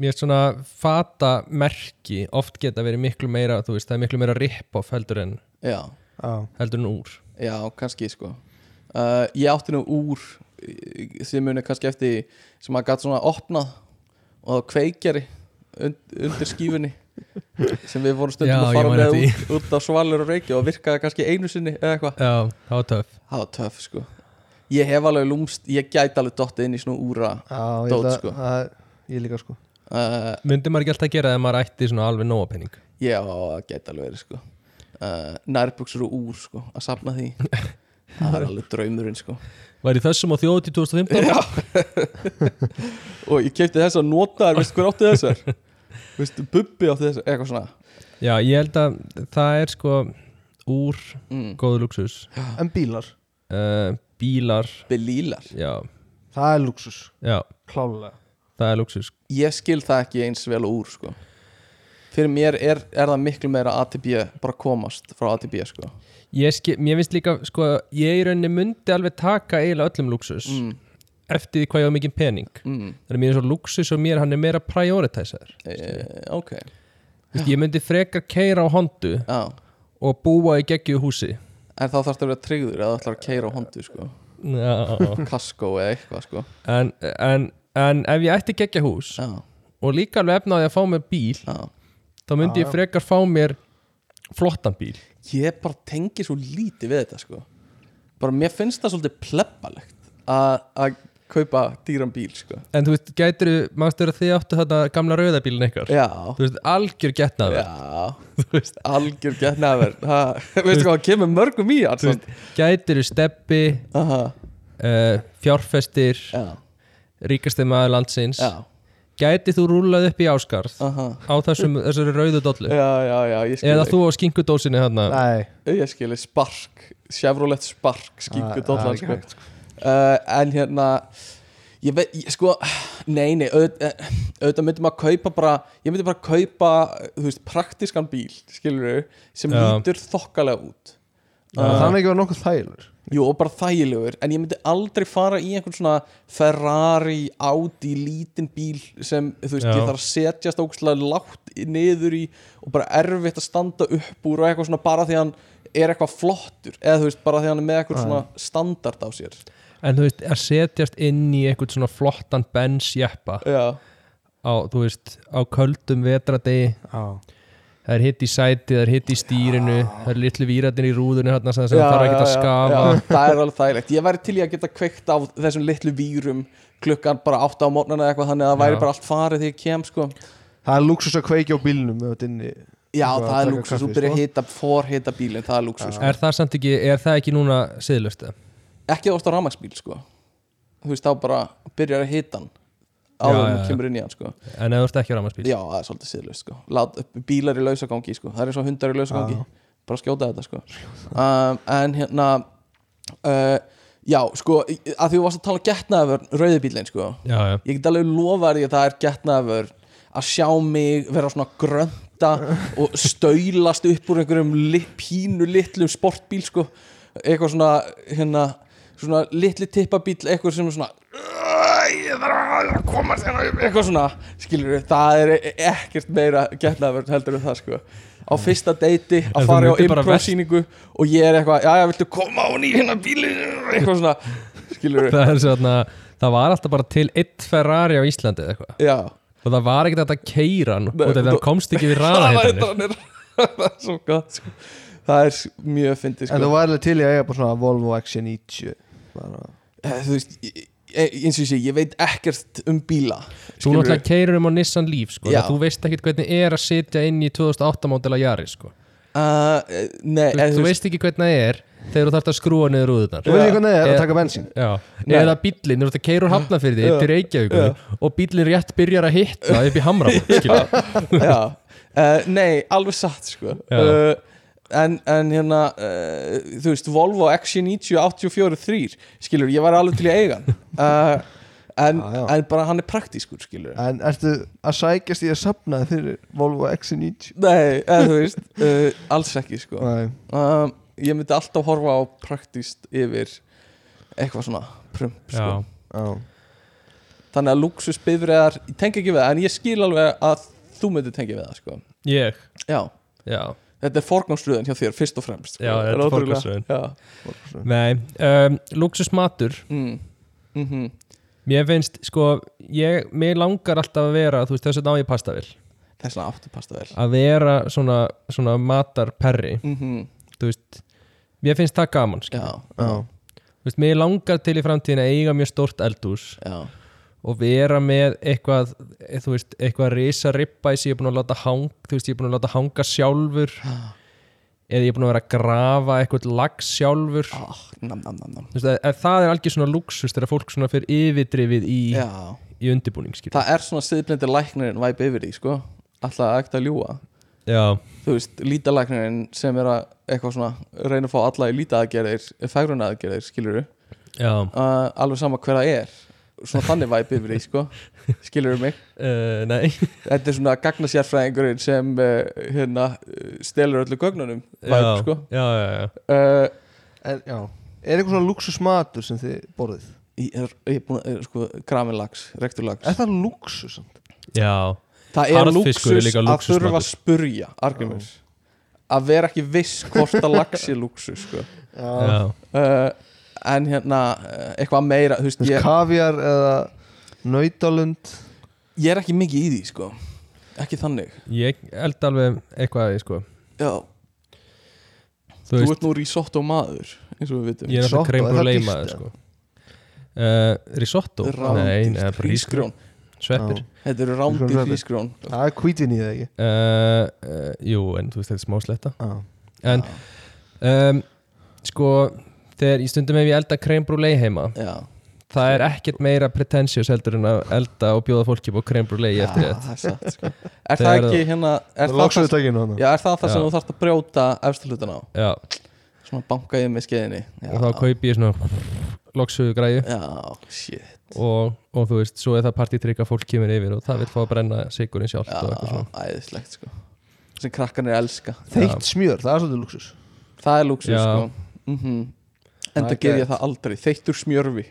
B: mér finnst svona fata merki oft geta verið miklu meira þú veist, það er miklu meira rip-off heldur en
C: já
D: á,
B: heldur en úr
C: Já, kannski sko uh, Ég átti nú úr eh, þið munið kannski eftir því, sem að gæti svona opnað og það var kveikjari und, undir skífunni sem við vorum stundum
B: Já,
C: að
B: ég
C: fara
B: man
C: með
B: eftir
C: út, út á svalur og reykja og virkaði kannski einu sinni eða eitthvað
B: já, það var töf
C: Það var töff sko Ég hef alveg lúmst, ég gæti alveg dottið inn í svona úra
D: á, ég,
C: Dót,
D: held
C: sko.
D: að- að- ég líka sko
C: uh,
B: myndi maður ekki alltaf að gera það ef maður ætti svona alveg nóa penning
C: Já, það gæti alveg verið sko uh, Nærbuksur og úr sko að safna því Það er alveg draumurinn sko
B: væri þessum á þjóti 2015
C: Já Og ég kefti þessar notaðar, veistu hver átti þessar? Veistu, Bubbi átti þessar, eitthvað svona
B: *laughs* já, ég held að það er sko úr
C: mm.
B: góðu luxus
D: en bílar,
B: uh, bílar
C: Belílar
B: já,
D: það er luxus
B: já,
D: klálega
B: það er luxus
C: Ég skil það ekki eins vel og úr, sko Fyrir mér er, er það miklu meira ATB, bara komast frá ATB, sko
B: ég skil, mér finnst líka, sko, ég í rauninni myndi alveg taka eiginlega öllum luxus
C: mm.
B: eftir því hvað ég á mikið pening
C: Mm.
B: það er mér svo luxus og mér hann er meira prioritæsar
C: E, ok,
B: ég myndi frekar keira á hondu
C: já
B: og búa í geggju húsi
C: En þá þarfst að vera tryggður eða þú ætlar að keira á hondu, sko
B: Já.
C: Kaskó eða eitthvað, sko
B: en, en, en ef ég ætti geggja hús
C: Já,
B: og líka alveg efnaði að fá mér bíl
C: já
B: þá myndi
D: Já,
B: ég
D: já.
B: frekar fá mér flottan bíl
C: ég bara tengi svo lítið við þetta sko bara mér finnst það svolítið plebbalegt að að kaupa dýran bíl sko
B: en þú veist, gætir, mannstu að þið áttu þetta gamla rauðabílin ykkar
C: já,
B: þú veist, algjör getnaður
C: já algjör gett nefnir veistu hvað, það kemur mörgum í allt samt.
B: gætir steppi,
C: Aha,
B: uh, fjárfestir
C: já,
B: ríkasti maður landsins
C: já,
B: gætir þú rúlað upp í áskarð
C: aha,
B: á þessum, þessari rauðu dollu
C: já, já, já ég skil
B: eða þú á skinkudósinni þarna
D: nei,
C: þig. ég skil þig. spark, Chevrolet spark skingu
D: það
C: dollar
D: er ekki
C: sko
D: hægt,
C: uh, en hérna ég veit, ég, sko nei, nei, auð, eh, auðvitað myndi maður kaupa bara, ég myndi bara kaupa eh, þú veist, praktískan bíl, skilur sem
B: Já.
C: lítur þokkalega út
D: það
C: uh,
D: er ekki verið nokkuð þægilegur
C: jú, og bara þægilegur en ég myndi aldrei fara í einhvern svona Ferrari, Audi, lítinn bíl sem, þú veist,
B: Já.
C: ég þarf að setjast ógustlega lágt í- niður í og bara erfitt að standa upp úr og eitthvað svona bara því að hann er eitthvað flottur eða þú veist, bara því að hann er með eitthvað
D: Já.
C: svona standard á sér
B: en þú veist, að setjast inn í einhvern svona flottan bensjeppa
C: já
B: á, þú veist, á köldum vetradegi
D: á,
B: það er hitt í sæti, það er hitt í stýrinu það er litlu výratin í rúðunni þarna sem
C: Já,
B: það þarf
C: já,
B: ekki að
C: já,
B: skafa
C: já, það er alveg þægilegt, ég væri til í að geta kveikt á þessum litlu vírum klukkan bara 8 á mótnana eitthvað þannig að það væri
B: Já.
C: bara allt farið þegar ég kem sko.
D: það er luxus að kveikja á bílnum ef þetta er inni
C: já
D: Eitthvað
C: það
D: að
C: er
D: drekka
C: lúksus,
D: kaffi,
C: þú byrja
D: sko.
C: að hita forhita bílinn, það er lúksus sko.
B: er það samt ekki, er það ekki núna siðlust það?
C: ekki þú ást á ramagsbíl sko. þú veist þá bara byrjar að hita hann áður
B: Já,
C: en
B: já,
C: þú kemur inn í hann sko.
B: en eða þú ert ekki á rafmagnsbíl
C: já það er svolítið síðlust sko. Lát, bílar í lausagangi, sko. það er eins og hundar í lausagangi
D: Já.
C: bara skjóta þetta sko. um, en hérna uh, já sko að því þú varst að tala um getnaður rauðibílinn sko.
B: já, já.
C: ég get alveg lofa því að það er getnaður að sjá mig vera svona grönta og stöylast upp úr einhverjum li, pínu litlum sportbíl sko eitthvað svona hérna svona litli tippabíl eitthvað sem er svona ég þarf að komast hérna upp eitthvað svona skilur það er ekkert meira getnaður heldur en það sko á fyrsta deiti
B: En þú
C: að fara á
B: myndir bara
C: improv
B: vest-
C: síningu og ég er eitthvað, já já, viltu koma á ný hérna bílinn eitthvað svona, skilur
B: það er svona, það var alltaf bara til eitt Ferrari á Íslandi eða eitthvað
C: já,
B: og það var ekkert hægt að keira hann
C: Nei,
B: út af því að
C: þú-
B: hann komst
C: *laughs*
B: ekki við raðaheitanir
C: hraðaheitanir *laughs* það er svo gott sko. það er s- mjög fyndið
D: en
C: sko.
D: þú væri alveg til í að eiga bara svona Volvo XC90 bara,
C: Eh, þú veist ég, e- eins og ég sé, ég veit ekkert um bíla
B: Þú
C: Skilurðu?
B: náttúrulega keirir um á Nissan Leaf sko,
C: Já.
B: en þú veist ekkit hvernig er að sitja inn í 2008 mótela Jaris sko.
C: Uh, eh, nei,
B: þú, þú veist ekki hvernig það er þegar þú þarft að skrúa niður rúðunar
D: Þú veist ekki hvernig það er
B: Eh,
D: að taka bensín
B: Já,
C: Nei.
B: eða bíllinn, þú ert að keira úr hafnafyrði
C: Já.
B: til Reykjavíkur og bíllinn rétt byrjar að hitta upp í hamra
C: já, uh, nei, alveg satt sko.
B: Já.
C: uh, en, en hérna uh, þú veist, Volvo XC90 84 3, skilur, ég var alveg til í eigan uh, en,
D: Já, já.
C: en bara hann er praktískur, skilur
D: En ertu að sækjast í að sapna fyrir Volvo XC90?
C: nei, eða, þú veist, uh, alls ekki sko.
D: Nei,
C: um, ég myndi alltaf horfa á praktíst yfir eitthvað svona prump, sko.
B: Já,
D: já
C: þannig að luxusbifriðar, ég tengi ekki við það en ég skil alveg að þú myndir tengja við það sko.
B: ég
C: já,
B: Já,
C: þetta er forgangsröðin hjá þér fyrst og fremst sko.
B: Já, þetta er
C: ótrúlega-
B: forgangsröðin.
C: já.
B: nei um, Luxusmatur,
C: mm. Mm
B: mér finnst sko, ég, mér langar alltaf að vera þú veist þess að ná ég pastavill
C: þess vegna áttu pasta vel
B: að vera svona, svona matarperri
C: mm
B: þú veist, mér finnst það gaman skilur.
C: já,
D: Já,
B: þú veist, mér langar til í framtíðin að eiga mjög stórt eldhús
C: já,
B: og vera með eitthvað eh, þú veist, eitthvað risa rippa sem ég er búin að láta hang, þú veist, ég er búin að láta hanga sjálfur eða ég er búin að vera að grafa eitthvað lags sjálfur þú
C: ah, nam, nam, nam, nam.
B: veist, ef það er algjör svona luxus þegar fólk svona fyrir yfirdrifið í,
C: já
B: í undirbúning skilur.
C: það er svona siðblindi læknirinn væp yfir því sko alltaf að ekta að ljúa
B: já,
C: þú veist, lítalæknirinn sem er að eitthvað svona reyna að fá alla í lítaaðgerðir fegrunaaðgerðir, skilur við
B: já
C: uh, alveg sama hver það er svona þannig væp yfir því,
B: *laughs*
C: sko skilur við mig
B: uh, nei,
C: þetta er svona gagna sérfræðingurinn sem uh, hérna, uh, stelur öllu gögnunum væp,
B: já,
C: sko
B: já, já, já.
C: uh,
D: er, já. er eitthvað svona luxusmatur sem þið borðið?
C: ég er, ég er búin að, er, sko, graminlags, rekturlags
D: Er það luxus? samt?
B: já.
C: Það er
B: Harðfiskur er
C: lúksus
B: líka
C: að
B: lúxusmatur.
C: þurfa að spurja Argrimur Að vera ekki viss hvort að lax er lúksus sko.
D: Já,
B: já.
C: uh, En hérna uh, Eitthvað meira, þú veist
D: Þú veist,
C: ég,
D: kaviar eða nautalund
C: ég er ekki mikið í því sko. Ekki þannig
B: ég held alveg eitthvað að ég sko
C: Já,
B: þú
C: þú
B: veist,
C: ert nú risotto maður eins og við vitum
B: ég er
D: Risotto,
B: alltaf kreim
D: er það
B: brúlei
D: dýrt,
B: maður
D: eða?
B: sko Uh, risotto? Nei,
C: Rándýrt
B: neða bara rísgrjón
C: hrísgrjón.
B: Sveppir
C: Þetta eru
D: Hrísgrjón,
C: rándýr
D: sveppir.
C: hrísgrjón
D: Það er kvítin í það ekki
B: uh, uh, Jú, en þú veist þetta er smá sletta
D: Já,
B: En um, sko Þegar í stundum hef ég elda creme brulee heima
C: Já,
B: Það er ekkert meira pretentious heldur en að elda og bjóða fólki upp á creme brulee
C: já
B: eftir
C: það er satt sko. Er
B: Þegar
C: það ekki hérna Er
D: það
C: það
D: loksaðu
C: það,
D: takkinu hann
C: já, er það, það sem
B: Já.
C: þú þarft að brjóta efstu hlutan á
B: þetta Já,
C: Svona banka yfir með skeiðinni Já.
B: og þá kaupi ég svona loksuðu græju
C: Já, shit
B: og, og þú veist, svo er það partytrykk að fólk kemur yfir og það vil fá að brenna sigurinn sjálft og eitthvað
C: Já,
B: svona
C: æðislegt sko sem krakkanir elska
D: Þeitt smjör, það er svolítið luxus
C: það er lúksus
B: Já.
C: sko mm en
D: Það
C: það
D: er
C: ger ég
D: gett.
C: það aldrei, þeittur smjörfi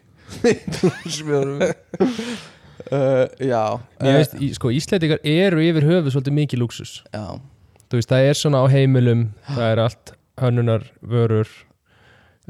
D: Smjör
C: uh, já,
B: Ég
C: *laughs* eh,
B: veist, í, sko, Íslendingar eru yfir höfuð svolítið mikið lúksus
C: já,
B: þú veist, það er svona á heimilum það er allt hönnunar, vörur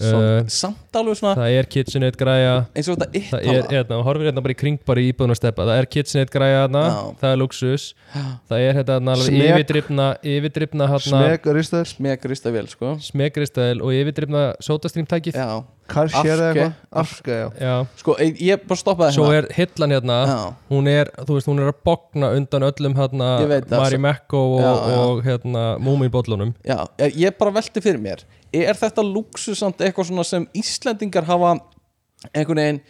C: Samt-
B: uh,
C: samt alveg svona
B: það er KitchenAid græja
C: eins og þetta
B: það er,
C: yttala
B: hérna, og horfir hérna bara í kring bara í íbúðun að steppa, það er KitchenAid græja hérna
C: Já.
B: það er luxus,
C: *gasps*
B: það er hérna hérna alveg
D: Smek.
B: yfirdrifna, yfirdrifna hérna
D: Smeg, ristaður,
C: smeg rista vel sko
B: smegristæl og yfirdrifna sótastrýmtækið,
C: já,
D: karsér eða
C: Afke.
D: eitthvað Afke, já
B: já,
C: sko ég, ég bara stoppaði
B: svo
C: hérna
B: er hillan hérna
C: Já.
B: hún er, þú veist, hún er að bogna undan öllum hérna
C: Ég veit það,
B: Mari
C: sem-
B: Mekko og,
C: Já, já.
B: og hérna Múminbóllunum
C: já, ég- ég bara velti fyrir mér er þetta lúksus samt eitthvað svona sem Íslendingar hafa einhvern veginn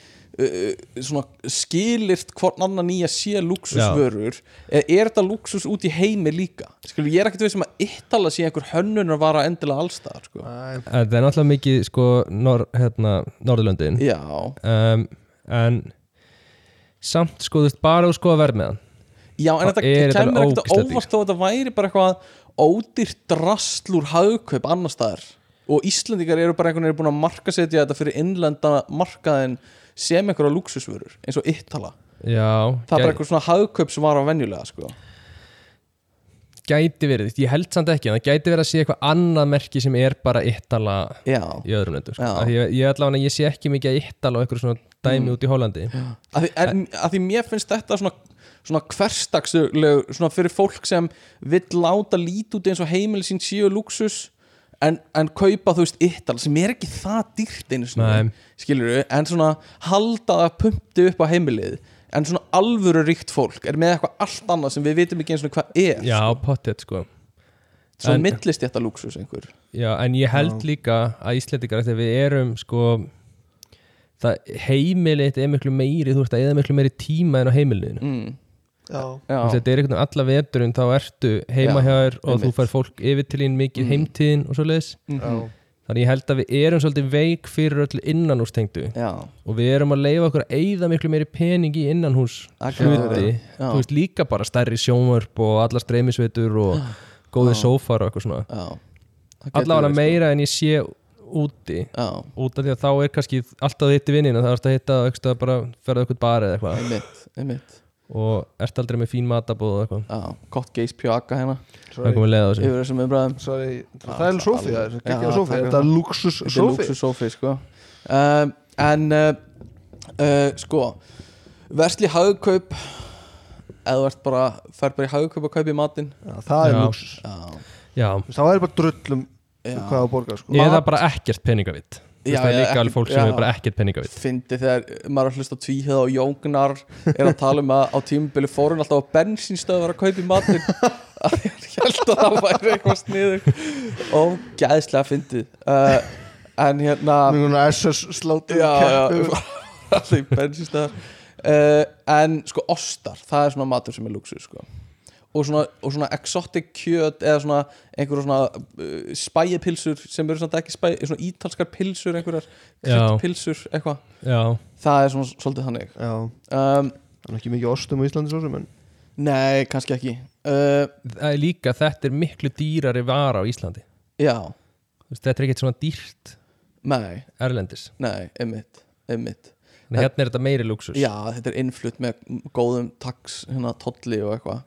C: uh, svona skilirt hvort annan nýja sé luxusvörur eða er þetta luxus út í heimi líka skilur, ég er ekkert veist sem að yttala sé einhver hönnun að vara endilega allstaðar sko.
D: Æ,
B: En það er náttúrulega mikið sko nor, hérna, Norðurlöndin
C: já,
B: um, en samt sko þú veist bara þú sko að verð með hann
C: já, en
B: Það
C: þetta
B: er þetta
C: kemur ekkert á
B: ógeðslegt
C: óvart þó að þetta væri bara eitthvað ódýrt drastlur hagkaup annar staðar og Íslendingar eru bara einhvern veginn búin að markasetja þetta fyrir innlenda markaðin sem einhverja luxusvörur eins og yttala
B: já,
C: það er bara
B: gæ-
C: eitthvað svona hagkaup sem var á venjulega sko.
B: gæti verið ég held samt ekki, en það gæti verið að sé eitthvað annað merki sem er bara yttala
C: já,
B: í öðrum löndum sko.
C: Já.
B: Af því ég, ég allavega ég sé ekki mikið að yttala og einhverju svona dæmi út í Hollandi
C: að því, en, að því mér finnst þetta svona, svona hverstaksleg svona fyrir fólk sem vill láta lít út eins og heimil sín síu luxus en, en kaupa þú veist yttal sem er ekki það dýrt einu
B: Nei.
C: sinni skilur við, en svona halda það pumpti upp á heimilið en svona alvöru ríkt fólk er með eitthvað allt annað sem við vitum ekki eins og hvað er
B: já, pottet sko
C: svona
B: en-
C: millist þetta lúksus einhver
B: Já, en ég held líka að Íslendingar þegar við erum sko það heimilið er miklu meiri, þú ert að eða miklu meiri tíma en á heimiliðinu.
C: mm,
D: já,
C: já,
B: Þess að þetta er einhvern veginn alla veturinn þá ertu heima
C: Já,
B: hjá þér og þú
C: einmitt.
B: fær fólk yfir til þín mikið
C: Mm.
B: heimtíðin og svo leiðis.
D: já,
C: mhm,
B: Þannig ég held að við erum svolítið veik fyrir öllu innanhústengdu
C: já,
B: og við erum að leifa okkur að eyða miklu meiri pening í innanhús
C: það getur verið.
B: hluti.
C: já,
B: Þú veist líka bara stærri sjónvörp og allar streymisveitur og góði
C: Já.
B: sófar og eitthvað svona.
C: já, það getur
B: Allavega
C: verið,
B: meira en ég sé úti
C: sko. já,
B: út af því að þá er kannski alltaf þitt í vinnina, það erst að hitta ekstra bara ferða eitthvað bara eða eitthvað
C: einmitt, einmitt
B: og ert aldrei með fín matabóð og eitthvað
C: já, gott geis pjaka hérna
B: það er
D: sorry,
B: komið leið á þessu
C: yfir þessum umræðum
D: sorry það
C: Ah,
D: er sofi, það er
C: alveg.
D: ekki
C: Já,
D: á sofi
C: takk.
D: þetta er luxus
C: Þetta er
D: sofi
C: lúksus sofi sko. um, En uh, uh, sko Versli hagkaup eða þú ert bara fer bara í hagkaup og kaupi matinn
D: Já, það er
B: Já.
D: luxus
C: Já,
B: já.
D: það er bara drullum
C: já.
D: hvað á borgar sko.
B: eða
D: Mat-
B: bara ekkert peningavitt
C: Já,
B: það er
C: já,
B: líka alveg
C: ekki-
B: fólk sem
C: já.
B: er bara ekkert peningavitt
C: Fyndi þegar maður er að hlusta á tvíhið og jógnar er að tala um að á tímubili fórun alltaf á bensínstöðvar að kaupi matinn að ég held að það væri eitthvað sniður og gæðslega fyndið uh, en hérna
D: Með svona SS slátur
C: já, já, *laughs*
D: keppu.
C: alltaf í bensinstöðar uh, en sko ostar, það er svona matur sem er luxus sko. og, svona, og svona exotic kjöt eða svona einhverja svona uh, spæjepilsur sem eru svona ekki spæ, svona ítalskar pilsur einhverjar
B: Já.
C: kryddpilsur eitthvað,
B: já,
C: það er svona svolítið þannig
D: já,
C: um,
D: það er ekki mikið ostum á Íslandi svo sem en
C: nei, kannski ekki uh,
B: það er líka þetta er miklu dýrari vara á Íslandi
C: já,
B: Þú veist, þetta er ekkert svona dýrt
C: nei,
B: erlendis
C: nei, einmitt einmitt,
B: en hérna er þetta meiri luxus
C: já, þetta er innflutt með góðum tax, hérna, tolli og eitthvað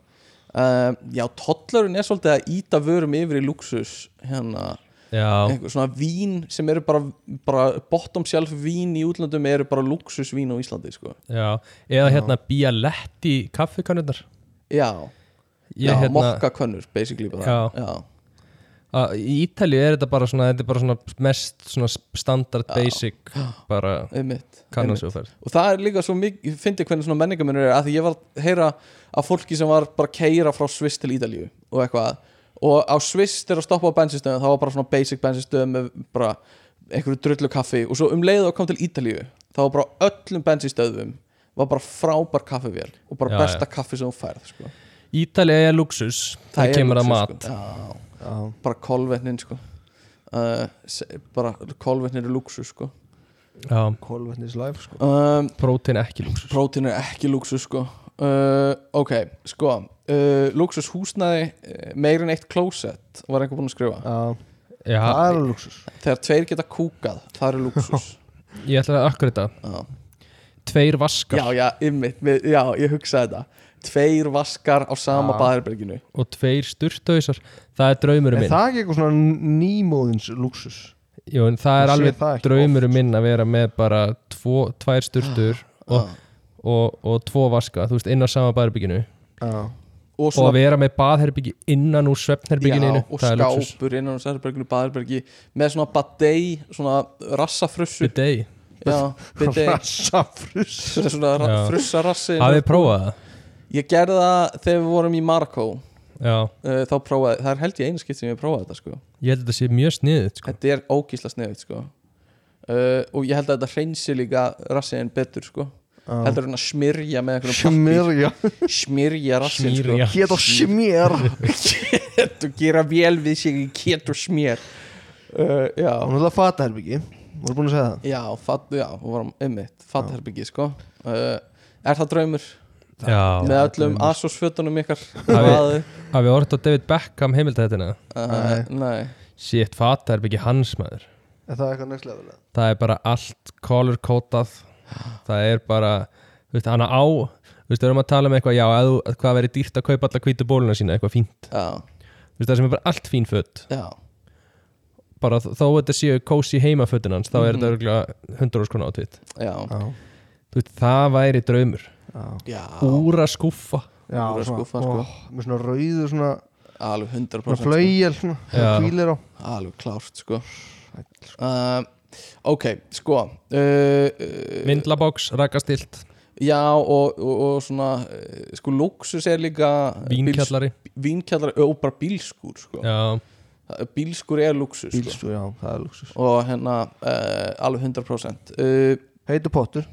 C: um, já, tollarun er svolítið að íta vörum yfir í luxus hérna,
B: já,
C: einhver svona vín sem eru bara, bara bottom shelf vín í útlandum eru bara luxusvín á Íslandi sko.
B: já. eða hérna Bialetti kaffikannunar
C: já,
B: Ég,
C: já
B: hérna-
C: mokkakönnur basically bara
B: Já.
C: Já,
B: Að í Ítalju er þetta bara svona, þetta er bara svona mest svona standard basic bara
C: einmitt, einmitt.
B: kannansjóferð
C: og það er líka svo mikið, ég fyndi hvernig svona menningamunur er að því ég var að heyra að fólki sem var bara að keira frá Sviss til Ítalíu og eitthvað og á Sviss þegar að stoppa á bensinstöðum þá var bara svona basic bensinstöðum með bara einhverju drullu kaffi og svo um leið og kom til Ítalíu þá var bara öllum bensinstöðum var bara frábær kaffivél og bara
B: Já,
C: besta kaffi sem hún færð sko.
B: Ítalja er luxus það
C: er
B: kemur að
C: lúxus,
B: mat
C: sko. Já.
D: já,
C: bara kolvetnin sko uh, se- bara kolvetnin eru lúksus sko
B: já,
D: kolvetnis life sko
C: um,
B: prótein ekki lúksus
C: prótín er ekki lúksus sko uh, ok, sko uh, lúksus húsnaði uh, meir en eitt klósett var einhver búinn að skrifa
D: já, það
B: já,
D: er luxus
C: þegar tveir geta kúkað, það eru
B: *laughs*
C: lúksus
B: ég ætla að akkur þetta
C: já,
B: tveir vaskar
C: já, já, ymmit já, ég hugsaði þetta tveir vaskar á sama
D: Já.
C: baðherberginu
B: og tveir sturtausar það er draumurinn
D: er
B: minn
D: það ekki eitthvað svona nýmóðins luxus
B: Jú, en það
D: Ég
B: er
D: sé
B: alveg
D: það ekki
B: draumurinn minn að vera með bara tvo, tvær sturtur og, og, og tvo vaska þú veist, inn á sama baðherbygginu
D: já,
C: og
B: og
C: svona
B: vera með baðherbyggi innan úr svefnherbygginu
C: og
B: það er lúksus
C: skápur innan á sæðherberginu baðherbergi með svona badei, svona rassafrussu
B: Bidet.
C: já,
B: *laughs*
C: bidei
D: rassafrus
C: Þetta er svona
B: Já.
C: frussa rassi
B: hafið þið prófað það?
C: Ég gerði það þegar við vorum í Marokko uh,
B: já,
C: Þá prófaði, það er held ég einu skipt sem ég prófaði þetta sko
B: ég held að þetta sé mjög sniðið sko.
C: Þetta er ógísla sniðið sko uh, Og ég held að þetta hreinsi líka rassiðin betur sko Heldur hann að smyrja með einhverjum
D: smyrja
C: pappír. Smyrja rassin sko
B: Smyrja.
D: hétt og smér
C: Þetta gera vel við sig í két og smér uh, Já
D: hún er það fataherbyggi voru búin að segja
C: Já, fatt, já, við vorum ummitt Fattherbyggi sko uh, Er það draumur?
B: já,
C: með öllum Asos-fötunum ykkar
B: Það
C: Vaðið?
B: hafið þið orðið á David Beckham heimildahættina
C: Uh, Nei
B: Sitt fataherbergi hans maður
D: það er það eitthvað next level eða?
B: Það er bara allt color codað Það er bara Þú veist, hann á Þú veist, við erum að tala um eitthvað Já, að þú, að hvað verið dýrt að kaupa alla hvítu bóluna sína Eitthvað fínt
C: Já,
B: Þú veist, það sem er bara allt fín fött
C: já
B: Bara þó þó þetta séu kósi heimafötin hans Þá
C: Mhm.
B: er þetta örgulega 100 skona átvit
C: Já,
D: já,
B: Þú veist, það væri draumur
D: já
C: já,
B: Úra skúffa
D: já,
C: Úr að
D: svona,
C: skúffa, sko.
D: ó, með svona rauðu svona
C: alveg
D: Svona
C: 100% sko.
D: flaugjel svona,
B: Já.
D: kvílir á
C: alveg klárt sko uh, ok, sko uh, uh,
B: Myndlabox, rakastilt,
C: já og, og, og svona uh, sko luxus er líka
B: vínkjallari
C: bíls, vínkjallar og bara bílskur sko.
B: Já,
C: Það- bílskur er luxus sko.
D: bílstúr, já, það er luxus
C: og hérna uh, alveg 100% uh,
D: heitu pottur,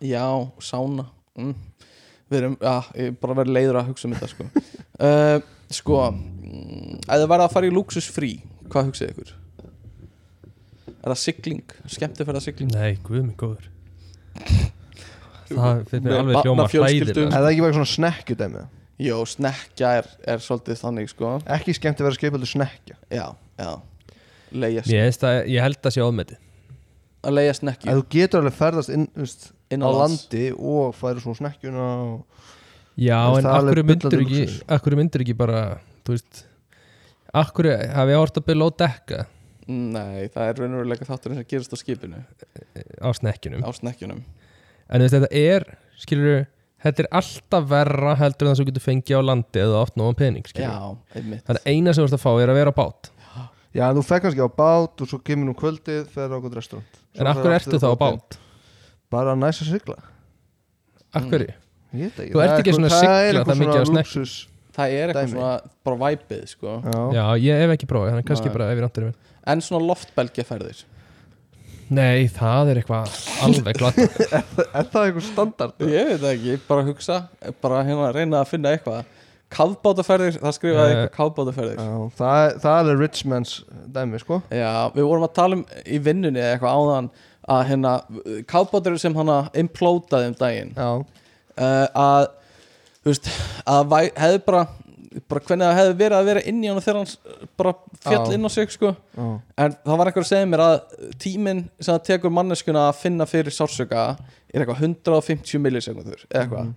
C: já, sána mm. við erum, já, ég er bara verið leiður að hugsa um þetta sko uh, sko mm, ef það verða að fara í luxus frí hvað hugsið ykkur? er það sigling? skemmtifæra sigling?
B: nei, guð mig góður Það fyrir mér
C: Með
B: alveg hljóma
C: barnafjölskyldum.
B: hlæðilega
D: er það ekki bara svona snekkjudæmi
C: Jó, snekja er, er svolítið þannig sko
D: ekki skemmt að vera skipildur snekja
C: Já, já Leia,
B: Ég, veist að, ég held að sé ofmeti
C: að leia
D: að
C: snekju
D: þú getur alveg ferðast inn, þú veist,
C: inn
D: á landi og færi svona snekkjuna og...
B: Já,
D: Veist,
B: en
D: það er alveg
B: akkur myndur
D: bullandi
B: ekki
D: lúxus.
B: akkur myndur ekki bara, þú veist akkur, hafi ég hort að byrja á dekka
C: Nei, það er raunveruleika þátturinn sem gerist á skipinu
B: á snekkinum
C: á snekkjunum
B: en þú veist, þetta er, skilur þetta er alltaf verra heldur en það sem þú getur fengið á landi eða oft nógan pening, skilur
C: Já, einmitt
B: þannig að eina sem þú ert að fá er að vera á bát
D: já, en þú fekk kannski á bát og svo kemur nú kvöldið fer á gott restaurant Svo
B: en
D: fer
B: akkur
D: aftur
B: ertu þá á
D: kvöldin.
B: bát?
D: bara næs að sigla
B: Akkur, mm.
D: Ég veit ekki,
B: Þú
D: það
B: ert
D: er
B: ekki
D: eitthvað-
B: svona að sigla það mikið á
D: það er eitthvað svona
B: snekk.
D: luxus
C: Það er eitthvað
D: Dæmi.
C: svona bara væpið sko
D: já.
B: já, ég hef ekki prófið, þannig kannski
C: Nei.
B: bara ef ég um rántur yfir
C: En svona loftbelgjaferðir
B: Nei, það er eitthvað alveg glatt
D: er það eitthvað standard?
C: Ég veit það ekki, bara hugsa Bara hérna reyna að finna eitthvað Kafbátaferðir, það skrifaði
B: Eh.
C: eitthvað kafbátaferðir
D: Já, það, er- það er alveg rich man's dæmi sko
C: Já, við vorum að tala um í vinnunni eða eitthvað áðan að hérna, kafbátur sem hana implótaði um daginn
D: já,
C: uh, að þú veist, að væ, hefði bara bara hvernig það hefði verið að vera inn í hann þegar hann s- bara
D: Já.
C: fjall inn á sig sko.
D: já.
C: en það var einhver að segja mér að tíminn sem það tekur manneskuna að finna fyrir sársöka er eitthvað 150 millisekundur eða eitthvað
D: Mhm.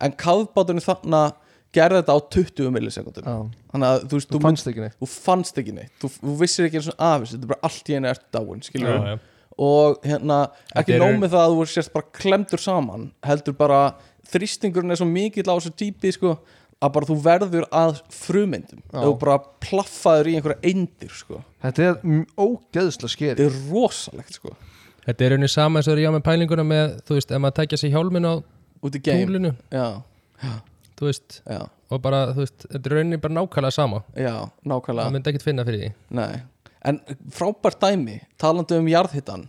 C: en kafbátunni þarna gerði þetta á 20 millisekundum
D: já.
C: þannig að þú veist,
D: þú
C: þú,
D: fannst ekki neitt
C: þú fannst ekki neitt þú, þú vissir ekki einu svona af þessu þetta er bara allt í einu ert dáin skilur
B: Já, já.
C: og hérna ekki
B: Þetta eru-
C: nóg með það að þú sérst bara klemdur saman heldur bara þrýstingurinn er svo mikill á þessu típi sko að bara þú verður að frumyndum
D: Já.
C: þú bara plaffaður í einhverja eindir sko.
D: þetta er m- ógeðslega skeri
C: þetta er rosalegt sko
B: Þetta er rauninni sama eins og er já með pælinguna með, þú veist, ef maður tækja sér hjálmin á
C: út í game
B: tunglinu,
C: já,
B: þú veist,
C: já,
B: og bara, þú veist, þetta er rauninni bara nákvæmlega sama.
C: já,
B: Það
C: nákvæmlega
B: myndi ekkert finna fyrir því.
C: Nei. en frábært dæmi talandi um jarðhittan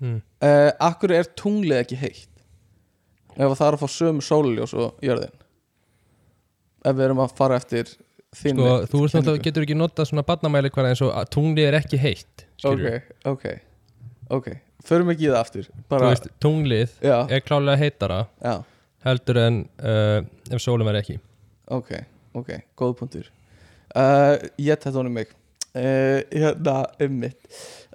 B: Mm.
C: uh, akkur er tunglið ekki heitt ef það er að fá sömu sóluljós og jörðin ef við erum að fara eftir þín
B: Sko, þú veist, náttúrulega getur ekki notað svona badnamæli hverja eins og að tungli er ekki heitt, skilur
C: ok, ok, ok förum ekki í það aftur
B: Þú
C: bara, Ah.
B: veist, tunglið
C: já,
B: er klálega heitara
C: já,
B: heldur en uh, ef sólum er ekki.
C: ok, ok góð punktur uh, ég tætt honum mig uh, hérna, um mitt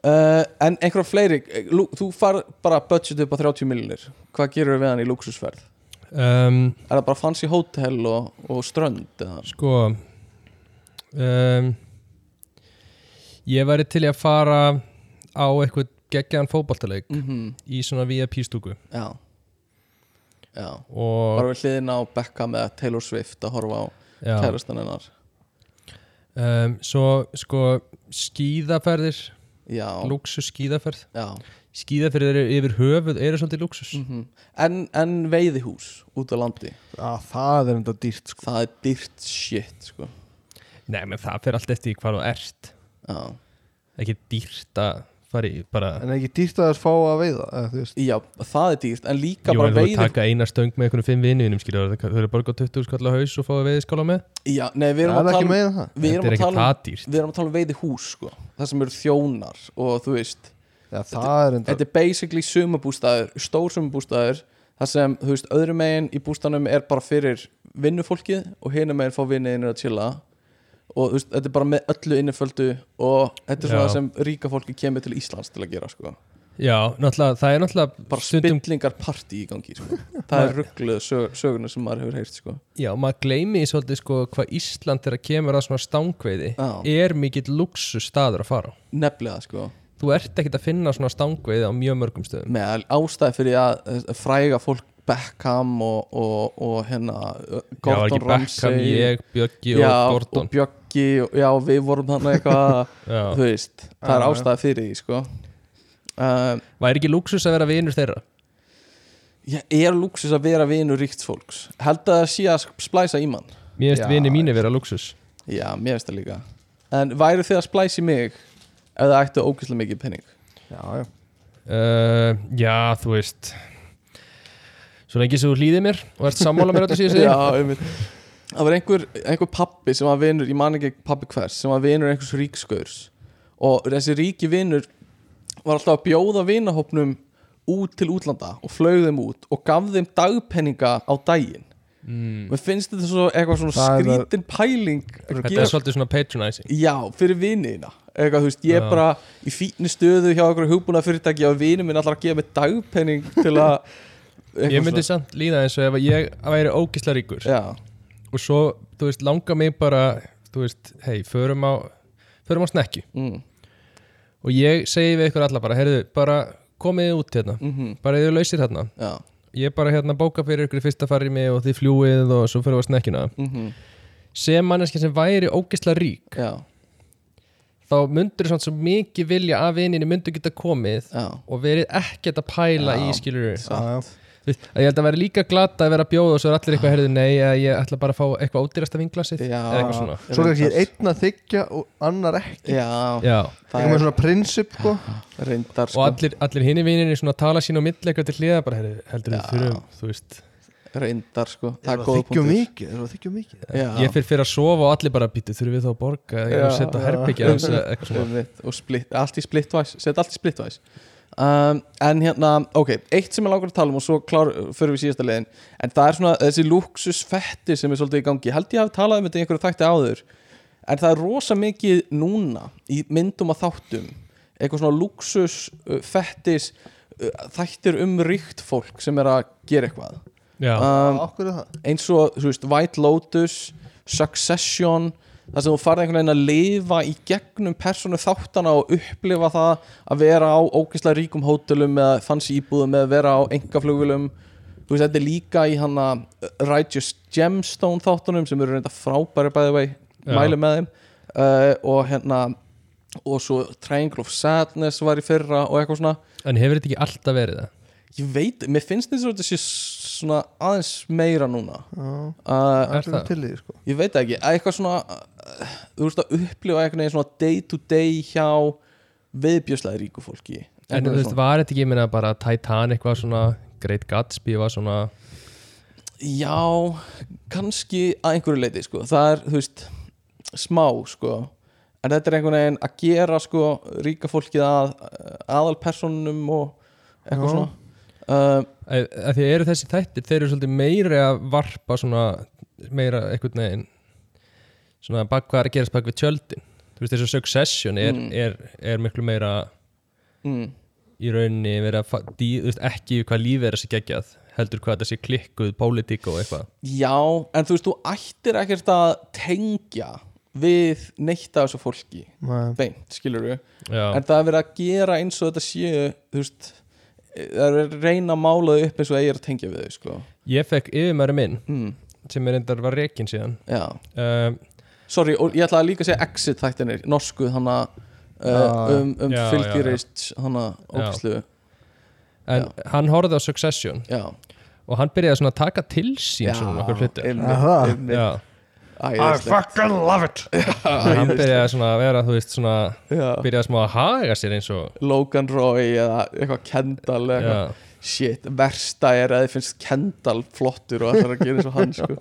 C: uh, en einhverja fleiri eh, Lú- þú far bara budget upp á 30 miljonir hvað gerur við hann í luxusferð
B: Um,
C: er það bara fancy hotel og, og strönd eða?
B: sko, um, ég væri til í að fara á eitthvað geggjaðan fótboltaleik
C: Mm
B: í svona VIP-stúku
C: já já,
B: og
C: bara við hliðin á Beckham eða Taylor Swift að horfa á
B: já.
C: kærastan hennar
B: um, svo sko skíðaferðir,
C: já,
B: luxus skíðaferð
C: já
B: skíðaferðir eru yfir höfuð eru svolítið luxus
C: mm en, en veiðihús út á landi
D: Já, það er enda dýrt sko
C: það er dyrt shit sko.
B: nei, menn það fer allt eftir hvað þú ert
C: já.
B: ekki dýrt að fara í bara,
D: en er ekki dýrt að þess fá að veiða eða, þú veist
C: já, það er dyrt en líka
B: jú,
C: bara
B: en þú
C: veiði
B: taka eina stöng með einhvern fimm vinninum, skilur þau þau eru að borga 20 skall á haus og fáið veiðskála með
C: já, nei, við
D: það
C: erum,
D: er
C: að
D: ekki
C: tala, um,
D: meira en það
C: við,
B: þetta er
C: erum að
B: ekki
C: tala,
B: það
C: um,
B: dýrt
C: við erum að tala um veiðihús sko. það sem eru þjónar og þú veist
D: já, það er enda
C: þetta er basically sumabústæður stór sumabústæður það sem, þú veist, öðrum megin í bústæðunum er bara fyrir vinnufólkið og hinum megin fá vinniðinir að chilla og þú veist, þetta er bara með öllu inniföldu og þetta er svona
B: Já.
C: það sem ríka fólki kemur til Íslands til að gera sko.
B: já, náttúrulega, það er náttúrulega
C: bara
B: stundum-
C: spillingar partí í gangi sko. það er ruggluð sög, söguna sem maður hefur heyrt sko.
B: já, maður gleymi svolítið sko hvað Ísland er að kemur að svona stangveiði
C: Já.
B: er mikill luxus staður að fara á.
C: nefnilega sko.
B: þú ert ekkert að finna svona stangveiði á mjög mörgum stöðum
C: með ástæði fyrir að eh, fræga fólk Beckham og, og, og hérna eh,
B: Já, var
C: Gordon
B: ekki Beckham,
C: Ramsay
B: ég, Bjöggi og
C: Já,
B: Gordon
C: og Bjöggi ekki já við vorum
B: *laughs*
C: þannig eitthvað
B: Já.
C: þú veist, það er
D: Já, já.
C: ástæða fyrir því sko uh,
B: væri ekki lúksus að vera vinur þeirra
C: ég er lúksus að vera vinur ríkt fólks held að það sé að splæsa í mann
B: mér finnst
D: Já,
B: vini mínu vera lúksus
C: já mér finnst það líka en væri þið að splæsa í mig ef það ættu ógeðslega mikið penning
D: já, já,
B: uh, já þú veist svo lengi sem þú hlýðir mér og ert sammála mér á þetta síðan
C: *laughs* já einmitt það var einhver, einhver pappi sem var vinur ég man ekki pappi hvers sem var vinur einhvers ríkskurs og þessi ríki vinur var alltaf að bjóða vinahopnum út til útlanda og flög þeim út og gaf þeim dagpenninga á daginn
B: mm.
C: mér finnst þetta svo eitthvað svona
D: Það er það-
C: skrítin pæling að
B: þetta
C: gera.
B: er svolítið svona patronizing
C: já, fyrir viniðina eitthvað, þú veist, ég er
B: Já.
C: bara í fínni stöðu hjá einhverju hugbúna fyrirtæki og vinur minn allar að gefa mig dagpenning til að
B: *laughs*
C: eitthvað
B: ég myndi
C: svona-
B: samt líða eins og ef ég væri ógislega ríkur
C: já,
B: og svo, þú veist, langa mig bara þú veist, hei, förum á förum á snekki
C: mm,
B: og ég segi við ykkur alla bara, heyrðu, bara komið út hérna,
C: mm
B: bara þið eru lausir hérna
C: já
B: ég bara hérna bóka fyrir ykkur í fyrsta farimi og þið fljúið og svo fyrir á snekkina
C: mm
B: sem manneski sem væri ógislega rík
C: já,
B: þá myndur svona svo mikið vilja að vininni myndu geta komið
C: já
B: og verið ekkert að pæla
C: Já.
B: í skilur
D: já, já.
B: að ég held að vera líka glata að vera að bjóða og svo er allir eitthvað heyrðu nei, eh, ég ætla bara að fá eitthvað ódýrasta vinglasið
C: Já.
B: eða eitthvað svona
D: svo kannski er einn að þykja og annar ekki
C: Já,
B: Já.
D: það er með svona prinsip sko.
C: reyndar
B: og
C: sko,
B: allir, allir hinni vininni svona tala sín á milli eitthvað til hliða bara heyrðu, heldur
C: Já.
B: við þurfum, þú veist
C: reyndar sko Það
D: það
C: er
D: er
C: góð
D: þykju um mikið það er þykju mikið
C: Já,
B: ég fyrir fyrir að sofa og allir bara býtu þurfum við þá að borga eða ég er að
C: Já,
B: setja
D: já.
B: herbyggja eitthvað
C: *laughs*
B: svona
C: Einmitt, og split, allt í splittvæs set allt í splittvæs um, en hérna, ok, eitt sem ég langar að tala um og svo klár, förum við síðasta leiðin en það er svona þessi luxusfetti sem er svolítið í gangi, Ég held ég hafi talað um þetta í einhverju þætti áður en það er rosa mikið núna í myndum að þáttum eitthvað svona luxusfettis þættir um ríkt fólk sem er að gera eitthvað
B: Já.
C: um,
D: okkur er það
C: eins og þú veist, White Lotus Succession þar sem þú farið einhvern veginn að lifa í gegnum persónu þáttana og upplifa það að vera á ógeðslega ríkum hótelum eða fancy íbúðum eða vera á engaflugvölum þú veist, þetta er líka í hana uh, Righteous Gemstone þáttunum sem eru reynda frábæri by the way
B: Já.
C: mælu með þeim uh, og hérna og svo Triangle of Sadness var í fyrra og eitthvað svona
B: en hefur þetta ekki alltaf verið það
C: ég veit, mér finnst þetta svo þetta sé svona aðeins meira núna
D: já,
C: uh,
D: það er
B: það?
D: til í því, sko.
C: ég veit það ekki, eitthvað svona uh, þú veist að upplifa einhvern veginn svona day to day hjá viðbjörslega ríku fólki
B: en þú
C: Eitthvað
B: veist,
C: svona.
B: var þetta ekki, ég meina bara Titanic var svona, Great Gatsby var svona
C: já, kannski að einhverju leiti sko, það er, þú veist smá sko en þetta er einhvern veginn að gera sko ríka fólkið að aðalpersonum og eitthvað
D: Já.
C: svona uh,
B: að, að e, því eru þessi þættir, þeir eru svolítið meiri að varpa svona meira einhvern veginn svona bak hvað er að gerast bak við tjöldin þú veist þessu Succession er,
C: Mm.
B: er, er miklu meira
C: mm,
B: í rauninni verið að fa- dí, þú veist, ekki hvað lífið er að sé geggjað heldur hvað þetta sé klikkuð, pólitík og eitthvað
C: já, en þú veist, þú ættir ekkert að tengja við neitt af þessu fólki
D: Nei.
C: beint, skilur við
B: Já,
C: en það er verið að gera eins og þetta séu þú veist það er verið að reyna að mála þau upp eins og eigi er að tengja við þau sko
B: ég fekk yfirmæri minn
C: mm,
B: sem er endar var rekin síðan
C: já,
B: um,
C: sorry og ég ætlaði líka að segja exit þættinir, norsku þannig að
D: Já,
C: Uh, um, um
B: já,
C: fylgirist þannig að
B: Já.
C: ógæslu
B: en hann horfði á Succession
C: já,
B: og hann byrjaði svona að taka til sín
C: já,
B: svona okkur hluti
D: Aha.
C: einmitt, *laughs*
B: Já,
C: einmitt.
D: fucking love it
B: hann byrjaði svona að vera, þú veist, svona
C: Æðislegt. Já.
B: byrjaði smá að haga sér eins og
C: Logan Roy eða eitthvað Kendall eða eitthvað.
B: já,
C: shit, versta er að þið finnst Kendall flottur og ætlar að gera eins
B: *laughs*
C: og hann sko.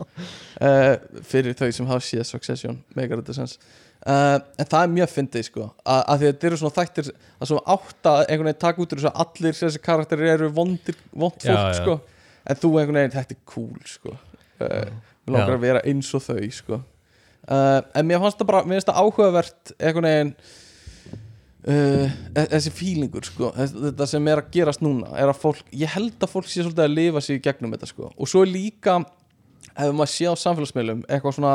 C: uh, fyrir þau sem hafa síða Succession, megar þetta sens uh, en það er mjög fyndið sko að, að því að þetta eru svona þættir að svona átta einhvern veginn taka út úr þessu að allir þessi karakterir eru vondir, vond
B: Já,
C: fólk
B: já.
C: sko en þú einhvern veginn, þetta er cool sko uh, við langar
B: Já.
C: að vera eins og þau sko uh, en mér fannst það bara, mér finnst það áhugavert einhvern veginn uh, e- þessi fílingur sko þess- þetta sem er að gerast núna er að fólk, ég held að fólk sé svolítið að lifa sig í gegnum þetta sko og svo er líka ef maður sé á samfélagsmiðlum eitthvað svona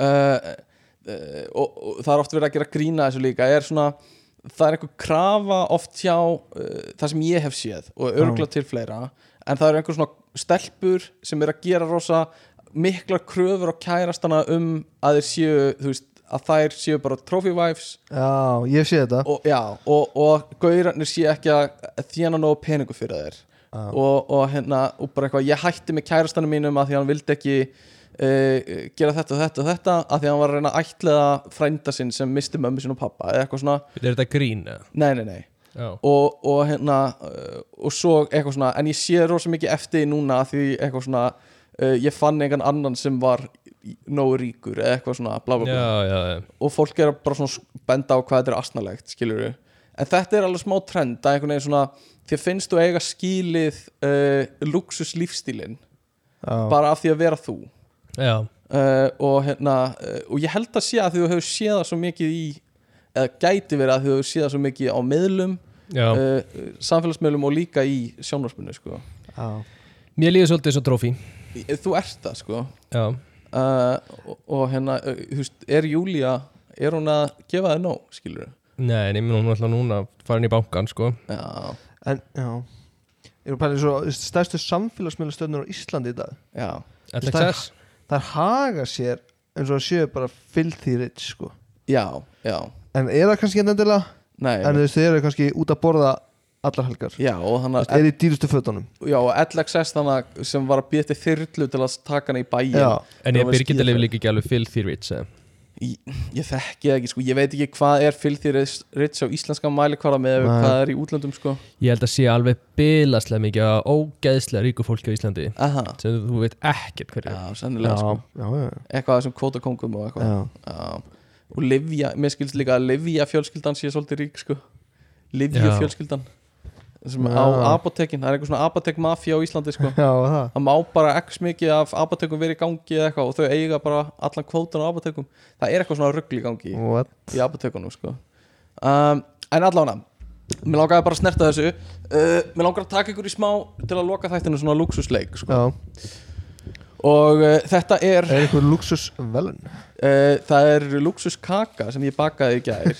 C: uh, uh, og, og það er oft verið að gera grína þessu líka er svona það er einhver krafa oft hjá uh, það sem ég hef séð og örgla til fleira en það eru einhver svona stelpur sem er að gera rosa miklar kröfur á kærastana um að þeir séu þú veist að þær séu bara trophy wives
D: Já, ég sé þetta
C: og, já, og, og gaurarnir séu ekki að þjána nógu peningu fyrir þær
D: Já.
C: og, og hérna og bara eitthvað, ég hætti með kærastanum mínum að því að hann vildi ekki uh, gera þetta og þetta og þetta að því að hann var að reyna að ætlaða frænda sinn sem misti mömmu sinn og pappa eða eitthvað svona,
B: Er þetta grín? eða?
C: nei, nei, nei
B: Já,
C: og, og hérna uh, og svo eitthvað svona, en ég sé rosa mikið eftir því núna því eitthvað svona uh, ég fann einhvern annan sem var í- nógu ríkur eða eitthvað svona bla bla
B: já,
C: bla
B: já, já.
C: og fólk er að bara svona sk- benda á hvað þetta er asnalegt skilur við, en þetta er alveg smá trend að einhvern veginn svona, þér finnst þú eiga skilið uh, luxus lífstílin
D: Já,
C: bara af því að vera þú
B: já.
C: uh, og hérna uh, og ég held að sé að því þú hefur séð það svo mikið í eða gæti verið að því þú hefur séð það svo mikið á meðlum
B: já.
C: uh, samfélagsmiðlum og líka í sjónvarspinu sko.
D: já.
B: Mér líður svolítið eins og trófi
C: þú ert það sko.
B: Já,
C: uh, og, og hérna uh, þú veist, er Júlia er hún að gefa þér nóg skilur
B: nei, nei, hún er alltaf núna farin í bankan, sko
C: já,
D: En, já Ég er að pæla í svo stærstu samfélagsmiðlastöðnur á Íslandi í dag
C: já,
B: LXS
D: Það er haga sér eins og það séu bara filthy rich sko
C: já, já
D: En er það kannski ekki endilega
C: Nei,
D: En þú veist, þeir eru kannski út að borða allar helgar
C: já, og hann
D: Það
C: að
D: er í dýrustu fötunum
C: já, og LXS þannig sem var að býta þyrlu til að taka hana í bæin
D: Já,
B: En ég
C: Það
B: byrgit
C: var
B: að lifa
C: skíðafæri.
B: líka ekki alveg filthy rich eh? eða?
C: ég, ég þekki það ekki, sko, ég veit ekki hvað er fylgði rits á íslenska mælikvara með
D: Nei.
C: hvað er í útlöndum, sko
B: Ég held að sé alveg bilaslega mikið að ógeðslega ríku fólki á Íslandi
C: Aha,
B: sem þú veit ekkert hverju
C: já,
D: já,
C: sennilega, sko
D: já, já,
C: eitthvað sem kvótakongum og eitthvað
D: já.
C: Já, og Livja, mér skilst líka að Livja fjölskyldan sé svolítið rík sko Livja
B: Já.
C: fjölskyldan sem
D: Já.
C: á apotekin, það er eitthvað svona apotek mafja á Íslandi sko,
D: já það
C: það má bara x mikið af apotekum verið í gangi eða eitthvað og þau eiga bara allan kvótan á apotekum það er eitthvað svona ruggli í gangi í,
D: What?
C: í apotekunum sko um, en allána, mér langaði bara að snerta þessu uh, mér langar að taka ykkur í smá til að loka þættinu svona luxusleik sko.
D: Já,
C: og uh, þetta er
D: er einhver luxus velun
C: Uh, það er luxuskaka sem ég bakaði í gær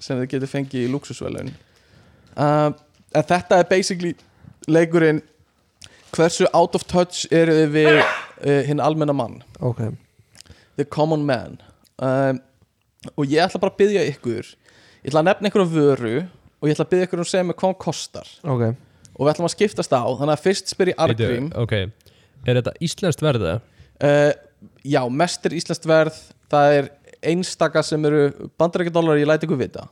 C: sem þið getur fengið í luxusvelun uh, en þetta er basically leikurinn hversu out of touch eru þið við uh, hinn almenna mann
D: Ok,
C: the common man um, og ég ætla bara að byggja ykkur ég ætla að nefna ykkur um vöru og ég ætla að byggja ykkur um að segja mig hvað hún kostar
D: ok
C: og við ætlum að skiptast á þannig að fyrst spyr
B: Ah,
C: ég Argrím
B: Ok, er þetta íslenskt verða?
C: uh, já, mest er íslenskt verð það er einstaka sem eru bandarækjadólar, ég læti ykkur vita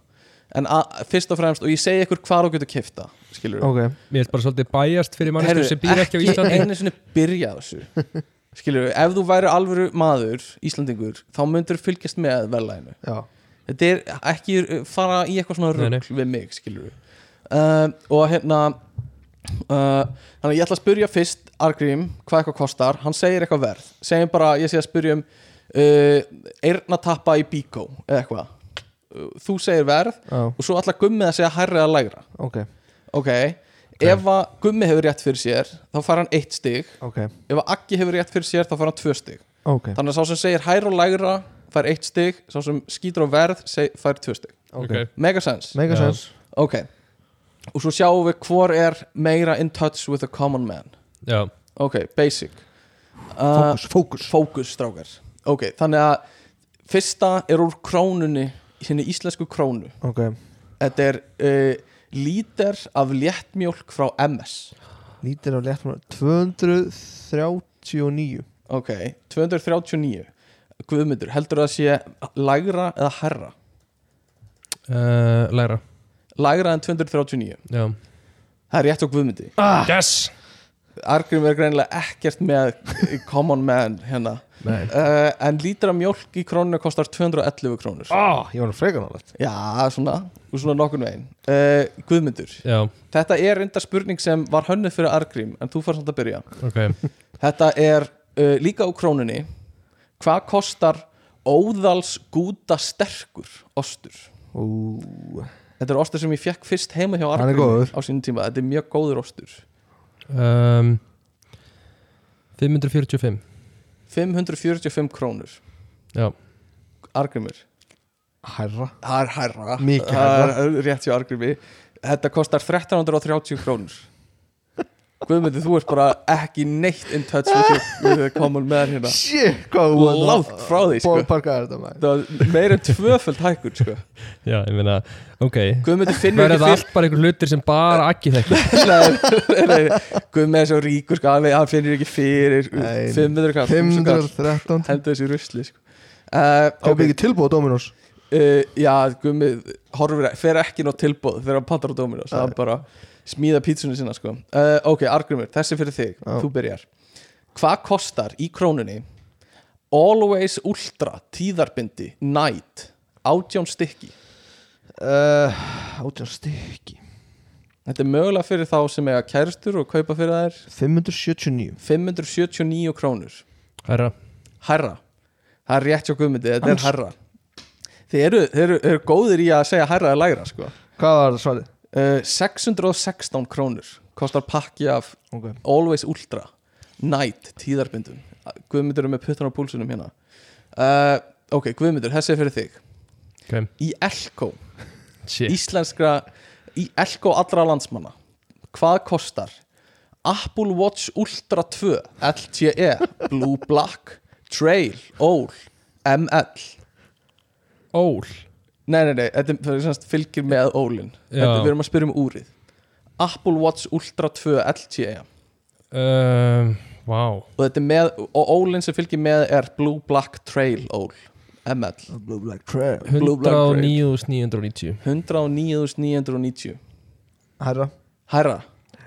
C: en a- fyrst og fremst, og ég segi ykkur hvar þú getur kifta, skilur
D: Ok,
B: Mér er bara svolítið bæjast fyrir mannskjöf sem býr ekki á Íslandi
C: einu sinni byrja á þessu
B: *laughs*
C: skilur ef þú væri alvöru maður Íslandingur, þá myndur fylgjast með verðlæginu,
D: já,
C: þetta er ekki uh, fara í eitthvað svona
B: Nei, nei.
C: rugl við mig, skilur um, og hérna uh, þannig að ég ætla að spyrja fyrst Argrím hvað eitthvað kostar, hann segir eitthvað verð segjum bara, ég sé að spyrja um uh, eirnatappa í bíkó eða eitthvað, uh, þú segir verð
D: já,
C: og svo ætla gummið að segja hærri eða lægra
D: ok
C: ok, ef að gummi hefur rétt fyrir sér þá fær hann eitt stig
D: Ok,
C: ef að aggi hefur rétt fyrir sér þá fær hann tvö stig
D: ok,
C: þannig að sá sem segir hærri og lægra fær eitt stig, sá sem skýtur á verð seg, fær tvö stig,
D: ok
C: megasens
D: Mega
B: Já.
D: sens
C: ok, og svo sjáum við hvor er meira in touch with the common man
B: Já,
C: ok, basic uh,
D: Fókus, Ah, fókus
C: fókus strákar ok, þannig að fyrsta er úr krónunni sinni íslensku krónu
D: Ok,
C: þetta er uh, líter af léttmjólk frá MS
D: lítir á létt 239
C: ok, 239 guðmyndur, heldur það sé lægra eða herra
B: uh, læra
C: lægra en 239,
B: Já
C: það er rétt á guðmyndi
B: ah. Yes
C: Argrim er greinilega ekkert með common man hérna
B: Nei
C: uh, en lítra mjólk í krónu kostar 211 krónur
D: Ah, ég var nú frekar nálægt
C: já, svona, og svona nokkurn veginn uh, Guðmundur,
B: Já,
C: þetta er enda spurning sem var hönnuð fyrir Argrím en þú fær samt að byrja
B: ok
C: þetta er uh, líka á krónunni hvað kostar óðals gúta sterkur ostur
D: Ú,
C: þetta er ostur sem ég fekk fyrst heima hjá
D: Hann er
C: Argrím
D: góður.
C: á sínum tíma, þetta er mjög góður ostur
B: um, 545
C: 545 krónur
B: Já,
C: Argrímur
D: hærra Ah,
C: Það er hærra
D: Mikið
C: Það er Rétt hjá Argrími Þetta kostar 1330 krónur Guðmundi, þú ert bara ekki neitt in touch with your, with your common man hérna
D: Shit, hvað þú ert
C: Langt frá því, sko.
D: Bóðparka er þetta maður
C: Það var meira en tvöföld hækkun sko.
B: Já, ég meina, ok
C: Guðmundi finnur
B: Verður þetta
C: ekki fyrir
B: allt bara einhver hlutir sem bara ekki þekki
C: Nei, *laughs* nei, nei. Guðmundi er svo ríkur sko, alveg, hann finnur ekki fyrir
D: Nei.
C: 500 kall
D: 513
C: Heldur þessi rusli sko. uh,
D: Það er
C: okay.
D: ekki tilbúið á Dominos
C: uh, Já, Guðmundi horfir, e, fer ekki nót tilbúð þegar hann pantar á Dominos Það er bara smíða pítsunni sinna sko. uh, Ok, Argrymur, þessi fyrir þig
D: Já.
C: Þú byrjar Hvað kostar í krónunni Always Ultra tíðarbindi Night átján stykki
D: Uh, Átján stykki
C: Þetta er mögulega fyrir þá sem eiga kærustur og kaupa fyrir þær
D: 579
C: 579 krónur
B: Herra,
C: Herra, það er rétt hjá guðmyndi Þetta er herra Þið eru, þið eru, eru góðir í að segja herra eða lægra sko.
D: Hvað var það svarið?
C: uh, 616 krónur kostar pakki af
D: Ok
C: Always Ultra Night tíðarbindum Guðmyndur er með puttan á púlsunum hérna uh, Ok, Guðmyndur, þessi er fyrir þig
B: ok,
C: Í Elko,
B: shit
C: íslenskra Í Elko allra landsmanna Hvað kostar Apple Watch Ultra 2 LTE, E, Blue Black Trail, OL, ML
B: Ól
C: Nei, nei, nei, þetta er- það er semst fylgir með ólin Þetta
B: Já.
C: við erum að spyrja um úrið Apple Watch Ultra 2 LTE
B: um, Vá
C: og þetta er með, og ólin sem fylgir með er Blue Black Trail ól ML,
D: Blue Black Trail
C: Blue Black Parade.
B: 109.990
C: 109.990
D: Herra
C: Herra,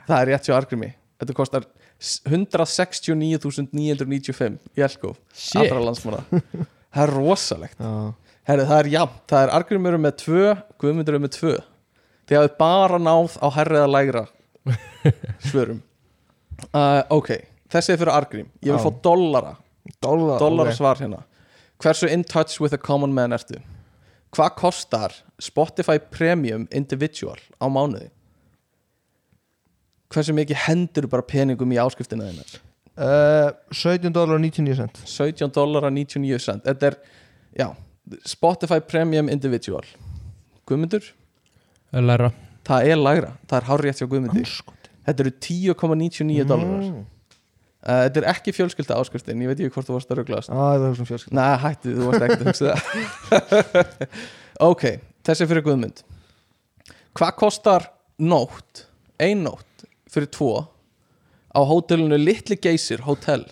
C: það er rétt hjá Argrimi Þetta kostar s- 169.995 í Elko
B: Shit,
C: allra landsmána Það er rosalegt
D: Já
C: Herri, það er jafn, það er Argrimur með 2 Guðmundur er með 2 Þið hafið bara náð á herriða
D: *laughs*
C: lægra svörum uh, Ok, þessi er fyrir Argrim Ég vil
D: Já.
C: fá dollara
D: Dollar
C: dollara
D: ok.
C: svar hérna Hversu in touch with a common man ertu? Hvað kostar Spotify Premium Individual á mánuði? Hversu mikið hendur bara peningum í áskriftina þínar?
D: Uh, 17 dólar og 99 cent
C: 17 dollara 99 cent Þetta er, já, Spotify Premium Individual Guðmundur?
B: læra
C: Það er lægra, það er hárétt hjá Guðmundi
D: Anskoti
C: Þetta eru 10,99 dollarar mm. Eh, Þetta er ekki fjölskylda áskriftin, ég veit ekki hvort þú varst að ruglaðast
D: Á, Ah, ég var um svona fjölskyld
C: Nei, hættu, þú varst ekkert að hugsa það *laughs* Ok, þessi er fyrir Guðmund Hvað kostar nótt, ein nótt fyrir tvo á hótelinu Litli Geysir Hotel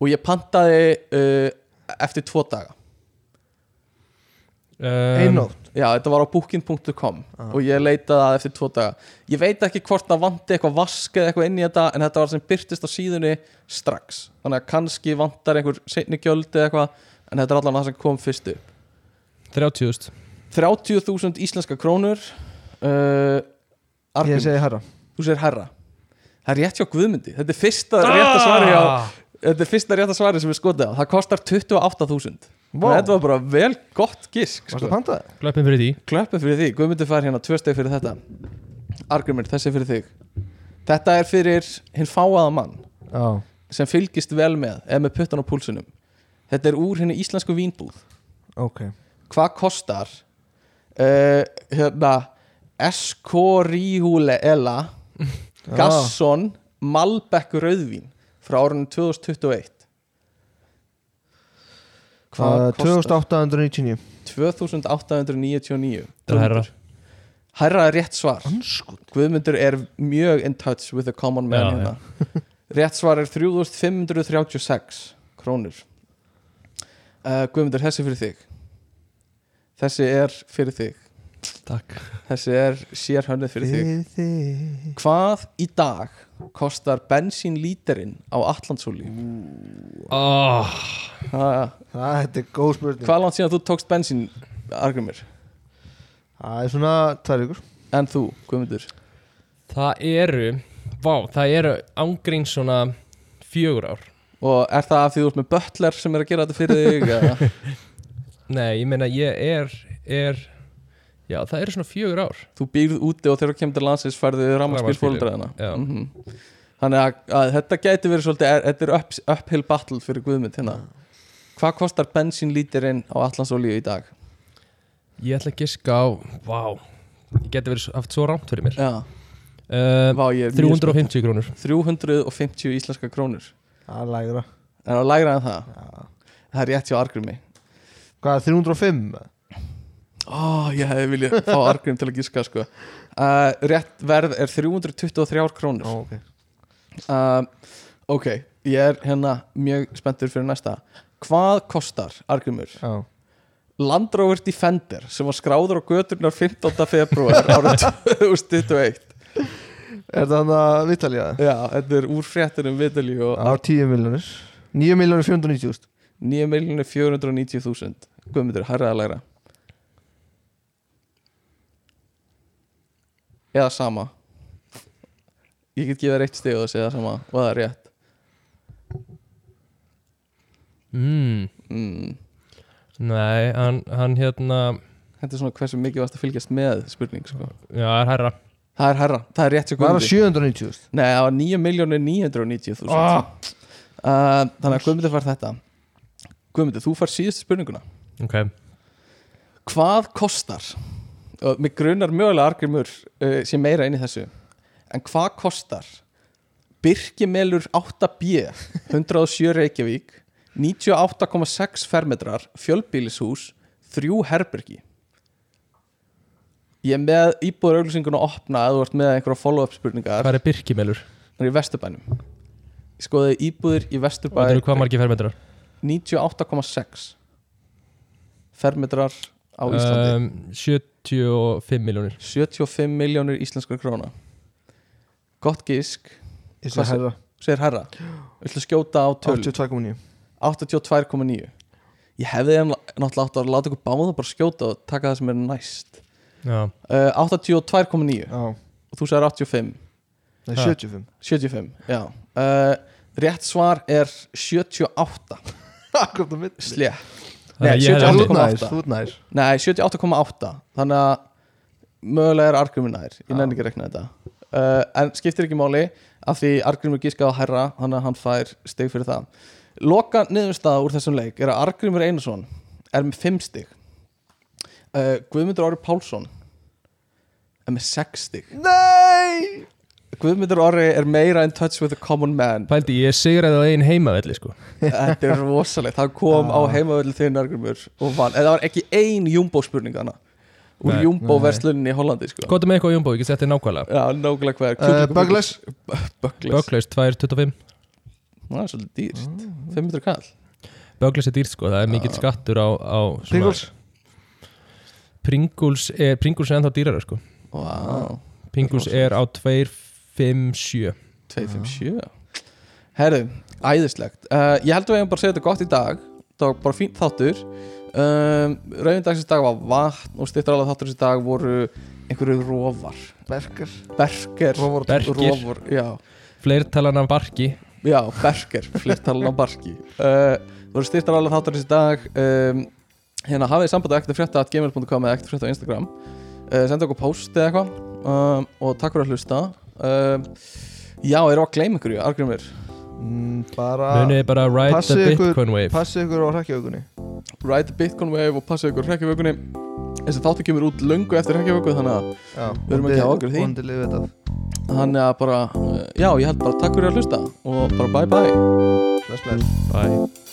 C: og ég pantaði uh, eftir tvo daga
B: um,
D: Einnótt
C: Já, þetta var á booking.com og ég leitaði að eftir tvo daga Ég veit ekki hvort það vanti eitthvað vask eða eitthvað inn í þetta en þetta var sem byrtist á síðunni strax Þannig að kannski vantar einhver seinni gjöld eða eitthvað en þetta er allan það sem kom fyrst upp
B: 30.000
C: 30.000 íslenska krónur uh, Arnum,
D: Ég segi herra
C: þú sér herra Það er rétt hjá Guðmundi Þetta er fyrsta
B: Ah!
C: rétta svari á, Þetta er fyrsta rétta svari sem við skotið á Það kostar 28.000
D: Vá.
C: Og Þetta var bara vel gott gisk
D: Varstu
C: sko.
D: að panta það?
B: Glöppin fyrir því
C: Klöppum fyrir því, Guðmundi fær hérna tvö steg fyrir þetta Argrymir, þessi er fyrir þig Þetta er fyrir hinn fáaða mann
D: Já
C: sem fylgist vel með eða með puttan á púlsunum Þetta er úr henni íslensku vínbúð
D: Ok
C: hvað kostar uh, hérna Escorihuela Gasson Malbec Rauðvín frá árunum 2021
D: Uh,
C: hvað kostar
D: 2899
C: 2899
B: Það er herra
C: Herra er rétt svar
D: Anskoti
C: Guðmundur er mjög in touch with the common man
B: Já,
C: hérna. *laughs* rétt svar er 3536 krónur uh, Guðmundur, þessi fyrir þig þessi er fyrir þig
B: Takk
C: Þessi er sérhönnið fyrir þig
D: þig
C: Hvað í dag kostar bensínlíterinn á Allandsúli?
B: oh,
C: Hvað
D: Það þetta er góð spurning
C: langt síðan þú tókst bensín, Argrymir?
D: Það er svona tvær ykkur
C: En þú, Guðmundur?
B: Það eru Vá, það eru ángrín svona fjögur ár
C: Og er það af því þú ert með bötler sem er að gera þetta fyrir þig? eða?
B: Nei, ég meina ég er, er Já, það eru svona fjögur ár
C: þú býrð úti og þegar þú kemur til landsins færðu rammarspil
B: Rafmagnsbíl,
C: fóldraðina
B: já.
C: mm Þannig að, að þetta gæti verið svolítið er, Þetta er upp, uphill battle fyrir Guðmund hérna Hvað kostar bensínlíterinn á Allandsúli í dag?
B: Ég ætla að giska á Vá Ég geti verið s- haft svo rámt fyrir mér
C: Já,
B: uh,
C: Vá, ég er mjög spennt.
B: 350 krónur
C: 350 íslenska krónur
D: Það er lægra
C: En á lægra en það,
D: Já.
C: það er rétt hjá Argrimi
D: Hvað, 305?
C: Ó, ég hefði viljað fá Argrim til að gíska sko. uh, Rétt verð er 323 krónur
D: Ó, ok
C: uh, Ok, ég er hérna mjög spenntur fyrir næsta Hvað kostar Argrimur?
D: Já.
C: Land Rover Defender sem var skráður á göturnar 15. februar *laughs* árið 2021
D: Er það hann að Vitalja?
C: Já, þetta er úr fréttunum viðdali
D: Það
C: og
D: var 10 miljonir 9 miljonir 490 úst
C: 9.490.000 Guðmundur, hærraða læra Eða sama Ég get gefið þér eitt stig og þessi eða sama og það er rétt
B: mm.
C: mm.
B: Nei, hann, hann hérna
C: Þetta er svona hversu mikið varst að fylgjast með spurning sko.
B: Já, það er herra
C: Það er hærra, það er rétt sér
D: Hvað var
C: Guðmundur
D: 790 úst?
C: Nei, það var 9.990.000
D: Ah.
C: uh, Þannig að Guðmundur fær þetta Guðmundur, þú fær síðustu spurninguna
B: Ok,
C: Hvað kostar og mig grunar mögulega argrimur uh, sem meira inn í þessu en hvað kostar Birkimelur 8B 107 Reykjavík 98,6 fermetrar fjölbýlishús, þrjú herbergi Ég er með íbúðurauglýsinguna opna að þú ert með einhverja follow-up spurningar
B: hvað er birkimelur?
C: Það er í Vesturbænum Ég skoði íbúðir í
B: Það
C: Vesturbæ
B: eru hvað margir fermetrar?
C: 98,6 fermetrar á Íslandi
B: Um, 75 miljónir
C: 75 miljónir íslenskar króna gott gísk
D: Ég
C: Hvað
D: sé herra
C: segir herra, villu skjóta á töl
D: 82,9
C: 82,9 ég hefði hann náttúrulega átt að láta ykkur báða bara skjóta og taka það sem er næst
B: Já,
C: uh, 82,9
D: Já
C: og þú segir 85
D: Nei,
B: Ha.
D: *laughs* 75
C: 75, já uh, rétt svar er 78
D: Akkurat á mitt
C: slétt,
B: Þannig að
C: Nei,
B: ég hefði
C: 78.
B: átt-
D: Þú
C: kom
D: nær,
C: átta.
D: þú nær
C: nei 78,8 þannig að mögulega er argumin nær ég
D: Já.
C: nefn ekki að rekna þetta uh, en skiptir ekki máli af því Argrimur gískaði á herra þannig að hann fær stig fyrir það loka niðurstaða úr þessum leik er að Argrimur Einarsson er með 5 stig uh, Guðmundur Orri Pálsson er með 6 stig
D: Nei
C: Guðmundur Orri er meira in touch with the common
D: *laughs*
C: man
B: Pældi, ég sigraði það einn heimavelli sko
C: þetta er rosalegt, hann kom á heimavöldu þinn Argrimur og vann, en það var ekki ein jumbo spurningana úr
B: Nei.
C: jumbo
D: Nei.
C: versluninni í Hollandi sko.
B: Hvað er með eitthvað á Jumbo, ég get sett þetta nákvæmlega
C: Já, nákvæmlega hvað er
D: uh,
C: Kjúklingabuggles.
D: Böggles
C: Buggles
B: Böglaus 225
C: Það er svolítið
D: Mm.
C: dýrt 500 kall
B: Böglaus er dýrt sko, það er mikill skattur á, á svona-
D: Pringles
B: Pringles er, Pringles er ennþá dýrara sko
C: Vá,
B: Pringles er á 257
C: 257 Herðu, æðislegt uh, Ég held að við hefum bara að segja þetta gott í dag Það var bara fínt þáttur um, Rauðin dagsins dag var vatn og styrtar alveg þáttur þessi dag voru einhverju róvar
D: Berker
C: Berker
D: Rófur
B: Berkir.
C: Rófur, já,
B: Fleirtalan af barki
C: já, berker Flertalan á barki uh, Voru styrtar alveg þáttur þessi dag um, Hérna hafið þið samband að ekkert frétta at gmail.com eða ekkert frétta á Instagram uh, Senda okkur post eða eitthvað um, og takk fyrir að hlusta um, Já, erum við að gleyma ykkur, Argrymur
D: Mm, Bara
B: Munið bara ride
D: Passið
B: the
D: ykkur-
B: bitcoin wave
D: Passið ykkur á hrekkjaugunni
C: Ride the Bitcoin Wave og passa ykkur hrekkjavökunni þessi þáttu kemur út löngu eftir hrekkjavöku þannig að,
D: Já
C: Við erum ekki að hafa okkur í því.
D: Vondi lifið þetta
C: þannig að bara, eh, já ég held bara takk fyrir að hlusta og bara bye bye
D: Bless, bless
B: Bye